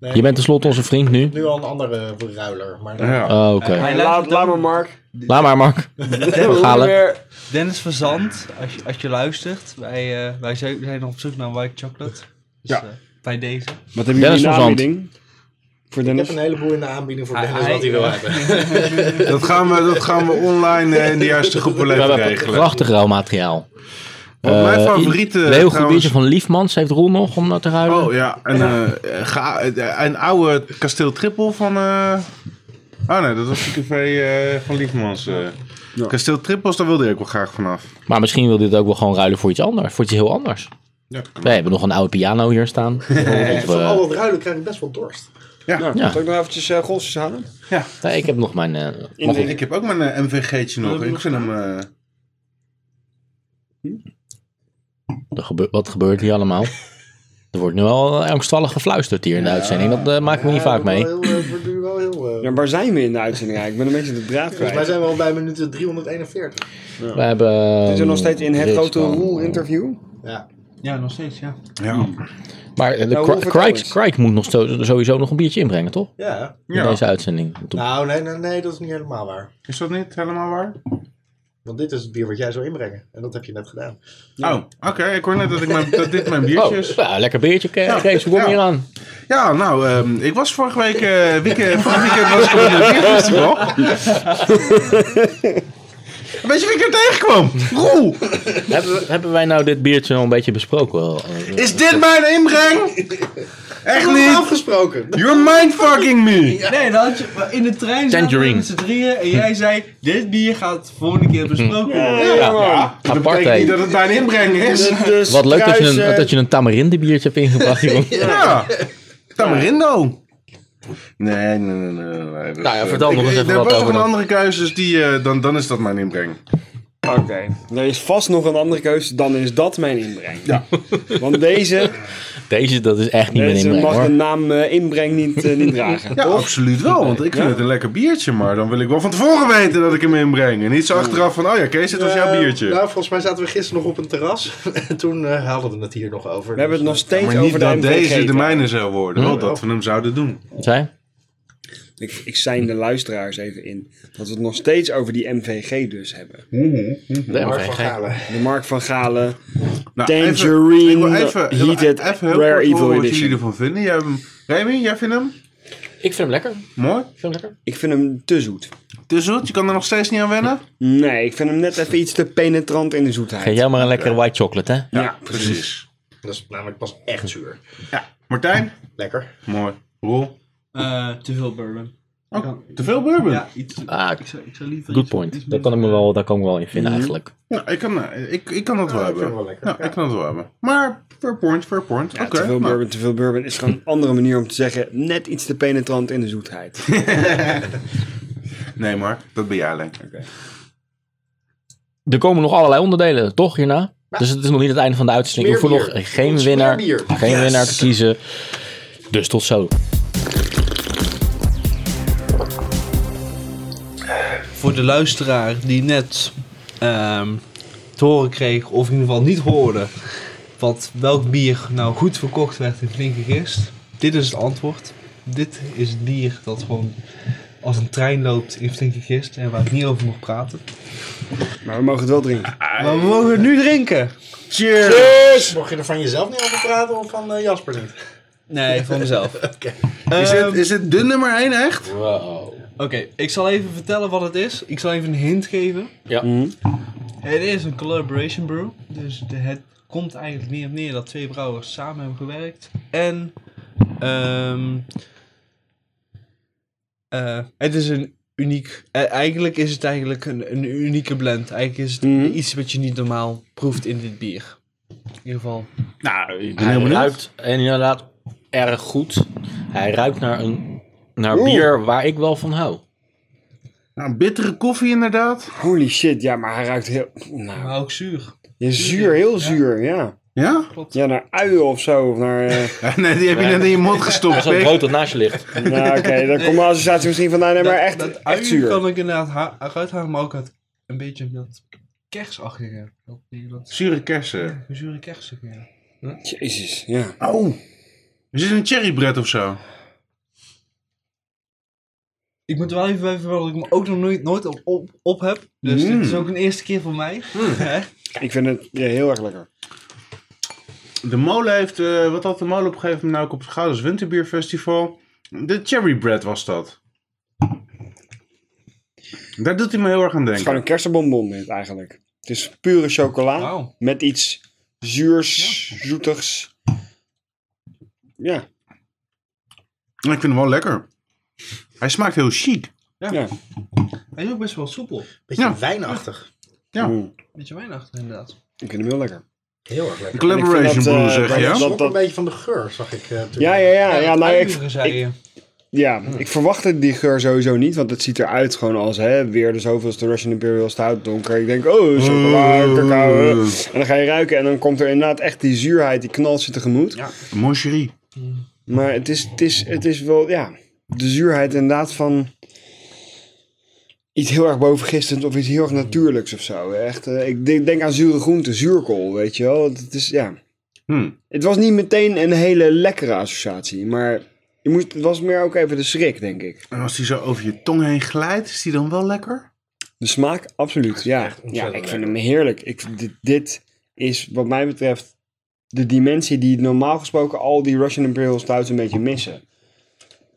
Nee,
je bent tenslotte onze vriend nu.
Nu al een andere ruiler. Maar
Ja.
Oh, Oké.
Hij
Laat,
luistert
laat
ook-
maar Mark.
Laat maar, Mark.
We
Galen.
moeten weer.
Dennis Verzand, als je, als je luistert, wij, eh, wij zijn zijn op zoek naar white chocolate. Dus,
Ja.
eh, bij deze.
Wat hebben
Dennis
jullie
van
in
Zandt.
aanbieding? Voor
ik heb
Dennis?
een heleboel in de aanbieding voor
Hij-
Dennis wat
hij-
hij wil hebben.
Dat, gaan we, dat gaan we online eh, in de juiste groepen
We
even
hebben
regelen.
prachtig rauwmateriaal.
Wat mijn
Eh,
favoriete,
Een heel goed
trouwens-
biertje van Liefmans. Heeft Roel nog om dat te ruilen?
Oh ja, en, eh, ga, eh, een oude kasteel Trippel van... eh Oh nee, dat was de café eh, van Liefmans. eh. Kasteel Trippels, daar wilde ik ook wel graag vanaf.
Maar misschien wil dit ook wel gewoon ruilen voor iets anders. Voor iets heel anders.
Ja, dat kan.
Wij hebben nog een oude piano hier staan. Of, eh,
Van al dat ruilen krijg ik best wel dorst.
Nou,
Ja.
Zal ik nog eventjes eh golfjes halen?
nee, ik heb nog mijn... eh, mag ik-
Ik heb ook mijn eh, MVG'tje nog. Ik vind hem... eh,
er gebe- wat gebeurt hier allemaal? Er wordt nu al eh, angstvallig gefluisterd hier in de uitzending. Dat eh, maken we niet vaak mee.
Wel heel, eh, wordt nu wel heel, eh,
Ja, waar zijn we in de uitzending eigenlijk? Ik ben een beetje de draad
Volgens mij
kwijt.
zijn we al bij minuut 341.
We hebben... eh,
Zitten we nog steeds in het
dit
grote
van-
roel-interview?
Ja.
Ja, nog steeds, ja.
ja.
Maar eh, de
Nou,
Cri- Crike
hoeveel trouwens?
Crike moet nog sto- sowieso nog een biertje inbrengen, toch?
ja.
In deze uitzending.
Nou, nee, nee, nee, dat is niet helemaal waar.
Is dat niet helemaal waar?
Want dit is het bier wat jij zou inbrengen. En dat heb je net gedaan.
Oh, oké. Ik hoor net dat, ik mijn, dat dit mijn
Oh,
biertje is.
ja, lekker biertje, Ke- Kees. Hoe kom je
Ja.
hier aan?
Ja, nou, ehm, ik was vorige week... eh weekend, vorig weekend was ik op een bierfestival. Weet je wie ik er tegenkwam? Roel!
hebben, we- hebben wij nou dit biertje al een beetje besproken? Wel, eh,
Is dit mijn inbreng? Echt
We hebben
niet?
afgesproken.
You're mindfucking me!
Nee, dan had je in de trein zaten we
Tangerine.
met z'n drieën en jij zei, dit bier gaat volgende keer besproken worden.
Ja, man.
Dat
Apart,
betekent niet
hè.
dat het mijn inbreng is.
De- de
Wat leuk dat je,
struis,
een,
eh,
dat je een tamarinde biertje hebt ingebracht, jongen.
Ja. Tamarindo. Nee, nee, nee, nee. nee, dat
Nou ja,
is,
vertel
eh,
nog eens
ik-
even
er
wat
was
over
nog een
dat.
andere keuze, dus die, eh, dan, dan is dat mijn inbreng.
Oké. Er is vast nog een andere keuze, dan is dat mijn inbreng.
Ja.
Want deze,
Deze, dat is echt niet meer
deze
inbreng,
mag de
hoor.
naam eh, inbreng niet, eh, niet dragen.
Ja, absoluut wel, want ik vind het een lekker biertje, maar dan wil ik wel van tevoren weten dat ik hem inbreng. En niet zo achteraf van, oh ja, Kees, dit was jouw
Eh,
biertje.
nou, volgens mij zaten we gisteren nog op een terras. en toen eh, haalden we het hier nog over. Dus, eh,
We hebben het nog steeds
Maar
over
niet
de
dat deze
MVG.
de mijne zou worden, wel dat we hem zouden doen.
Zij?
Ik, ik zijn de luisteraars even in. Dat we het nog steeds over die MVG dus hebben.
Nee,
Mark
oké,
van
geen-
Galen.
De Mark van Galen.
Nou,
Tangerine
ik wil even, ik wil
Heated
even heel
Rare
kort
Evil
horen wat
Edition.
jullie ervan vinden. Jij hebt hem, Remy, jij vindt hem
Ik vind hem lekker. Ik
mooi?
vind hem lekker.
Ik vind hem te zoet.
Te zoet, je kan er nog steeds niet aan wennen?
Nee, ik vind hem net even iets te penetrant in de zoetheid.
Geef jij maar een lekkere white chocolate, hè?
Ja, precies.
Dat is namelijk pas echt zuur.
Ja. Martijn?
Lekker.
Mooi. Roel?
Eh, te veel bourbon.
Ook te veel bourbon?
Ja, iets,
Ah,
ik zou, ik zou liever
good
iets- iets
point. Daar
minder-
kan ik me wel, daar kan ik me wel in vinden, eigenlijk.
Nou, ik kan, eh, ik, ik kan dat wel
ik vind
hebben.
het wel lekker,
ja,
ja.
ik kan dat wel hebben. Maar, fair point, fair point.
Ja,
Oké.
te veel
nou,
bourbon, te veel bourbon is gewoon een andere manier om te zeggen. Net iets te penetrant in de zoetheid.
Nee, Mark, dat ben jij lekker.
Er komen nog allerlei onderdelen, toch, hierna? Dus het is nog niet het einde van de uitzending. We
Smeerbier.
hoeven nog geen
Ons
winnaar,
smeerbier.
geen winnaar te kiezen. Dus tot zo.
Voor de luisteraar die net ehm, te horen kreeg, of in ieder geval niet hoorde, wat welk bier nou goed verkocht werd in Flinke Gist. Dit is het antwoord. Dit is het bier dat gewoon als een trein loopt in Flinke Gist en waar ik niet over mag praten.
Maar we mogen het wel drinken.
Maar we mogen het nu drinken.
Cheers!
Mocht je er van jezelf niet over praten of van eh, Jasper niet?
Nee, van mezelf.
Oké.
Is
Ehm,
dit, is dit de nummer 1 echt?
Oké, ik zal even vertellen wat het is. Ik zal even een hint geven.
Ja.
Mhm.
Het is een collaboration brew. Dus de- het komt eigenlijk neer op neer dat twee brouwers samen hebben gewerkt. En ehm, eh, het is een uniek... eh, eigenlijk is het eigenlijk een, een unieke blend. Eigenlijk is het
Mhm.
iets wat je niet normaal proeft in dit bier. In ieder geval.
Nou, ik ben
Hij
heel benieuwd.
ruikt inderdaad erg goed. Hij ruikt naar, een, naar bier waar ik wel van hou.
Nou, bittere koffie inderdaad.
Holy shit, ja, maar hij ruikt heel... Nou,
Maar ook zuur.
ja, zuur, heel zuur, ja.
Ja?
Ja, naar uien of zo. Of naar, eh,
Nee, die heb je net in je mond gestopt.
Zo'n
Pik.
brood dat naast je ligt.
nou, oké, daar komt mijn associatie misschien vandaan. Nee, maar echt,
dat, dat
echt
ui
zuur.
kan ik inderdaad ha- eruit halen, maar ook het, een beetje dat kersachtige. Dat, dat
Zure kersen.
zure kersachtige. ja.
Jezus, ja.
Oh. Is dit een cherrybread of zo?
Ik moet er wel even bij vermelden dat ik hem ook nog nooit, nooit op, op, op heb. Dus
Mm.
dit is ook een eerste keer voor mij. Hè?
Ik vind het ja, heel erg lekker.
De molen heeft, eh, wat had de molen op een gegeven moment nou ook op het Gouders Winterbierfestival? De cherrybread was dat. Daar doet hij me heel erg aan
Het is gewoon
denken.
een kersenbonbon dit, eigenlijk. Het is pure chocola
Wauw.
met iets zuurs, zoetigs. Ja,
Ik vind hem wel lekker. Hij smaakt heel chic.
ja.
Hij is ook best wel soepel.
Beetje
Ja.
wijnachtig.
Ja.
Mm,
Beetje wijnachtig inderdaad.
ik vind hem heel lekker.
Heel erg lekker.
Ik
Collaboration
vind dat,
brew
eh,
zeg
bij
je?
de
ja?
zon-
Ook
dat-
een beetje van de geur, zag ik. eh, toen-
Ja, ja, ja. ja, nou, ik,
Uiveren, zei
ik,
je. Hm.
Ja, ik verwachtte die geur sowieso niet, want het ziet eruit gewoon als hè, weer de zoveelste Russian Imperial Stout donker. Ik denk, oh, chocola,
Hm.
cacao. eh. En dan ga je ruiken en dan komt er inderdaad echt die zuurheid, die knalt je tegemoet.
Moncherie.
Maar het is, het, is, het is wel, ja, de zuurheid inderdaad van iets heel erg bovengistend of iets heel erg natuurlijks of zo. Echt, eh, ik denk, denk aan zure groenten, zuurkool, weet je wel. Het is, ja.
Hm.
Het was niet meteen een hele lekkere associatie, maar je moest, het was meer ook even de schrik, denk ik.
En als die zo over je tong heen glijdt, is die dan wel lekker?
De smaak, absoluut. Ja, ja ik
ontzettend
vind hem heerlijk. Ik, vind dit, dit is wat mij betreft de dimensie die normaal gesproken al die Russian Imperial Stouts een beetje missen.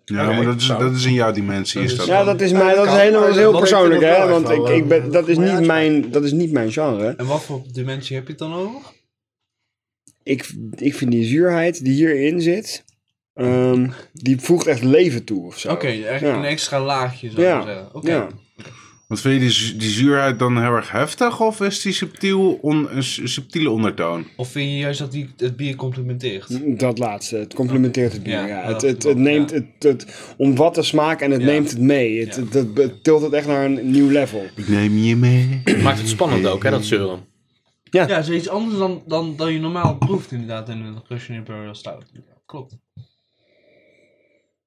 Ja,
Oké,
maar dat is,
zo.
dat is in jouw dimensie. Is dat
Ja, dat is,
Ja,
mij,
dat
dat is
kan,
helemaal
maar
dat is heel
dat- ik vind
persoonlijk,
dat
hè?
wel
Want
echt
ik,
wel
ik
een eh,
ben, dat, is
goede
niet
uitspraak.
mijn, dat is niet mijn genre.
En wat voor dimensie heb je het dan over?
Ik, ik vind die zuurheid die hierin zit, ehm, die voegt echt leven toe of zo.
Oké, echt
Ja.
een extra laagje zou
Ja.
ik zeggen. Oké.
Ja.
Want vind je die, zu- die zuurheid dan heel erg heftig of is die subtiel on, een su- subtiele ondertoon?
Of vind je juist dat die het bier complimenteert?
Dat laatste, het complementeert het bier. Ja,
Ja, dat
Het, het, het
klopt,
neemt,
ja.
het, het omvat de smaak en het
Ja.
neemt het mee. Het,
Ja.
het, het be- tilt het echt naar een nieuw level.
Ik neem je mee.
Maakt het spannend ook, hè, dat zeuren.
Ja, zoiets anders dan, dan, dan je normaal proeft inderdaad in een Russian Imperial Stout. Ja, klopt.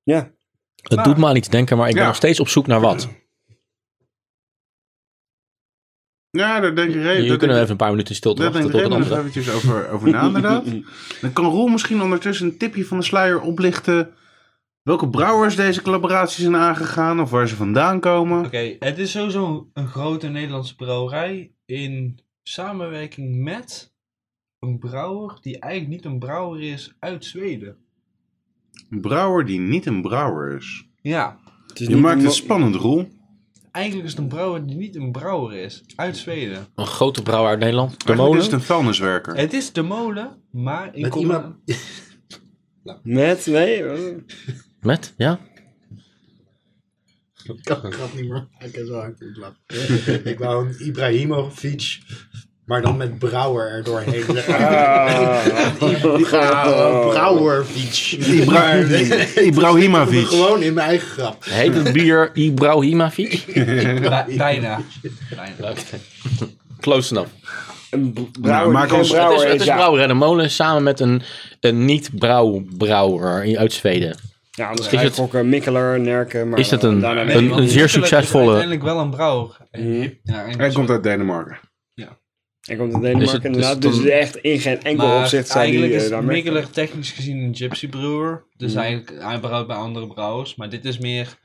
Ja,
Het doet me aan iets denken, maar ik ben
Ja.
nog steeds op zoek naar wat.
Ja, daar denk ik re-
Hier kunnen we
dat denk-
even een paar minuten stilte
daar denk
wachten
ik
tot een
Raymond nog
andere.
eventjes over, over na inderdaad. Dan kan Roel misschien ondertussen een tipje van de sluier oplichten. Welke brouwers deze collaboraties zijn aangegaan of waar ze vandaan komen.
Oké, het is sowieso een grote Nederlandse brouwerij in samenwerking met een brouwer die eigenlijk niet een brouwer is uit Zweden.
Een brouwer die niet een brouwer is.
Ja,
het is
Je
niet
maakt
mo-
het spannend, Roel.
eigenlijk is het een brouwer die niet een brouwer is uit Zweden.
Een grote brouwer uit Nederland. De
Eigenlijk is
molen.
het een vuilniswerker.
Het is de molen, maar in
Met
combi-
iemand-
Met, nee.
Ah.
eh,
Met? Ja?
Ik kan het grap niet meer maken, zo hard moet lachen. Ik wou een Ibrahimovic, maar dan met Brouwer er doorheen.
Ah.
Oh, Brouwervic.
Ibra- Ibrahimovic.
Gewoon in mijn eigen grap.
Heet het bier Ibrahimovic?
Bij- bijna. bijna.
Close enough.
Een b- brouwer,
maak
die geen
ons-
Het is,
brouwer
het
is,
is
ja.
Brouwer en de Molen samen met een, een niet-brouwer uit Zweden.
Ja, anders
Is
ga je
het-
gokken, Mikkeler, Nerken. Maar
Is dat
eh,
een-
daarna-
een-
want
zeer
Nederland is
succesvolle-
Uiteindelijk wel een brouwer. Ja, en-
Hij komt uit Denemarken.
Hij komt uit Denemarken
Is het- is
inderdaad.
het
Dus
dan-
echt in geen enkel
Maar
opzicht zijn die
eigenlijk
eh,
is
daar mee.
Mikkeler technisch gezien een gypsy brewer. Dus eigenlijk, hij brouwt bij andere brouwers. Maar dit is meer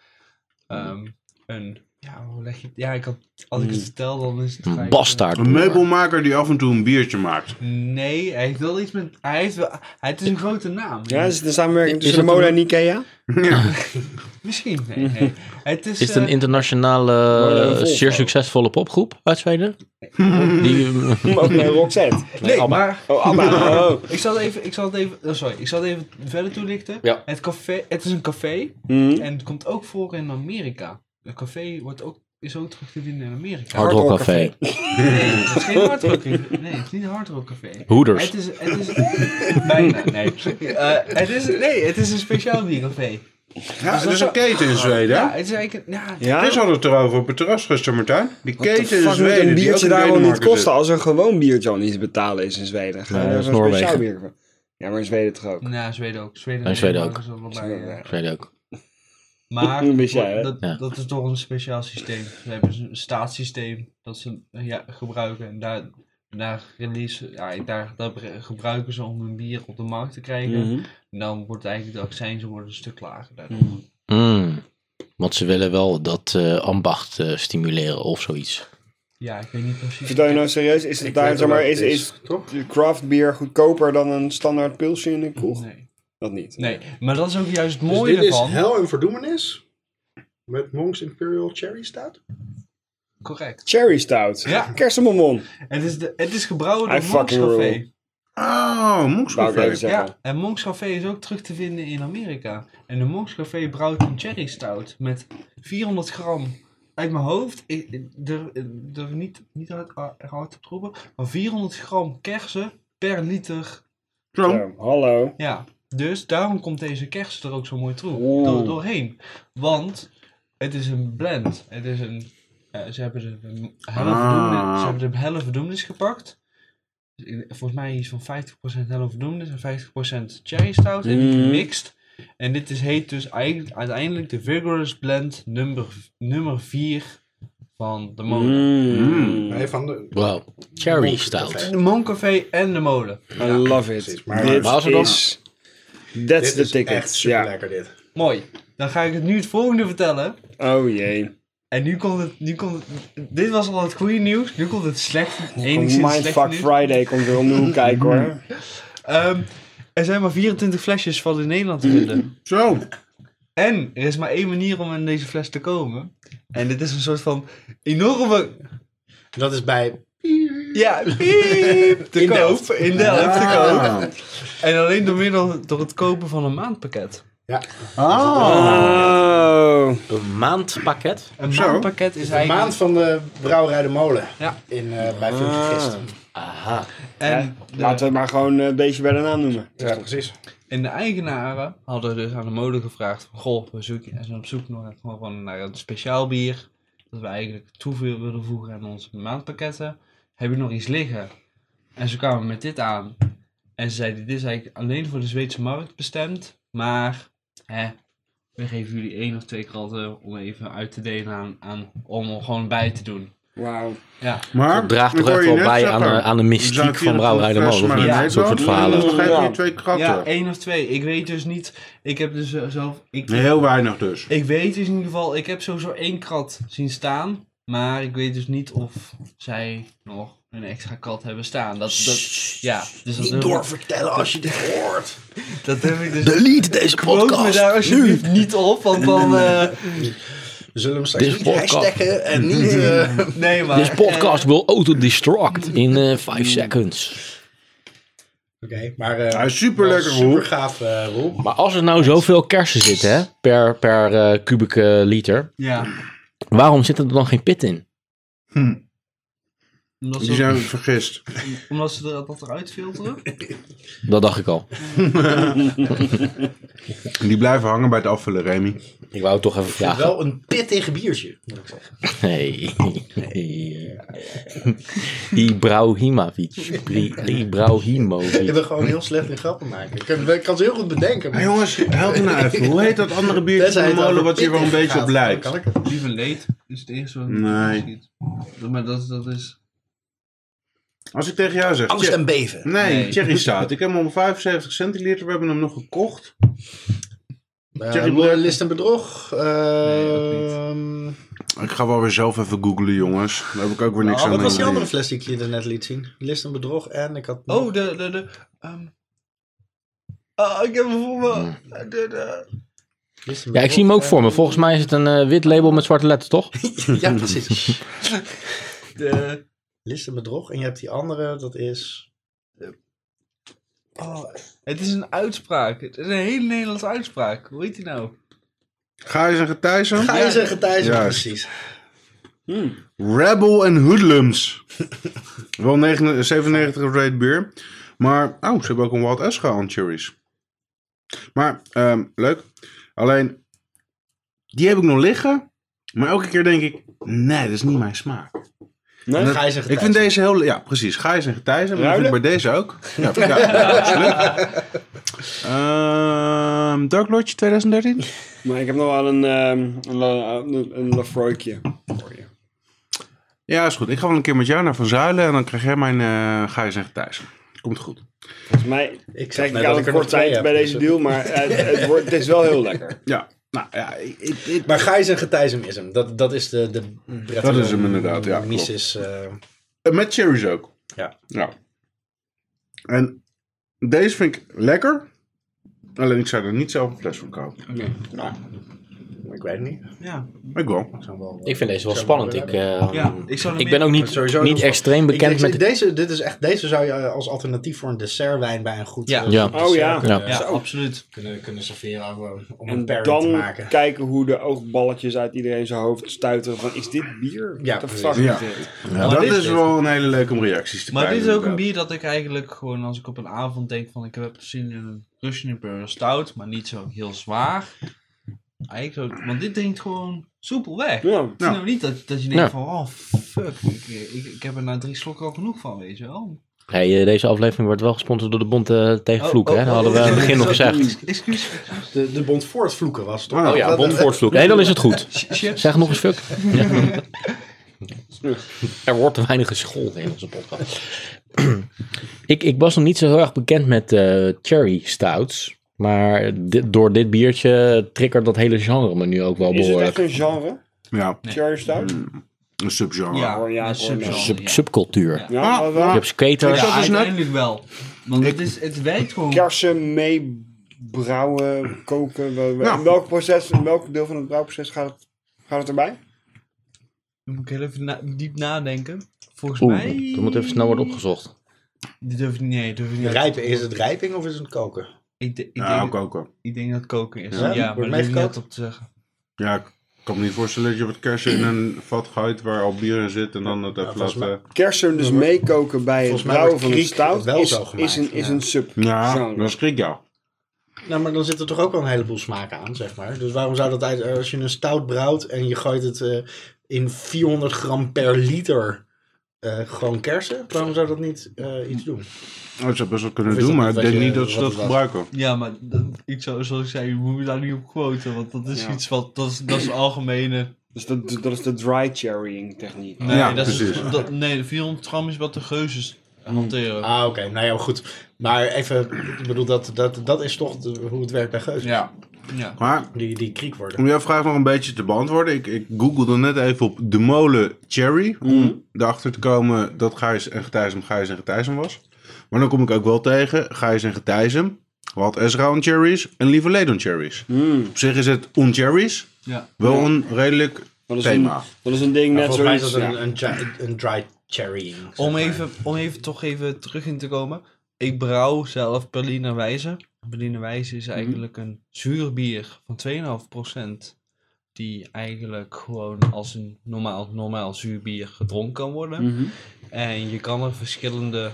ehm, een... Ja, hoe leg je het? Ja, ik had, als ik het vertel, dan is het...
Een
eigenlijk-
bastaard.
Een meubelmaker die af en toe een biertje maakt.
Nee, hij heeft wel iets met... Hij heeft wel... Hij, het is een grote naam.
Ja, is het een samenwerking
Is
tussen de
het
Mola
een-
en Ikea?
Misschien. Nee, nee. Het is...
Is het een
eh,
internationale, eh,
Volvo.
zeer succesvolle popgroep uit Zweden? Die, eh,
Ook een Oh, Roxette.
nee,
Abba.
maar...
Oh, Abba. Oh.
Ik zal het even, ik zal het even, oh, sorry, ik zal het even verder toelichten.
Ja.
Het, café, het is een café
Mhm.
en het komt ook voor in Amerika. Een café wordt ook, is ook terug te vinden in Amerika.
Hard Rock Café.
Nee, het is geen Hard Rock Café. Nee, het is niet een Hard Rock Café.
Hoeders.
Het is, het is bijna, nee. Eh, het is, nee, het is een speciaal biercafé.
Ja, dat is een keten in Zweden.
Ja,
hè?
het is eigenlijk, een- ja,
Ja?
Chris had het erover op het terras gisteren, Martijn. Die keten in
Fuck, moet
Zweden.
een
die ook
biertje
in
daar wel niet
Denemarken
kosten
zit.
als een gewoon biertje al niet te betalen is in Zweden. Ga
Nee,
je
dat
er
is
zo'n speciaal
Noorwegen.
bier voor- Ja, maar in Zweden toch ook.
nou, Zweden ook. Zweden
En Zweden
Denemarken is er wel bij, ja.
Ik weet ook.
eh, Maar
Een beetje, hè?
dat,
Ja.
dat is toch een speciaal systeem. Ze hebben een staatssysteem dat ze ja, gebruiken. En daar, daar, release, ja, daar, daar bre- gebruiken ze om hun bier op de markt te krijgen.
Mhm.
En dan wordt eigenlijk de accijnzen worden een stuk lager. daardoor.
Mm. Want ze willen wel dat eh, ambacht eh, stimuleren of zoiets.
Ja, ik weet niet precies.
Vertel je nou serieus, is het
Ik
daar,
weet
zeg
wel
maar,
wat
is,
het is,
is
toch?
craft bier goedkoper dan een standaard pilsje in een kroeg?
Nee.
Dat niet.
nee, maar dat is ook juist het
Dus
mooie
dit is
ervan.
Hel en Verdoemenis. Met Monks Imperial Cherry Stout.
Correct.
Cherry stout.
Ja.
Kersenbonbon.
Het is, de, het is gebrouwen
I
door Monks
fucking
Café.
rule.
Oh,
Wou ik even
moeskoffer.
zeggen.
Ja, en Monks Café is ook terug te vinden in Amerika. En de Monks Café brouwt een cherry stout met 400 gram uit mijn hoofd. Ik ik durf, ik durf niet, niet hard, hard op te roepen, maar 400 gram kersen per liter.
Trump.
Zo, hallo.
Ja, dus daarom komt deze kersen er ook zo mooi toe,
Oeh.
door, doorheen. Want het is een blend. Het is een, eh, ze hebben de, de helle
Ah.
verdoemenis, ze hebben de helle verdoemenis gepakt. Dus ik- Volgens mij iets van 50% helle verdoemenis en 50% cherry stout. En die
Mm.
gemixt. En dit is, heet dus eigenlijk- uiteindelijk de Vigorous Blend nummer, nummer 4 van de molen.
Mmm.
Mm.
Nee, van de,
Wow. Cherry stout.
En De Mooncafé en de molen.
I love it.
precies. Maar-
dit
Maar als we dan-
is... That's
dit
the
is
ticket.
echt super
Ja.
lekker dit.
Mooi. Dan ga ik het nu het volgende vertellen.
Oh jee.
En nu komt het, nu komt het, dit was al het goede nieuws, nu komt het slecht, enigszins slechte
Oh, Mindfuck
nieuws.
Friday komt weer om de hoek kijken
Mm.
hoor.
Ehm, er zijn maar 24 flesjes van in Nederland te vinden.
Zo.
En er is maar één manier om aan deze fles te komen. En dit is een soort van enorme,
Dat is bij...
ja, piep, te
In
koop,
Delft.
in Delft te koop.
Ah.
En alleen door middel, door het kopen van een maandpakket.
Ah.
Oh.
Een maandpakket.
Een
Zo.
maandpakket is
De
eigenlijk...
maand van de Brouwerij de Molen.
Ja.
In, eh, bij Funky Gist.
Aha.
En de-
Laten we het maar gewoon eh, een beetje bij de naam noemen.
Ja, precies.
En de eigenaren hadden dus aan de molen gevraagd van, goh, we zoeken, en zijn op zoek naar, gewoon naar een speciaal bier. Dat we eigenlijk toe willen voegen aan onze maandpakketten. Heb je nog iets liggen? En ze kwamen met dit aan. En ze zeiden, dit is eigenlijk alleen voor de Zweedse markt bestemd. Maar, hè, we geven jullie één of twee kratten om even uit te delen aan, aan om er gewoon bij te doen.
Wauw.
Ja,
Maar,
Dat draagt toch
ik hoor
echt
je
wel
net
bij aan de,
zeggen,
aan de
er zijn
mystiek van Brouwerij de Molen.
24
of
flessen,
niet?
maar
Ja.
een
Zo'n soort
Nederland.
verhalen.
Dan geef
Ja.
je twee
ja
kratten.
één of twee. Ik weet dus niet, ik heb dus eh, zelf... Ik,
Heel weinig dus.
Ik weet dus in ieder geval, ik heb sowieso één krat zien staan. Maar ik weet dus niet of zij nog een extra krat hebben staan. Dat, dat, ja, dus dat, heb,
doorvertellen als je dit hoort.
ik- dat heb ik dus.
Delete deze
Quote me daar alsjeblieft niet op, want dan. eh,
Zullen we straks
Dit is
niet
podcast.
hashtaggen en niet... eh,
nee, maar.
This podcast will autodestruct in 5 seconds.
Oké, maar... eh,
Hij is super lekker,
Super
Roel.
gaaf, eh, Roel.
Maar als er nou zoveel kersen zitten hè, per, per eh, kubieke liter,
eh, ja,
waarom zitten er dan geen pit in?
omdat
Die
ze,
zijn vergist.
omdat ze er- dat eruit filteren.
Dat dacht ik al.
Die blijven hangen bij het afvullen, Remy.
Ik wou het toch even vragen.
Wel een pittig biertje, moet ik zeggen.
Nee. Ibrahimovic. Bri-
Ik
Ibrahimovic.
ben gewoon heel slecht in grappen maken. Ik kan, ik kan ze heel goed bedenken.
Hé
maar-
jongens, help me nou even. Hoe heet dat andere biertje
Tenzij
van de
het
molen
over
wat hier wel een
pittig
beetje op
gaat,
lijkt?
dan kan ik het.
Lieve leed is het eerste wat
Nee.
schiet. Maar dat, dat is.
Als ik tegen jou zeg...
Angst
Tje-
en beven.
Nee,
Nee.
Cherry Stout. Ik heb hem om 75 centiliter. We hebben hem nog gekocht. Thierry
Uh,
Baudet.
list en bedrog.
dat
ehm,
Ik ga wel weer zelf even googlen, jongens. Daar heb ik ook weer niks
nou,
aan.
wat was
aan
die
doen.
andere fles die ik je net liet zien? List en bedrog en ik had...
Oh, de. de, de ehm, ah, ik heb hem voor me. De, de,
List en
Ja, ik zie hem ook
Bedrog
voor me. Volgens mij is het een eh, wit label met zwarte letters, toch?
en- ja, precies.
de
List en bedrog. En je hebt die andere, dat is...
Oh, het is een uitspraak. Het is een hele Nederlandse uitspraak. Hoe heet die nou?
Ga je zeggen, Thijssen?
Ga je zeggen Thijs?
Juist.
precies.
Rebel en Hoodlums. wel 99 97 rate bier. Maar, oh, ze hebben ook een Wild Esca aan cherries. Maar, ehm, leuk. Alleen, die heb ik nog liggen. Maar elke keer denk ik, nee, dat is niet mijn smaak.
Nee?
Dat-
Ga je zeggen
Ik vind deze heel... Ja, precies. Gijs en Gijzen. Maar dat vind ik bij deze ook. Ja, vind ik- ja, ja, absoluut. Ehm, Dark Lodge 2013?
Maar ik heb nog wel een, ehm een, la- een, een Lafroikje.
Ja, is goed. Ik ga wel een keer met jou naar Van Zuilen. En dan krijg jij mijn eh Gijs en Gijzen. Komt goed.
Volgens mij
Ik zeg
krijg
net
ik al
dat
een
ik er nog
kort
twee
tijd
heb. dus
bij deze deal, maar eh, het, het, wordt, het is wel heel lekker.
Ja. Nou ja, ik- ik- ik,
Maar Gijs en Getijsem is hem. Dat, dat is de... de
Dat is hem inderdaad, ja, klopt.
Mises, eh,
Eh, Met cherries ook.
Ja.
ja. En deze vind ik lekker. Alleen ik zou er niet zelf een fles van kopen.
Nee.
Nou,
Ik
weet het niet.
Ja,
Ik wel.
Ik, zou hem wel,
Ik vind deze wel
zou hem
spannend.
willen
Ik,
hebben.
eh,
ja. Ik, zou er
ik
meer-
ben ook niet,
sowieso
niet
heel
extreem
Ik denk,
bekend met...
deze, dit is echt, deze zou je als alternatief voor een dessertwijn bij een goed
Ja.
eh,
Ja.
dessert
Oh ja.
kunnen-
Ja, absoluut.
Kunnen, kunnen serveren om- om een
En
pairing te
dan
maken.
kijken hoe de oogballetjes uit iedereen zijn hoofd stuiten van, is dit bier?
Ja,
Dat
precies.
fuck
Ja.
is dit?
Ja, dat
dit
is
is-
wel een hele leuke om reacties te
Maar dit
krijgen,
is ook een
inderdaad.
bier dat ik eigenlijk gewoon als ik op een avond denk van ik heb zin in een Russian Imperial Stout, maar niet zo heel zwaar. Eigenlijk zo, want dit denkt gewoon soepel weg. Het
Ja.
is
Ja.
nou niet dat, dat je denkt
Ja.
van oh fuck, ik, ik, ik heb er na drie slokken al genoeg van, weet je wel.
Hey, eh, deze aflevering wordt wel gesponsord door de Bond eh, tegen
Oh,
Vloek.
oh,
hè? Dat
oh,
hadden we aan het
oh,
begin nog gezegd.
Excuus.
De, de Bond voortvloeken was het toch?
Oh ja,
Dat-
Bond voor het Vloek. Nee, dan is het goed. Zeg nog eens fuck. Ja. Er wordt te weinig gescholden in onze podcast. ik, ik was nog niet zo heel erg bekend met eh, cherry stouts. Maar dit- door dit biertje triggert dat hele genre me nu ook wel
Is het
behoorlijk.
echt een genre?
Ja,
Nee.
Charlie Stout?
Hmm.
een subgenre.
Ja,
hoor, ja,
een
hoor,
subgenre,
Sub-
ja.
subcultuur.
Ja.
Ja,
Ah,
maar wel.
Je hebt skaters.
Ja,
zat dus net-
uiteindelijk wel. Want het, is, het werkt gewoon.
Kersen mee brouwen, koken. wel- wel-
Nou.
Ja.
In welk, proces, in welk deel van het brouwproces gaat het, gaat het erbij?
Dan moet ik heel even na- diep nadenken. Volgens mij...
Oeh, dat moet even snel worden opgezocht.
Die durf ik niet, nee, durf ik niet.
Rijpen, is het rijping of is het koken?
Ik, de- ik,
Ja,
denk,
ook ook wel.
ik denk dat het koken is. Ja,
Ja? Wordt
maar
mij
daar is niet
gekookt?
op te zeggen.
Ja, ik kan me niet voorstellen dat je wat kersen in een vat gooit waar al bier in zit en dan het even
volgens
laten...
mij-
Kersen dus meekoken bij het
Volgens mij
brouwen
wordt
van een
kriek
stout
wel
is,
zo gemaakt,
is een, is
ja.
een sub.
Ja,
Genre.
dat schrik jou.
Nou, maar dan zit er toch ook wel een heleboel smaken aan, zeg maar. Dus waarom zou dat uit, als je een stout brouwt en je gooit het eh, in 400 gram per liter eh, gewoon kersen, waarom zou dat niet eh, iets doen?
Oh, Dat zou best wel kunnen
Of is
doen,
dat
maar ik
niet
denk
wat je-
niet dat ze dat
wat het was?
gebruiken.
Ja, maar dat- ik zou, zoals ik zei, je moet me daar niet op quoten. Want dat is
Ja.
iets wat, dat is, dat is algemene...
Dus dat, dat is de dry cherrying techniek.
Nee,
Ja,
dat is,
precies.
dat, nee, 400 gram is wat de geuzes hanteren.
Ah, oké. Nou ja, goed. Maar even, ik bedoel, dat, dat, dat is toch de- hoe het werkt bij Geus.
Ja. ja.
Maar
Die, die kriek worden.
om jouw vraag nog een beetje te beantwoorden, ik, ik googelde net even op de molen Cherry.
Mhm.
Om erachter te komen dat Gijs en Getijsem Gijs en Getijsem was. Maar dan kom ik ook wel tegen Gijs en Getijsem. Wat Ezra on Cherries en Lieve Ledon Cherries.
Mhm.
Op zich is het on Cherries
Ja.
wel een redelijk
Dat is, een,
thema.
dat is een ding
Maar
net
volgens mij is
zoiets.
dat
ja.
een, een, dry- een dry cherrying. zeg
Om
maar.
even, om even toch even terug in te komen. Ik brouw zelf Berliner Wijze. Berliner Wijze
Mhm.
is eigenlijk een zuur bier van 2,5%. Die eigenlijk gewoon als een normaal, normaal zuur bier gedronken kan worden.
Mhm.
En je kan er verschillende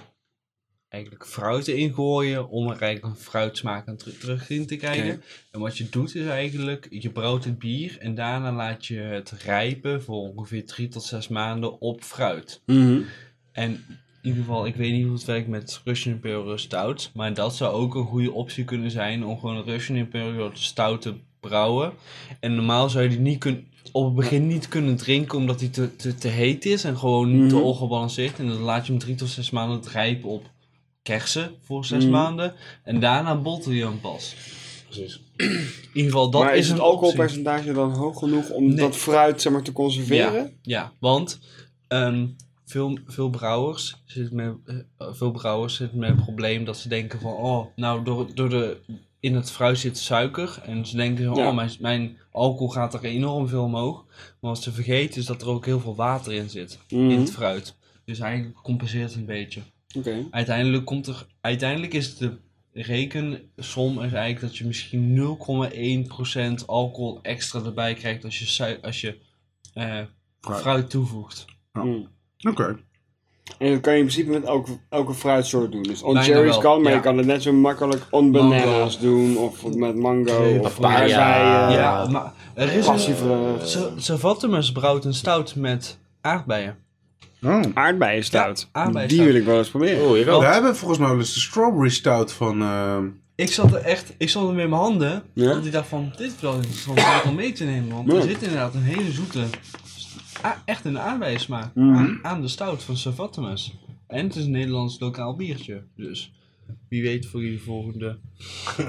eigenlijk fruiten in gooien om er eigenlijk een fruitsmaak aan teru- terug in te krijgen. En wat je doet is eigenlijk, je brouwt het bier en daarna laat je het rijpen voor ongeveer 3 tot 6 maanden op fruit.
Mhm.
En in ieder geval, ik weet niet hoe het werkt met Russian Imperial Stout. Maar dat zou ook een goede optie kunnen zijn om gewoon een Russian Imperial Stout te brouwen. En normaal zou je die niet kun- op het begin niet kunnen drinken omdat die te, te, te heet is en gewoon niet
Mhm.
te ongebalanceerd. En dan laat je hem drie tot zes maanden rijpen op kersen voor zes
Mhm.
maanden. En daarna botel je hem pas.
Precies.
In ieder geval, dat
maar is,
is
het
een optie.
alcoholpercentage dan hoog genoeg om
Nee.
dat fruit zeg maar, te conserveren?
Ja, want ehm, veel, veel brouwers zitten met, eh, veel brouwers zitten met het probleem dat ze denken van oh, nou door, door de in het fruit zit suiker en ze denken van,
Ja.
oh, mijn, mijn alcohol gaat er enorm veel omhoog. Maar wat ze vergeten is dat er ook heel veel water in zit
Mhm.
in het fruit. Dus eigenlijk compenseert het een beetje.
Oké.
Uiteindelijk komt er uiteindelijk is de rekensom is eigenlijk dat je misschien 0,1% alcohol extra erbij krijgt als je sui- als je eh,
Fruit.
fruit toevoegt.
Mhm.
Oké.
En dat kan je in principe met elke, elke fruitsoort doen. Dus on
Bijna
cherries
wel,
kan, maar
ja.
je kan het net zo makkelijk on
Mango.
bananas doen. Of met mango,
Grape,
of
papaya.
aardbeien,
ja, maar er is een,
passievrucht.
ze, ze vatten me, ze brouwt een stout met aardbeien.
Oh.
Aardbeien stout.
Ja, aardbeien
Die
stout.
wil ik wel eens proberen.
Oh, ik
ook.
We hebben volgens mij wel eens de strawberry stout van... ehm,
Ik zat er echt, ik zat er met mijn handen,
Ja?
want ik dacht van, dit is wel interessant om om mee te nemen, want
Ja.
er zit inderdaad een hele zoete, a- echt een aardbeiensmaak
Mhm.
aan, aan de stout van Savatimus. En het is een Nederlands lokaal biertje, dus wie weet voor jullie volgende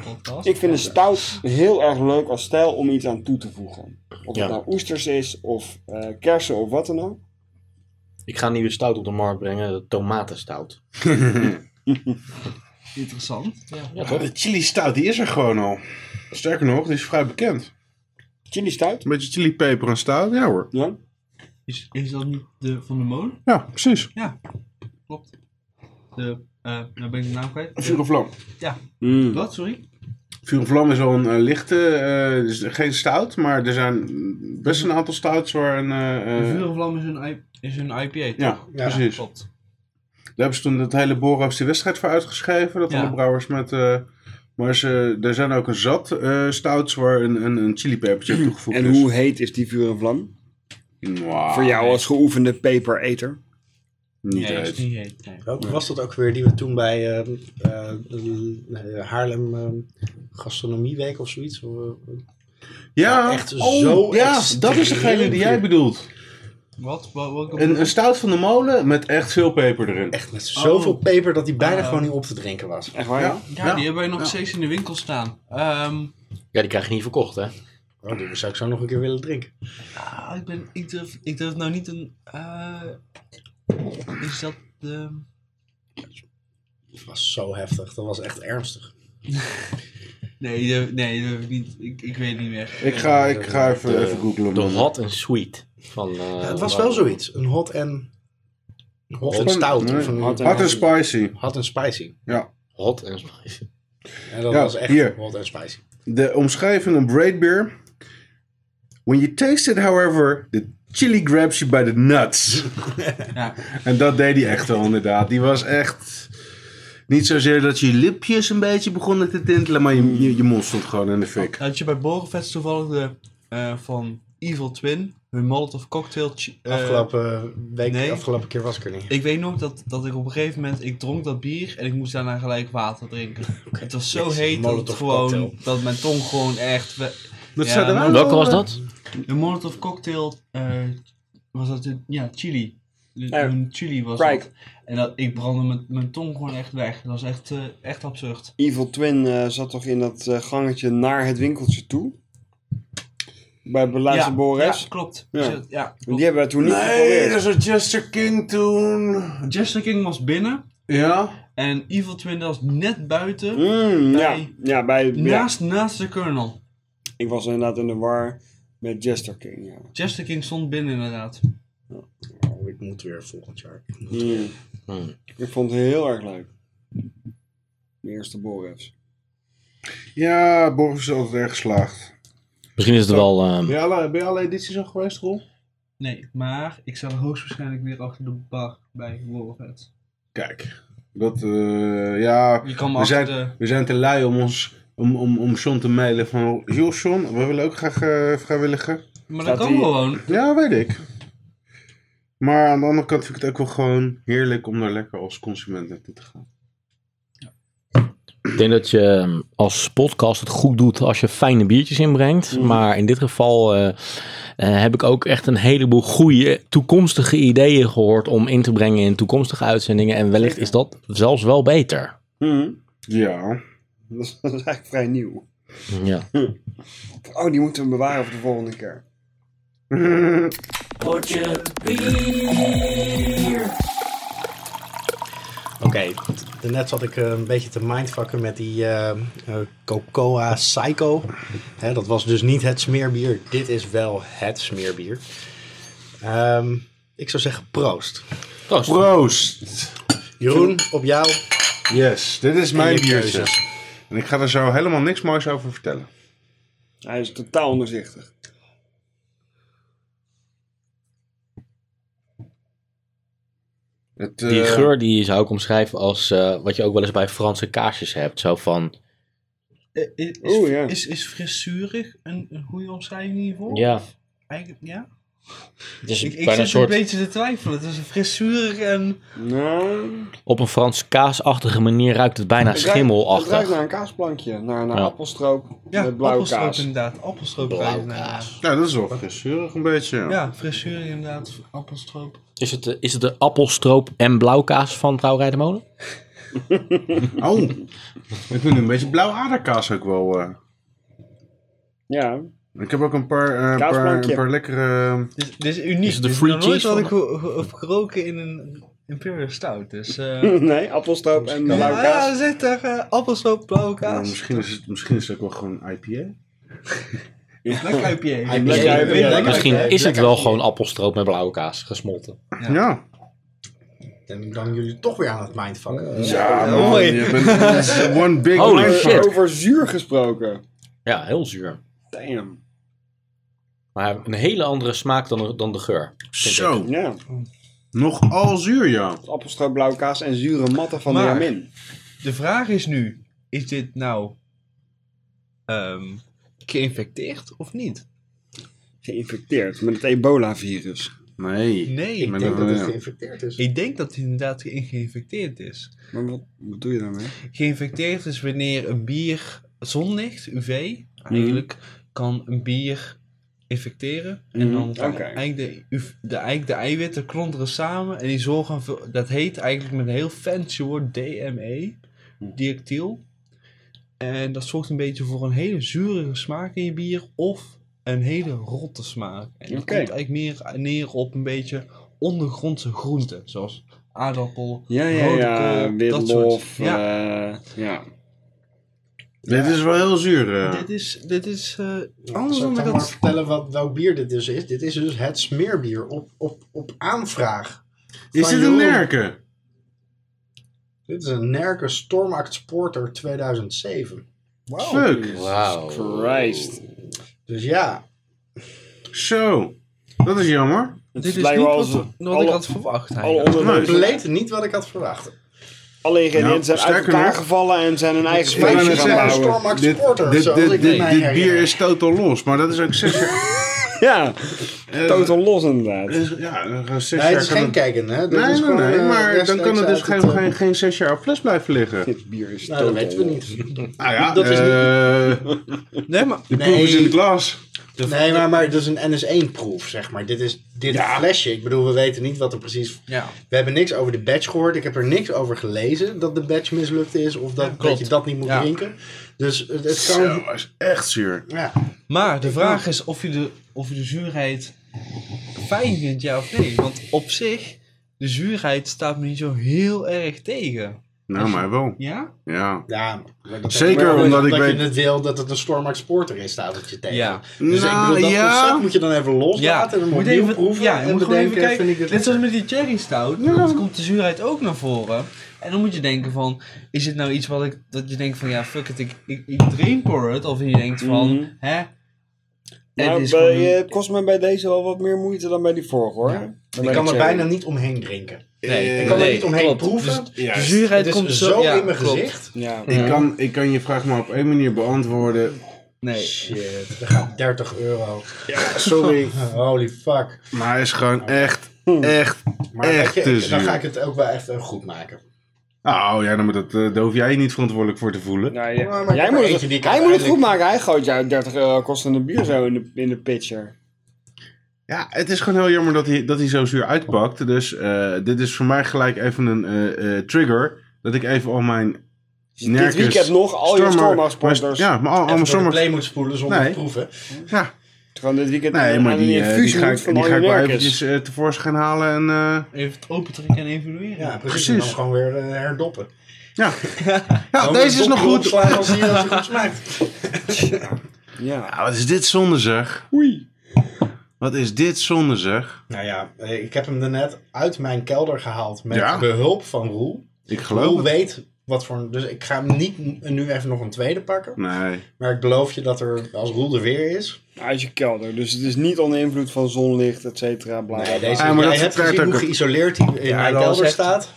podcast.
Ik vind een stout heel erg leuk als stijl om iets aan toe te voegen. Of
Ja.
het nou oesters is, of eh, kersen, of wat dan ook.
Ik ga een nieuwe stout op de markt brengen. De tomatenstout.
Interessant. Ja.
Ja, toch?
de chili stout, die is er gewoon al. Sterker nog, die is vrij bekend.
Chili stout.
Een beetje chili peper en stout. Ja hoor.
Ja.
Is, is dat niet de Van de Molen?
Ja, precies.
Klopt. De, eh nou ben ik de naam kwijt.
Vuur en vlam.
Mm.
Wat, sorry?
Vuur en vlam is al een eh, lichte, eh, is geen stout, maar er zijn best een aantal stouts waar een... eh,
De
eh,
Vuur en Vlam is een, I- is een IPA, toch?
ja, precies. Daar
Klopt.
hebben ze toen dat hele Bora's de wedstrijd voor uitgeschreven. Dat
Ja.
alle brouwers met... eh, maar ze, er zijn ook een zat eh, stouts waar een, een, een chilipepertje aan toegevoegd
En
is.
hoe heet is die vuur en vlam?
Mwah,
Voor jou als geoefende pepereter.
Niet
Nee, dat is
uit.
niet heet. Nee.
Welke was dat ook weer die we toen bij eh, eh, eh, Haarlem eh, Gastronomieweek of zoiets? Of, eh,
Ja, Oh,
echt zo
ja
extreem
dat is degene die jij
vuur.
bedoelt.
Wat? Wat? wat,
Een, een stout van de molen met echt veel peper erin.
echt met zoveel peper dat die bijna
Oh.
gewoon niet op te drinken was.
Echt waar?
Ja.
ja, die hebben we nog steeds in de winkel staan. Ehm,
Ja, die krijg je niet verkocht, hè?
Oh, die zou ik zo nog een keer willen drinken.
ah, ik, ben, ik, durf, ik durf nou niet een... eh, is dat de...
Dat was zo heftig. Dat was echt ernstig.
Nee, durf- nee durf ik niet. Ik, ik weet het niet meer.
Ik ga, ik ga even,
De-
even googlen.
De hot en sweet. Van, eh,
Ja, het was wel zoiets. Een hot en... Hot en
Hot-
stout.
nee,
of een-
hot en-
Hot and spicy.
hot en spicy.
Hot en spicy.
En dat
Ja,
was echt
hier.
hot en spicy.
De omschrijving een braid beer. When you taste it, however, the chili grabs you by the nuts.
Ja.
En dat deed hij echt wel, inderdaad. Die was echt... Niet zozeer dat je lipjes een beetje begonnen te tintelen, maar je, je, je mond stond gewoon in de fik.
Had je bij Borenfest toevallig de eh, van Evil Twin, hun Molotov cocktail... chi- eh,
afgelopen week,
nee.
afgelopen keer was ik er niet.
Ik weet nog dat, dat ik op een gegeven moment, ik dronk dat bier en ik moest daarna gelijk water drinken. Het was zo
Jezus,
heet dat, het
Molotov
gewoon,
cocktail.
dat mijn tong gewoon echt... we-
Dat
Ja,
zouden wij
maar-
Welke
wel,
was
eh,
dat?
De Molotov cocktail, eh, was dat de, ja, chili. De-
Ja,
Een chili was
Prijk.
dat. En dat, ik brandde mijn, mijn tong gewoon echt weg. Dat was echt, eh, echt absurd.
Evil Twin eh, zat toch in dat eh, gangetje naar het winkeltje toe? Bij Beleid
ja,
en Boris?
ja, klopt.
Ja.
Ja. Ja,
En
klopt.
Die hebben we toen niet
Nee,
geprobeerd.
dat is een Jester King toen.
Jester King was binnen
Ja?
en Evil Twin was net buiten,
Mm, ja,
Bij-
ja, bij, ja,
naast, naast de kernel.
ik was inderdaad in de war met Jester King. Ja.
Jester King stond binnen inderdaad.
Oh, ik moet weer volgend jaar.
Mm.
Hmm.
Ik vond het heel erg leuk. De eerste Borefs.
Ja, Boris is altijd erg geslaagd.
Misschien is het wel... ehm,
Ben je alle, ben je alle edities al geweest, Roel?
Nee, maar ik sta hoogstwaarschijnlijk weer achter de bar bij Warhead.
Kijk, dat, eh, ja,
Je kan me
we zijn,
achter de...
we zijn te lui om ons, om, om, om John te mailen van, joh John, we willen ook graag eh, vrijwilliger.
Maar
Staat
dat kan
die-
gewoon.
Ja, weet ik. Maar aan de andere kant vind ik het ook wel gewoon heerlijk om daar lekker als consument naartoe te gaan.
Ik denk dat je ehm, als podcast het goed doet als je fijne biertjes inbrengt.
Mm.
Maar in dit geval eh, eh, heb ik ook echt een heleboel goede toekomstige ideeën gehoord om in te brengen in toekomstige uitzendingen. En wellicht is dat zelfs wel beter.
Mm.
Ja.
Dat is dat is eigenlijk vrij nieuw.
Ja.
Oh, die moeten we bewaren voor de volgende keer.
Oké, net zat ik eh, een beetje te mindfucken met die eh, eh, Cocoa Psycho. Hè, dat was dus niet het smeerbier. Dit is wel het smeerbier. Ehm, ik zou zeggen proost.
Proost!
Jeroen, op jou.
Yes, dit is mijn
je
biertje.
keuzes.
En ik ga er zo helemaal niks moois over vertellen.
Hij is totaal onderzichtig.
Het,
Die
eh,
geur die zou ik omschrijven als eh, wat je ook wel eens bij Franse kaasjes hebt. Zo van,
Eh, Is, is,
Oeh, ja.
is, is frissurig een, een goede omschrijving hiervoor?
ja,
Eigenlijk, ja?
dus
Ik, ik
bijna
zit
een soort
een beetje te twijfelen tussen frissurig en...
Nou,
op een Franse kaasachtige manier ruikt het bijna
het ruikt- Het ruikt
schimmelachtig.
naar een kaasplankje. Naar, naar
Ja.
appelstroop
Ja,
met blauwe
appelstroop
kaas.
inderdaad. Appelstroop
Blauwe
lijkt me,
kaas.
Ja, Nou, dat is wel frissurig een beetje.
Ja, ja frissurig inderdaad. Appelstroop.
Is het, de- is het de appelstroop en blauwkaas van Brouwerij de Molen?
Oh, ik vind een beetje blauw aderkaas ook wel. eh.
Ja,
Ik heb ook een paar, eh, een paar,
Kaasplankje.
een paar lekkere... eh,
Dit, is- dit is uniek.
Is het de
Dit
free
nog nooit
cheese
had
van-
ik ge- ge- ge- geroken in een Imperial Stout. Dus... eh,
nee, appelstroop en blauwe
Ja,
kaas.
er zit er eh, appelstroop, blauwe
nou,
kaas.
misschien, is het, misschien is het ook wel gewoon IPA.
Black IPA.
Hij
Black
bleek-
IPA.
bleek-
Black
Misschien
bleek-
is het
bleek-
wel gewoon appelstroop met blauwe kaas gesmolten.
Ja. ja.
En dan jullie toch weer aan het mindfucken. Dus
man,
mooi.
Je bent one big
Holy
mindfuck.
shit.
Over zuur gesproken.
Ja, heel zuur.
Damn.
Maar een hele andere smaak dan, dan de geur. vind ik.
Zo,
Ja,
nogal zuur, ja.
appelstroop, blauwe kaas en zure matten van
Maar-
de Jamin.
De vraag is nu, is dit nou ehm, geïnfecteerd of niet?
Geïnfecteerd met het ebola-virus.
Nee.
Nee,
Ik
ik,
Maar
denk
dan-
dat
ja.
het geïnfecteerd is.
denk dat het inderdaad ge- geïnfecteerd is.
Maar wat, wat doe je daarmee?
Geïnfecteerd is wanneer een bier zonlicht, UV, eigenlijk kan een bier infecteren. En
Mhm,
dan kan
oké.
eigenlijk, de, uf- de, eigenlijk de eiwitten klonteren samen en die zorgen voor, dat heet eigenlijk met een heel fancy woord DME,
Mhm.
diactyl. En dat zorgt een beetje voor een hele zure smaak in je bier of een hele rotte smaak. En dat
Oké.
komt eigenlijk meer neer op een beetje ondergrondse groenten, zoals aardappel,
Ja, ja,
rode
ja. eh,
kool, dat soort.
Witlof. Ja. ja.
Dit is wel heel zuur. eh.
Dit is, dit is eh,
Anders
anders
zal
dan
ik
dat
dan maar vertellen wat, welk bier dit dus is. Dit is dus het smeerbier op, op, op aanvraag.
Is dit
Van
een
Jeroen.
nerken?
Dit is een Nerke Stormact Sporter 2007.
Fuck.
Wauw.
Christ.
Dus ja,
Zo. Dat is jammer.
Het
Dit is
lijkt
niet
wel
wat,
als-
wat
alle-
ik had verwacht.
Alle,
eigenlijk.
Nee.
onder,
Dus-
compleet niet wat ik had verwacht.
alle ingrediënten
Nou,
zijn uit
sterker
elkaar
nog-
gevallen en zijn een eigen
Ik wou
smaakje
net
gaan
zeggen,
bouwen.
Stormax
dit,
Porter,
dit,
zoals
dit,
ik
dit-
me
dit
herinner.
bier is totaal los, maar dat is ook zes jaar...
Ja,
eh,
totaal los inderdaad.
is- Ja, eh, zes
Nee,
jaar
het is
kan
geen
het-
kijken, hè? Dit
Nee,
is
nee,
gewoon,
nee,
eh,
maar dan
rechtstreeks
kan het dus
uit
geen,
eh,
geen, geen zes jaar op fles blijven liggen.
Dit bier is
Nou, dat
totaal
weten we
los.
niet.
Nou ja,
Dat is niet-
eh,
Nee, maar
de
Nee.
proef is in de glas.
Nee, maar, maar dat is een NS1-proef, zeg maar. Dit is dit flesje. Ik bedoel, we weten niet wat er precies...
Ja.
We hebben niks over de batch gehoord. Ik heb er niks over gelezen dat de batch mislukt is. Of dat, dat
klopt.
je dat niet moet
Ja.
drinken. Dus het, het kan...
Zo, hij is echt zuur.
Ja.
Maar de vraag is of je de, of je de zuurheid fijn vindt, ja of nee. Want op zich, de zuurheid staat me niet zo heel erg tegen.
Nou, maar wel.
Ja?
Ja.
ja maar dat-
Zeker,
maar
omdat ik
dat
weet-
je het wil dat het een Stormax Sporter is, staat het je tegen.
Ja.
Dus ik
Nou,
bedoel, dat
ja.
concept moet je dan even loslaten. En dan
Moet
moet je
even-
proeven.
ja, je
en
moet gewoon even
bedenken,
kijken.
vind ik dit...
Net zoals met die cherry stout, dan komt de zuurheid ook naar voren. En dan moet je denken van, is dit nou iets wat ik, dat je denkt van, ja, fuck it, ik, ik, ik drain pour het. Of je denkt van,
Mhm.
hè?
Nou,
het is
bij,
gewoon-
eh, het kost me bij deze wel wat meer moeite dan bij die vorige hoor. Dan bij
Ik
de
kan er
cherry.
bijna niet omheen drinken.
nee,
Ik kan er
nee,
niet omheen
klopt.
proeven.
Dus-
De
Juist.
zuurheid
het is
komt
zo,
zo, ja,
in mijn
klopt.
gezicht.
Ja.
Ik kan, ik kan je vraag maar op één manier beantwoorden.
Nee.
Shit, er gaat 30 euro. Ja, sorry. Holy fuck.
Maar hij is gewoon echt, echt,
Maar
echt dus,
weet je,
te
dan ga
zuur.
ik het ook wel echt eh, goed maken.
Oh ja, dan moet dat, eh, daar hoef jij je niet verantwoordelijk voor te voelen.
Nou, ja.
Maar- maar
Jij
er
moet het,
eentje die ik
hij moet het
uiteindelijk-
goed maken. Hij gooit jou 30 euro kostende bier zo in de, in de pitcher.
Ja, het is gewoon heel jammer dat hij, dat hij zo zuur uitpakt. Dus eh, dit is voor mij gelijk even een eh, eh, trigger. Dat ik even al mijn nerkens...
Dit weekend nog al je
maar-
Stormax-sponsors.
Ja, maar al,
Even
allemaal
door de
Stormax.
play moet spoelen zonder
Nee.
te proeven.
Ja.
Gewoon dit weekend
Nee,
aan
maar
een
die, eh, die
infusie
ga
moet
ik,
van
die ga ik wel
Aljenerkens.
eventjes eh, tevoorschijn halen. En, eh,
Even het open trekken en evalueren.
Ja, precies.
Precies.
En dan gewoon weer eh, herdoppen.
ja, ja
Gewoon
deze
weer
is nog
dopje
goed.
opslaan als die als die goed smaakt.
Ja.
Ja, Ah, wat is dit zonde zeg.
Oei.
Wat is dit zonde zeg.
Nou ja, eh, ik heb hem daarnet uit mijn kelder gehaald met
Ja.
behulp van Roel.
Ik geloof
Roel
het.
weet wat voor... een- Dus ik ga hem niet n- nu even nog een tweede pakken.
Nee.
Maar ik beloof je dat er, als Roel er weer is...
Uit je kelder. Dus het is niet onder invloed van zonlicht, et cetera. Bla, bla,
Nee,
bla.
deze,
Ja, maar
jij
dat
hebt
verklaart
gezien
ook
hoe
het-
geïsoleerd hij in mijn
dat was
kelder
echt-
staat.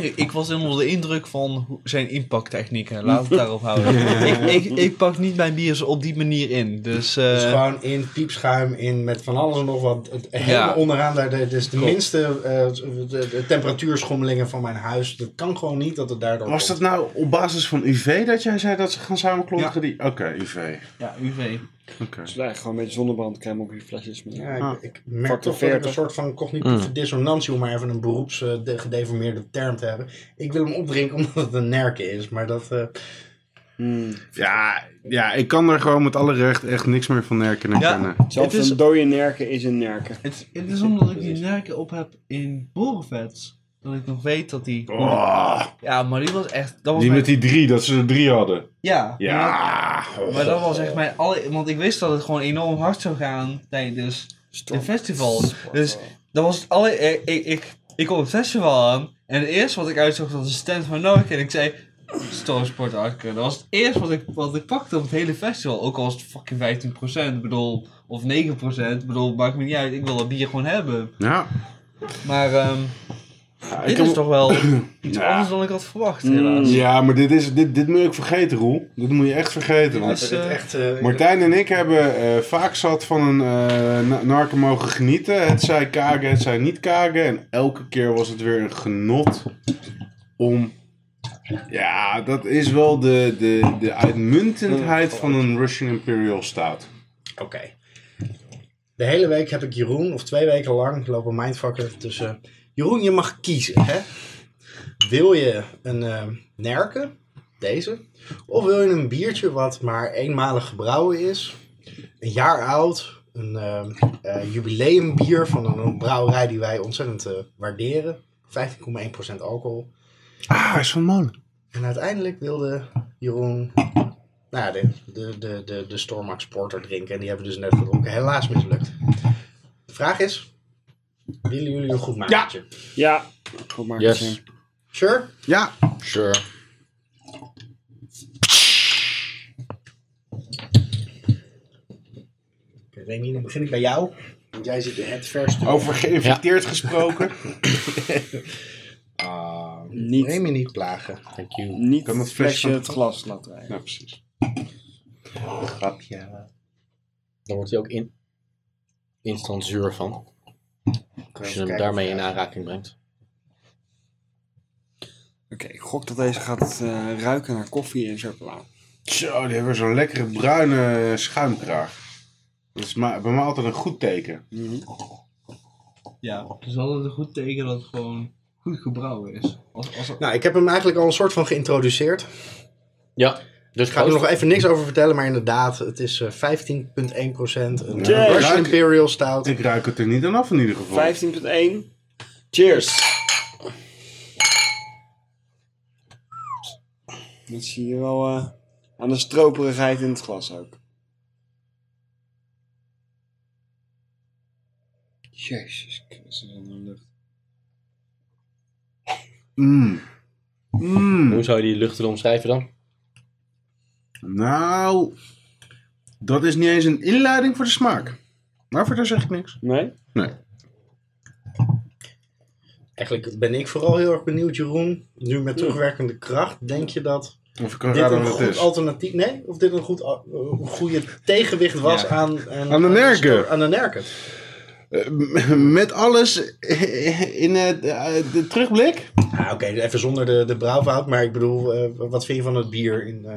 Ik, ik was helemaal onder de indruk van hoe- zijn impacttechnieken. Laat het daarop houden. ik, ik, ik pak niet mijn bier zo op die manier in. Dus, eh,
Dus gewoon in piepschuim, in met van alles en nog wat. Het Helemaal onderaan, daar, dit is de minste eh, de, de temperatuurschommelingen van mijn huis. Dat kan gewoon niet dat het daardoor
Was dat
komt.
nou op basis van UV dat jij zei dat ze gaan samenklonteren? die Oké, UV.
ja, UV.
Oké.
Dus eigenlijk gewoon een beetje zonnebrandcrème op je flesjes. meer.
Ja, ik,
Ah.
ik merk
Factor
toch dat ik
40.
een soort van cognitieve dissonantie, om maar even een beroeps eh, de- gedeformeerde term te hebben. Ik wil hem opdrinken omdat het een nerken is, maar dat... eh,
Hmm.
Ja, ja, ik kan er gewoon met alle recht echt niks meer van herkennen.
Ja.
kennen.
Zelfs
Het is-
een dode nerken is een nerken.
Het, het is omdat ik die nerken op heb in borenvets. Dat ik nog weet dat die...
Oh,
Ja, maar die was echt... Dat was
die
mijn-
met die drie, dat ze er drie hadden.
Ja. Maar,
Ja.
maar dat was echt mijn... Alle, want ik wist dat het gewoon enorm hard zou gaan tijdens de festivals. Dus dat was het alle... eh, Ik, ik, ik, ik kom op het festival aan. En het eerste wat ik uitzocht was een stand van Nokia. En ik zei... Stormsport Arcade. Dat was het eerste wat ik, wat ik pakte op het hele festival. Ook al was het fucking 15%. Ik bedoel, of 9%. Ik bedoel, maakt me niet uit. Ik wil dat bier gewoon hebben.
Ja.
Maar ehm,
Ja,
dit
ik kan-
is toch wel iets
Ja.
anders dan ik had verwacht, helaas.
Ja, maar dit, is, dit, dit moet je ook vergeten, Roel. Dit moet je echt vergeten.
Ja,
Want
is, eh,
Echt, eh,
Martijn en ik hebben eh, vaak zat van een eh, na- narken mogen genieten. Het zij kagen, het zij niet kagen. En elke keer was het weer een genot om... Ja, dat is wel de, de, de uitmuntendheid van een Russian Imperial Stout.
Oké. De hele week heb ik Jeroen, of twee weken lang, lopen mindfucker tussen... Jeroen, je mag kiezen, hè? Wil je een eh, nerken, deze? Of wil je een biertje wat maar eenmalig gebrouwen is, een jaar oud, een eh, eh, jubileumbier van een brouwerij die wij ontzettend eh, waarderen, 15,1% alcohol.
Ah, is van molen.
En uiteindelijk wilde Jeroen nou ja, de, de, de, de, de Stormax Porter drinken. En die hebben we dus net gedronken. Helaas mislukt. De vraag is, willen jullie een goed maatje?
Ja. Goed maar.
Yes.
Sure?
Ja,
Sure.
Oké, Remy, dan begin ik bij jou. Want jij zit het verste.
over geïnfecteerd gesproken.
Niet,
Remy niet plagen.
Thank you.
niet
Kan dat
het
flesje
flesje
van-
het glas laten rijden.
Nou, precies.
Dan wordt hij ook in, instant zuur van. Als je hem
Kijk,
daarmee in
ja.
aanraking brengt.
Oké, ik gok dat deze gaat eh, ruiken naar koffie en chocola.
Zo, die hebben zo'n lekkere bruine schuimkraag. Dat is ma- bij mij altijd een goed teken.
Ja, het is altijd een goed teken dat het gewoon goed gebrouwen is. Als, als,
Nou, ik heb hem eigenlijk al een soort van geïntroduceerd.
Ja, dus
Ik ga er
proost.
nog even niks over vertellen, maar inderdaad, het is eh, 15,1%. Een eh,
Jee.
Russian Imperial Stout.
Ik ruik het er niet aan af in ieder geval.
15.1. Cheers. Dat zie je wel eh, aan de stroperigheid in het glas ook. Jezus Christus in de lucht.
Mm. Mm.
Hoe zou je die lucht willen omschrijven dan?
Nou, dat is niet eens een inleiding voor de smaak. Maar verder zeg ik niks.
Nee?
Eigenlijk ben ik vooral heel erg benieuwd, Jeroen. Nu met terugwerkende kracht, denk je dat
Of ik kan
dit
raden
een
wat het
goed
is.
alternatief... Nee, of dit een goed, al- een goede tegenwicht was
Ja.
aan... Aan,
de nerken.
Aan de nerken.
Eh, m- met alles in het, eh, de terugblik?
Ah, Oké, even zonder de, de brouwfout. Maar ik bedoel, eh, wat vind je van het bier? In, eh,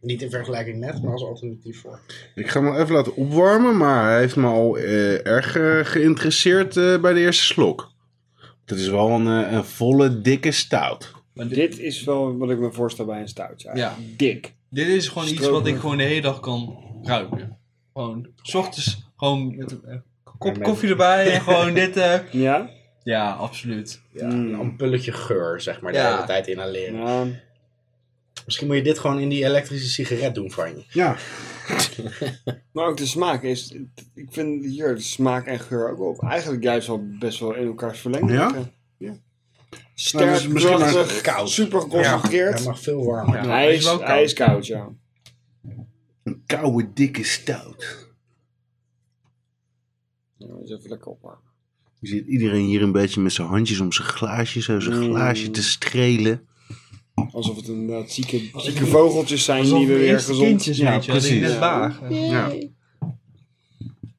niet in vergelijking met, maar als alternatief voor.
Ik ga hem wel even laten opwarmen, maar hij heeft me al eh, erg eh, geïnteresseerd eh, bij de eerste slok. Dat is wel een, eh, een volle, dikke stout.
maar dit,
Dit is wel wat ik me voorstel bij een stout.
Ja.
Dik.
dit is gewoon iets
Stroper.
wat ik gewoon de hele dag kan ruiken. Gewoon, s ochtends gewoon met een eh, kop koffie erbij en gewoon dit. eh.
Ja?
Ja, absoluut.
Ja,
Mm.
Een ampulletje geur, zeg maar, de
Hmm. Ja.
hele tijd inhaleren.
Ja.
Misschien moet je dit gewoon in die elektrische sigaret doen van je.
Ja,
Maar ook de smaak is... Ik vind hier de smaak en geur ook op. Eigenlijk juist wel best wel in elkaars verlengde.
Ja?
liggen. ja.
Nou, dat is
Sterk,
misschien maar-
krachtig,
Koud.
super geconcentreerd.
Hij mag veel warmer.
Ja,
hij, is,
wel
hij is koud, ja.
koude, dikke stout.
Ja, is even lekker opwarmen.
Je ziet iedereen hier een beetje met zijn handjes om zijn glaasje, zo zijn
Mm.
glaasje te strelen.
Alsof het inderdaad zieke, zieke vogeltjes zijn die we
de
weer
eerste
gezond...
kindjes,
Ja,
weet je wel, die ik
precies.
net baar.
Ja.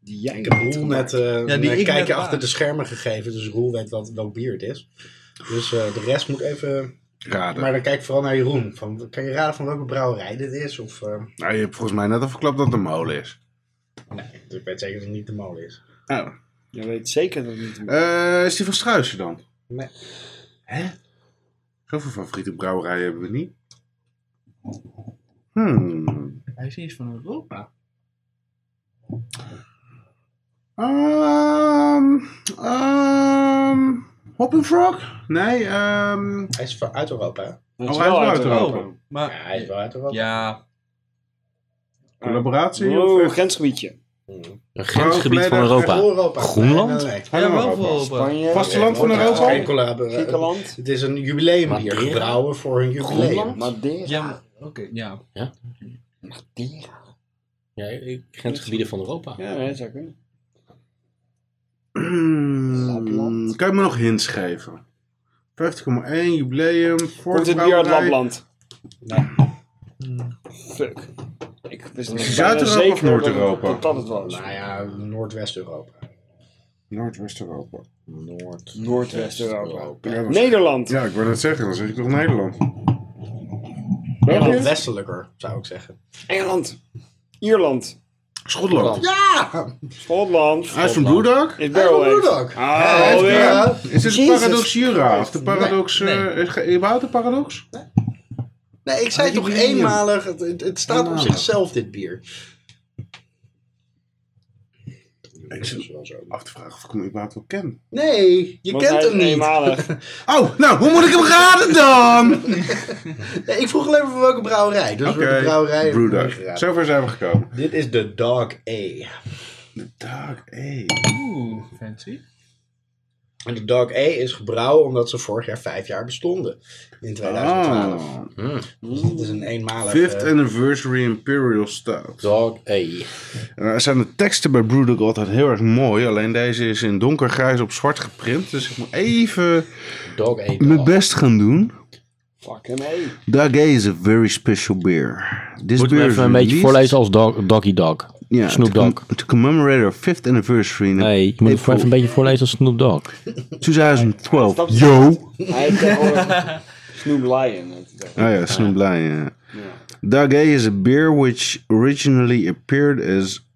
Die jij
Ik heb Roel net eh
Ja, die
een
ik
kijkje
net
achter
maak.
de schermen gegeven, dus Roel weet wat, welk bier het is. Dus eh, de rest moet even...
Raden.
Maar dan kijk vooral naar Jeroen. Van, kan je raden van welke brouwerij dit is? Of, eh,
Nou, je hebt volgens mij net al verklapt dat het een molen is.
Oh.
nee, dus ik weet zeker dat het niet de molen is.
Oh.
Je weet zeker dat het niet...
Eh, is die van Struisen dan?
Nee.
Hè? Zoveel favoriete brouwerijen hebben we niet. Hmm.
Hij is iets van Europa.
Ehm, ehm, Hopping Frog? Nee, ehm
Hij is van- uit Europa. hè?
Dat
Oh, hij is wel uit Europa.
Ja, hij is wel uit Europa.
Ja,
Collaboratie?
Wow,
of echt?
grensgebiedje.
Een grensgebied van
Oh,
Heel
Europa.
Europa.
Groenland?
Nee, nee, nee.
ja
Helemaal
wel eh, voor Europa.
Spanje.
Vasteland van
Nee, het is
Europa?
geen collab- eh,
Griekenland.
Het is een jubileum hier.
Madeira?
Gebrouwen voor een jubileum.
Groenland?
Madeira.
Ja, maar- oké. Ja.
Madeira.
Ja, ik- grensgebieden van Europa.
Ja, nee, dat zou kunnen.
Hmm, kan je me nog hints geven? 50,1 jubileum. voor
Wordt
de
het bier uit
brouwerij.
Lapland? Fuck. Ik wist niet bijna
Zuid-Europa of
zeker dat het-
Noord-Europa?
Dat dat het was.
Nou ja, Noordwest-Europa.
Noordwest-Europa.
Noord.
Noordwest-Europa.
Ja, dat is-
Nederland.
Ja, ik wil net zeggen, dan zeg ik toch Nederland.
Nederland westelijker, zou ik zeggen.
Engeland. Ierland.
Schotland.
Ja!
Schotland.
Hij is van Blue Dog.
Is
Hij
Barrel
is
Age.
van Blue Dog.
Ah,
Oh, Hij is
alweer.
Barrel Age.
Is dit een
Jesus
paradox Jura? Of de
Christ.
paradox... eh
Nee.
is ge- überhaupt een paradox?
Nee, ik zei
Ah,
toch
jubileum.
eenmalig. Het, het, het staat op
Eenmalig.
zichzelf, dit bier.
Ik zit af te vragen of ik hem überhaupt wel ken.
Nee, je
Want hij
kent
is
hem niet.
eenmalig.
Oh, nou, hoe moet ik hem raden dan?
Nee, ik vroeg alleen maar voor welke brouwerij. Dus voor de brouwerij.
Blue Dog.
Ja.
Zover zijn we gekomen.
Dit is de Dog A.
De Dog, hé.
Oeh, fancy.
En de Dog A is gebrouwen omdat ze vorig jaar vijf jaar bestonden. In 2012.
Ah.
Oh.
Dus dit is een eenmalig...
Fifth
eh,
Anniversary Imperial Stout.
Dog A.
En daar zijn de teksten bij Brewdog altijd heel erg mooi. Alleen deze is in donkergrijs op zwart geprint. Dus ik moet even
Dog A.
mijn best gaan doen.
Fuck hem, hey.
Dag A is a very special beer. This
Moet ik hem
beer is
even een beetje
released-
voorlezen als dog, Doggy Dog.
Ja,
Snoop
to com-
Dogg.
To commemorate our fifth anniversary in
Nee, je moet het
April
voor even een beetje voorlezen als Snoop Dogg.
2012.
Stap-
Yo!
Hij heeft tegenwoordig Snoop Lion. heeft hij tegenwoordig.
Oh ja, Snoop Lion. ja. Dag A is a beer which originally appeared as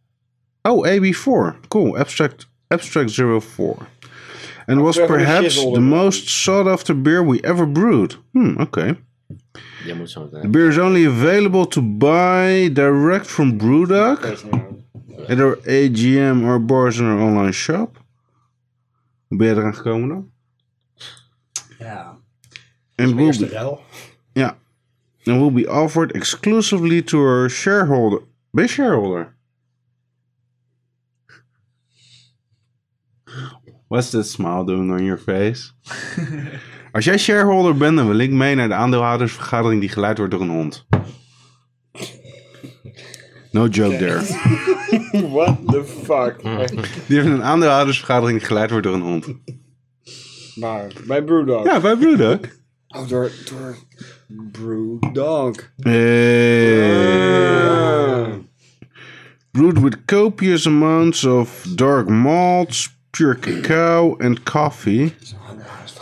oh AB4, cool abstract abstract 04, and was
Abstract
perhaps
shizzle.
the most sought after beer we ever brewed. Hmm, okay.
Je moet zo
The beer is only available to buy direct from Brewdog at our AGM, our bars, and our online shop. Hoe ben je eraan gekomen dan?
ja,
En
de eerste
Brewdog.
ruil.
Ja. And will be offered exclusively to our shareholder. Ben je shareholder? What's that smile doing on your face? Als jij shareholder bent, dan wil ik mee naar de aandeelhoudersvergadering die geleid wordt door een hond. No joke there.
What the fuck. Echt
Die hebben een aandeelhoudersvergadering die geleid wordt door een hond.
waar. Bij Brewdog.
Ja, bij Brewdog.
Oh, door, door Brewdog.
Hey. brewed with copious amounts of dark malts, pure cacao, and coffee,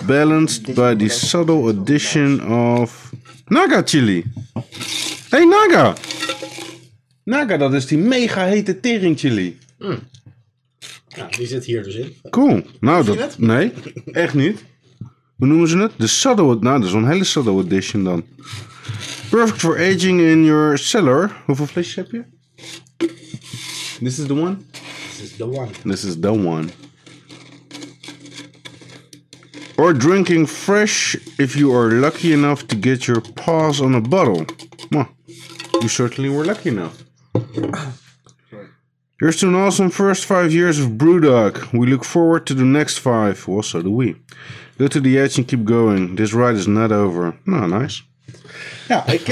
balanced by the subtle addition of naga chili. Hey naga! Naga, dat is die mega hete tering chili.
Nou, die zit hier dus in.
Cool. Nou, dat...
het?
Nee, echt niet. Hoe noemen ze het? De subtle... Nou, dat is wel een hele subtle edition dan. Perfect for aging in your cellar. Hoeveel flesjes heb je? This is the one?
Dit is de one.
This is the one. Or drinking fresh if you are lucky enough to get your paws on a bottle. Well, you certainly were lucky enough. Here's to an awesome first five years of Brewdog. We look forward to the next five. Well, so do we. Go to the edge and keep going. This ride is not over. Nou, nice. Ja, ik... I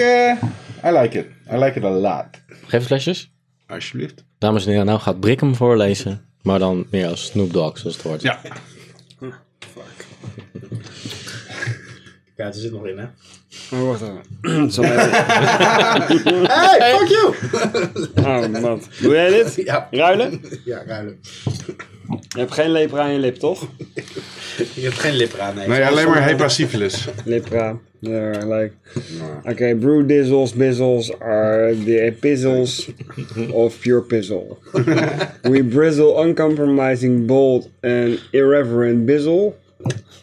like it. I like it a lot.
Geef het lesjes.
Alsjeblieft.
Dames en heren, nou gaat Brik hem voorlezen. Maar dan meer als Snoop Dogg, zoals het hoort.
Ja.
Ja, er zit nog in, hè.
Oh, wacht even. Zal even-
Hey, fuck you!
Oh, man. Doe jij dit?
Ja,
Ruilen?
ja ruilen.
Je hebt geen lepra aan je lip, toch?
Je hebt geen lip eraan, nee.
Nee, alleen maar hepasyphilis.
Lepra. Ja, uh, like. Oké, brew dizzles, bizzles are the epistles of pure pizzle. We brizzle uncompromising, bold and irreverent bizzle.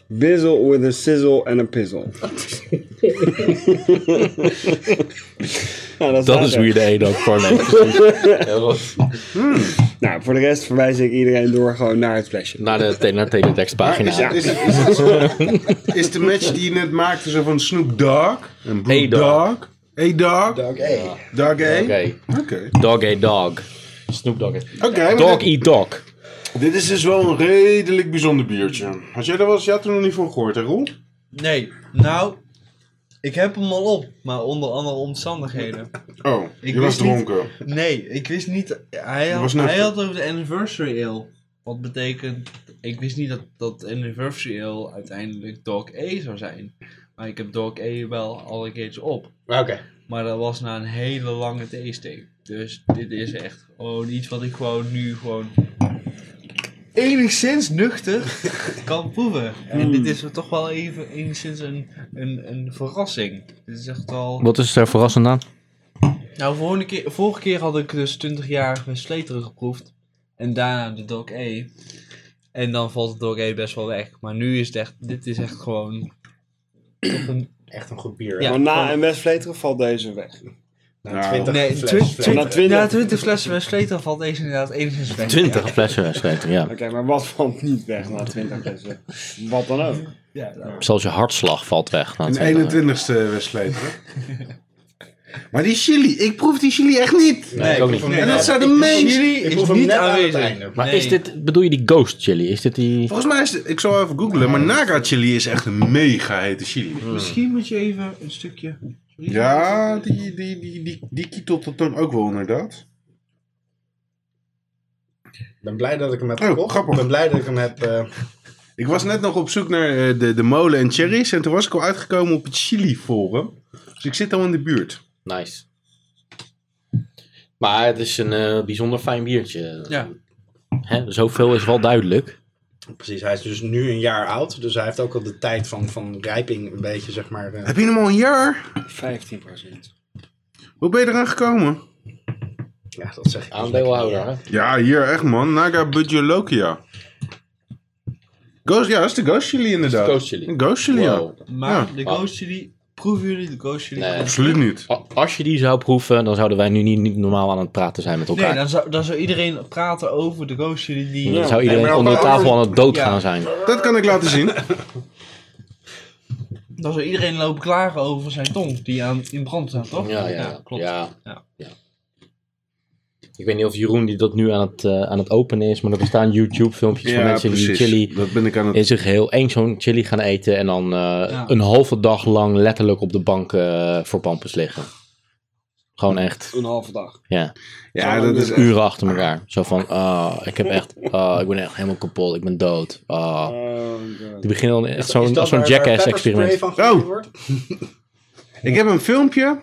Bizzle with a sizzle and a pizzle. nou, dat
Dat
is, waar,
is
hè.
hoe je de ene ook voor
Nou, voor de rest verwijs ik iedereen door gewoon naar het flesje.
Naar de te- naar de teletextpagina.
Is, het- is, het- is, het zo- is de match die je net maakte zo van Snoop Dogg en Blue
A-Dog.
Dogg? A-Dog? Dog A. Dog A?
Oké.
Oké.
Dog eat dog. Snoop dog.
Oké, maar
Dog
dit,
eat dog.
dit is dus wel een redelijk bijzonder biertje. Had jij er wel eens, jij had er nog niet van gehoord, hè Roel?
Nee, nou, ik heb hem al op, maar onder andere omstandigheden.
Oh,
Ik
je was
wist niet-
dronken.
Nee, ik wist niet. Hij had,
was nuchter.
hij had het over de anniversary ale. Wat betekent. Ik wist niet dat dat anniversary ale uiteindelijk Dog A zou zijn. Maar ik heb Dog A wel alle keertjes op.
Oké.
Maar dat was na een hele lange theesteek. Dus dit is echt gewoon iets wat ik gewoon nu gewoon enigszins nuchter kan proeven. En dit is toch wel even enigszins een, een, een verrassing. Dit is echt al...
Wat is er verrassend aan?
Nou, vorige keer, vorige keer had ik dus 20 jaar sleteren geproefd. En daarna de Dog E. En dan valt de Dog E best wel weg. Maar nu is het echt, dit is echt gewoon. toch een-
Echt een goed bier.
Ja.
Maar Nou, na en West Vleteren valt deze weg.
Nou,
Nee,
fles-
twin-
fles-
twin-
Na 20.
na 20 flessen bij sleteren valt deze inderdaad enigszins weg.
20 flessen wedstrijden, ja.
Oké, maar wat valt niet weg na 20 flessen? Wat dan ook.
Ja, nou.
Zelfs je hartslag valt weg. na
Een
het-
21ste wedstrijd. maar die chili, ik proef die chili echt niet.
Nee, ik ook niet.
Nee,
En
nee,
dat zijn de meest.
Ik
is
proef hem
niet
net aan het
aanwezig.
einde.
Maar
Nee.
is dit, bedoel je die ghost chili? Is dit die...
Volgens mij is het, ik zal even googlen, maar naga chili is echt een mega hete chili.
Misschien moet je even een stukje.
Ja, die, die, die, die, die kietelt dat dan ook wel inderdaad.
Ik ben blij dat ik hem heb
Oh,
gekocht.
grappig.
Ik ben blij dat ik hem heb... eh,
Ik was net nog op zoek naar eh, de, de molen en cherries en toen was ik al uitgekomen op het chili forum. Dus ik zit al in de buurt.
Nice. Maar het is een eh, bijzonder fijn biertje.
Ja.
Hè? Zoveel is wel duidelijk.
precies, hij is dus nu een jaar oud. Dus hij heeft ook al de tijd van, van rijping een beetje, zeg maar... eh,
Heb je hem al een jaar?
15
Hoe ben je eraan gekomen?
ja, dat zeg ik. dus
Aandeelhouder. hè?
Ja, hier echt man. Naga Budjolokia. Ghost, ja, dat is de Ghost Chili inderdaad.
Ghost chili.
Een Ghost Chili, ja.
Wow.
Ja.
Maar de Ghost Chili, proeven jullie de Ghost Chili?
Hm. Nee.
Absoluut niet.
A- Als je die zou proeven, dan zouden wij nu niet, niet normaal aan het praten zijn met elkaar.
Nee, dan zou, dan zou iedereen praten over de Ghost Chili die.
Dan zou iedereen
Nee, maar
onder de
over-
tafel aan het dood
Ja.
gaan zijn.
Dat kan ik laten zien.
Dan zou iedereen lopen klagen over zijn tong die aan, in brand staat, toch?
Ja, ja,
klopt.
ja.
Ja.
ja. Ik weet niet of Jeroen die dat nu aan het, eh, aan het openen is, maar er bestaan YouTube-filmpjes van mensen die chili
Dat ben ik aan het...
in zijn geheel één zo'n chili gaan eten en dan eh, een halve dag lang letterlijk op de bank eh, voor pampers liggen. Gewoon echt,
Een halve dag.
ja.
Ja, dat is echt...
Uren achter elkaar. Zo van, ah, ik heb echt, ah, ik ben echt helemaal kapot, ik ben dood. ah.
Oh god.
Die beginnen dan echt
Is
zo'n
dat
als zo'n
waar- waar
jackass-experiment.
pepperspray van gemaakt
Oh.
wordt?
Ik heb een filmpje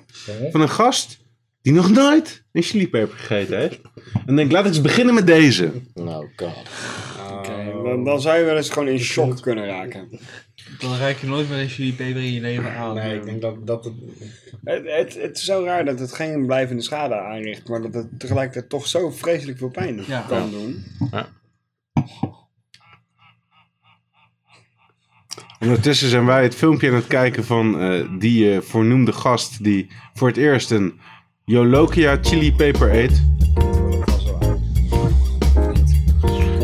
van een gast die nog nooit een chilipeper gegeten heeft. En ik denk, laat ik eens beginnen met deze.
Oh god.
Oké, dan, dan zou je wel eens gewoon in shock kunnen raken.
Dan ruik je nooit meer een chili peper in je leven aan. eh.
Nee, ik denk dat... dat het,
Het, het, het is zo raar dat het geen blijvende schade aanricht, maar dat het tegelijkertijd toch zo vreselijk veel pijn
Ja.
kan doen.
Ondertussen zijn wij het filmpje aan het kijken van eh, die eh, voornoemde gast die voor het eerst een Jolokia chili peper eet.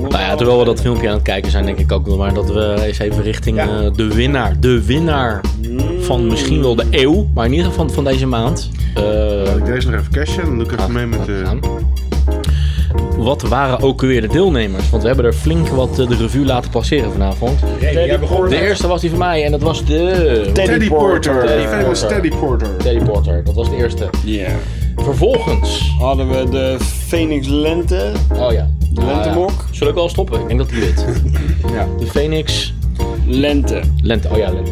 Nou ja, terwijl we dat filmpje aan het kijken zijn, denk ik ook wel maar dat we eens even richting
Ja.
eh, de winnaar. De winnaar van misschien wel de eeuw, maar in ieder geval van deze maand. eh,
Laat ik deze nog even cashen, dan doe ik even mee met de...
gaan. Wat waren ook weer de deelnemers? Want we hebben er flink wat eh, de revue laten passeren vanavond.
Remy, jij begon...
De eerste was die van mij en dat was de...
Teddy Porter,
Teddy
de famous
Porter.
Teddy Porter.
Teddy Porter, dat was de eerste.
Ja.
Vervolgens...
Hadden we de Phoenix Lente.
Oh ja.
Lentemok.
Ah, ja. Zullen we wel stoppen? Ik denk dat die wit.
Ja.
De Phoenix...
Lente.
Lente, oh ja, lente.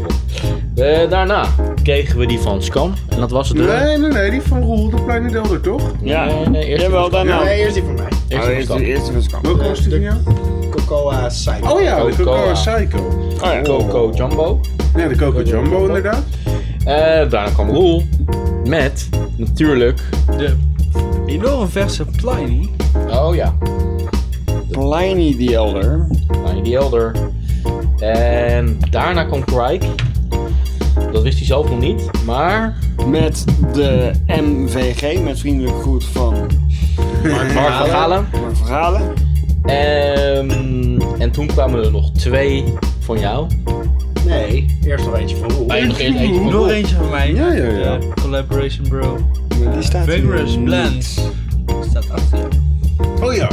Eh, daarna kregen we die van Scan. En dat was de...
Nee, nee, nee, die van Roel de Pleine Delder, toch?
Ja.
Nee, nee, eh, eerst
Jawel,
die
daarna.
Nee, eerst die van mij.
Eerst die van Scan.
eerste was
Welke was die van jou?
Cocoa Cyber.
Oh ja, de
Cocoa.
Cocoa Psycho.
Oh ja.
Coco Jumbo.
Ja, de Coco Jumbo inderdaad.
Eh, daarna kwam Roel. Met, natuurlijk...
Enorm verse Pliny.
Oh ja,
Pliny the Elder.
Pliny the Elder. En En daarna kwam Crike. Dat wist hij zelf nog niet. Maar
Met de MVG, met vriendelijk groet van
Mark van Galen.
Mark Verhalen.
Ehm, en toen kwamen er nog twee van jou.
Nee, eerst nog eentje van Roel.
Maar nog eerst eentje van
Nog
Roel.
eentje van mij.
Ja, ja, ja.
Eh, collaboration bro.
Die staat hier
Vigorous
niet.
Blends. Staat achter je.
Oh ja.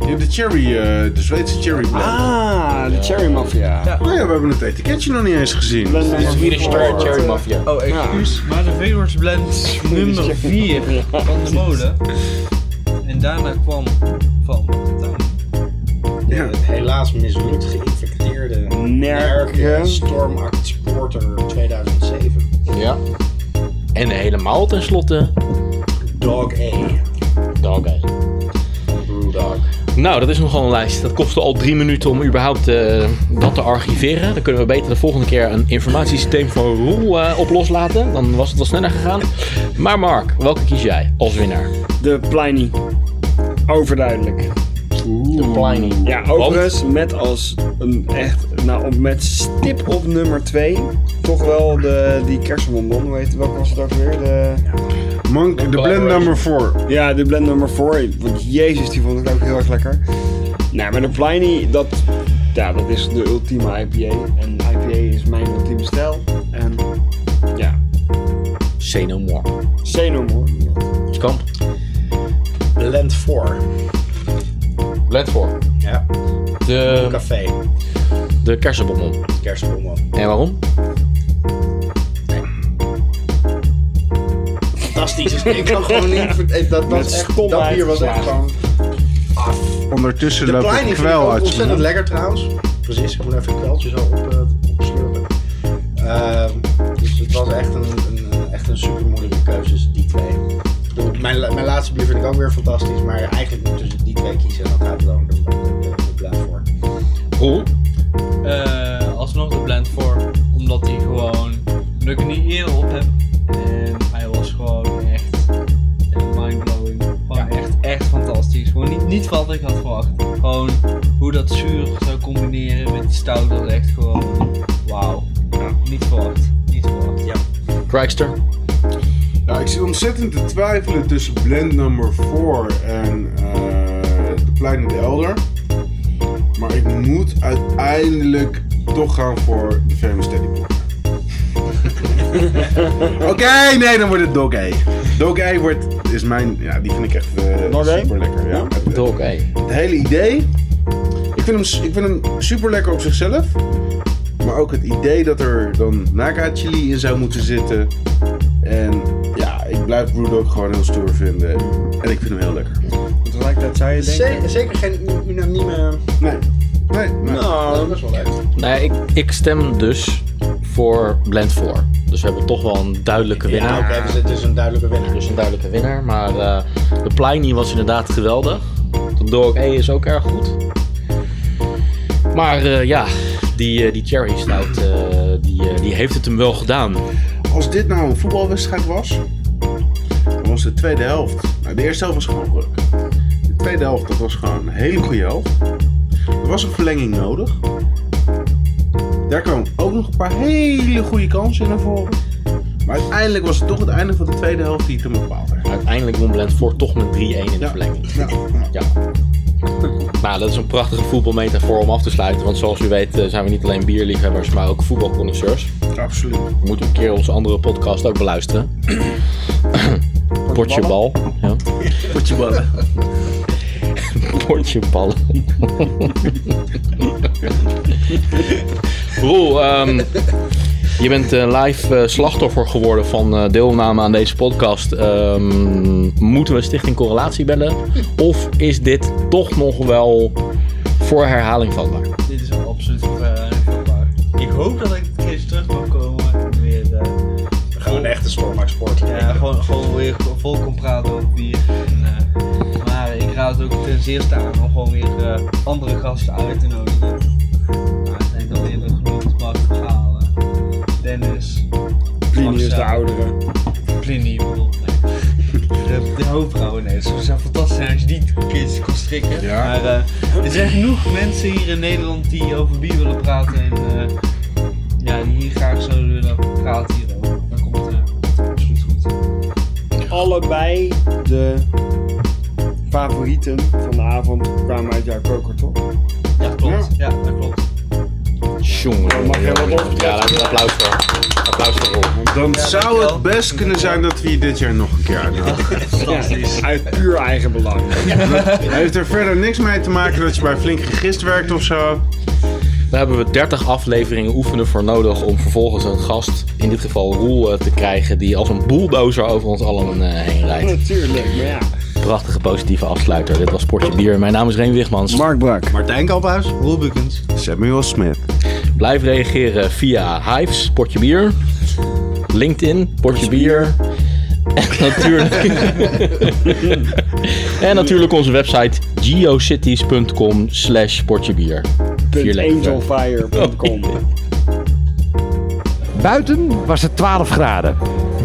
Je hebt de cherry, eh, de Zweedse cherry blend.
Ah, de Cherry Mafia.
Ja.
Oh ja, we hebben het etiketje nog niet eens gezien.
Blend
Dit is
Mafia.
Swedish Star Cherry Mafia.
Oh, excuus, maar de Vigorous Blend nummer 4 van de molen. En daarna kwam van
Ja.
Het helaas mislukt geïnfecteerde
Nerken.
Stormact Sporter 2007.
Ja. En helemaal tenslotte
Dog A.
Dog Eye.
Brewdog.
Nou, dat is nogal een lijst. Dat kostte al drie minuten om überhaupt eh, dat te archiveren. Dan kunnen we beter de volgende keer een informatiesysteem van Roel eh, op loslaten. Dan was het wel sneller gegaan. Maar Mark, welke kies jij als winnaar?
De Pliny. Overduidelijk.
De Pliny.
Ja, overigens met als een echt, nou op- met stip op nummer 2, toch wel de, die kersenbonbon, hoe heet, welke was het ook weer? De,
Monk, de blend number 4.
ja, de blend nummer 4, want jezus, die vond ik ook heel erg lekker. Nou, maar de Pliny, dat, ja, dat is de ultieme IPA. En IPA is mijn ultieme stijl. En ja,
Say no more.
say no more.
Kamp.
Blend 4.
Let voor.
Ja.
De,
Café.
de kersenbonbon.
Kerstbomen.
En waarom?
Fantastisch. ik kan gewoon niet... ver- eh, Dat,
Met
was echt, dat
stomheid
bier was echt
geslagen.
gewoon...
Ondertussen
De
loopt
Pliny
een
vind ik ook
kwel uit. zijn
ontzettend
mond.
lekker trouwens. Precies, ik moet even een kweltje zo op, eh, opslurpen. Ehm, dus het was echt een, een, eh, echt een super moeilijke keuze tussen die twee. Ik bedoel, Mijn, la- mijn laatste bier vind ik ook weer fantastisch, maar eigenlijk moet je tussen die twee kiezen en dan gaat het dan de, de, de blend voor.
Roel?
eh alsnog de blend voor, omdat die gewoon, omdat ik er niet eerder op heb. En hij was gewoon echt mindblowing. Gewoon echt, echt fantastisch. Gewoon niet, niet wat ik had verwacht. Gewoon hoe dat zuur zou combineren met die stout, dat is echt gewoon, wauw. Niet verwacht, niet verwacht. Ja.
Crikester.
Ja, ik zit ontzettend te twijfelen tussen blend number 4 en eh de Plein de Elder. Maar ik moet uiteindelijk toch gaan voor de Famous Teddy Bear. Oké, nee, dan wordt het Dog A. Dog A wordt, is mijn, ja, die vind ik echt eh,
Dog A?
super lekker. Ja. Het,
Oké.
het hele idee, ik vind, hem, ik vind hem super lekker op zichzelf. Maar ook het idee dat er dan naka chili in zou moeten zitten. En ja, ik blijf Brewdog gewoon heel stoer vinden. En ik vind hem heel lekker.
Tegelijkertijd zou je denken...
Ze- zeker geen u- unanieme...
Nee. Nee, nee.
Nou, dat is wel leuk.
Nee, ik, ik stem dus voor Blend 4. Dus we hebben toch wel een duidelijke winnaar.
Ja, oké, dus het is een duidelijke winnaar.
Dus een duidelijke winnaar. Maar eh, de Pliny was inderdaad geweldig. De Dog E is ook erg goed. Maar eh, ja, die, eh, die Cherry Stout, eh, die, eh, die heeft het hem wel gedaan.
Als dit nou een voetbalwedstrijd was, dan was de tweede helft. Nou, de eerste helft was gewoon ruk. De tweede helft, dat was gewoon een hele goede helft. Er was een verlenging nodig. Daar kwamen ook nog een paar hele goede kansen in naar voren. Maar uiteindelijk was het toch het einde van de tweede helft die het hem bepaald heeft.
Uiteindelijk won Blend 4 toch met 3-1 in de
Ja.
verlenging.
Ja, ja.
Ja. Nou, dat is een prachtige voetbalmetafoor om af te sluiten. Want zoals u weet eh, zijn we niet alleen bierliefhebbers, maar ook voetbalconnoisseurs.
Absoluut.
We moeten een keer onze andere podcast ook beluisteren. Potjebal. Ja.
Potjeballen.
Potjeballen. Roel, ehm, je bent eh, live eh, slachtoffer geworden van eh, deelname aan deze podcast. Ehm, moeten we Stichting Correlatie bellen? Of is dit toch nog wel voor herhaling vatbaar?
Dit is absoluut eh, verwaar. Ik hoop dat ik een keertje terug mag komen en weer, eh,
Gewoon een echte Stormax Sport.
ja, gewoon, gewoon weer vol kon praten over bier. En, eh, maar ik raad het ook ten zeerste aan om gewoon weer eh, andere gasten uit te nodigen. Nou, ik denk dat eerder genoemd Mark van Galen, eh, Dennis,
Pliny is de
Marcel,
oudere.
Pliny, ik bedoel, nee. de, de hoofdvrouwen, nee, ze zijn fantastisch als je die kids kon strikken.
Ja.
Maar eh, er zijn genoeg mensen hier in Nederland die over bier willen praten en eh, eh,
allebei de favorieten van de avond kwamen uit jouw koker, toch?
Ja, klopt. Ja, dat klopt.
Jongen,
mag je wel wat
jongen. Ja, laat een applaus voor. Applaus voor Rob.
Dan zou het best kunnen zijn dat we je dit jaar nog een keer uitnodigen.
Ja, uit puur eigen belang.
Heeft er verder niks mee te maken dat je bij Flink Gegist werkt of zo?
Daar hebben we 30 afleveringen oefenen voor nodig om vervolgens een gast, in dit geval Roel, eh, te krijgen die als een bulldozer over ons allen eh, heen rijdt.
Natuurlijk, maar ja.
Prachtige positieve afsluiter. Dit was Sportje Bier. Mijn naam is Reen Wichmans.
Mark Brak.
Martijn Kamphuis, Roel Bukens.
Samuel Smith.
Blijf reageren via Hives, Sportje Bier, LinkedIn, Sportje Bier. En natuurlijk, en natuurlijk onze website geocities.com slash sportjebier. Vier letters. Oh,
Angelfire.com.
Buiten was het 12 graden.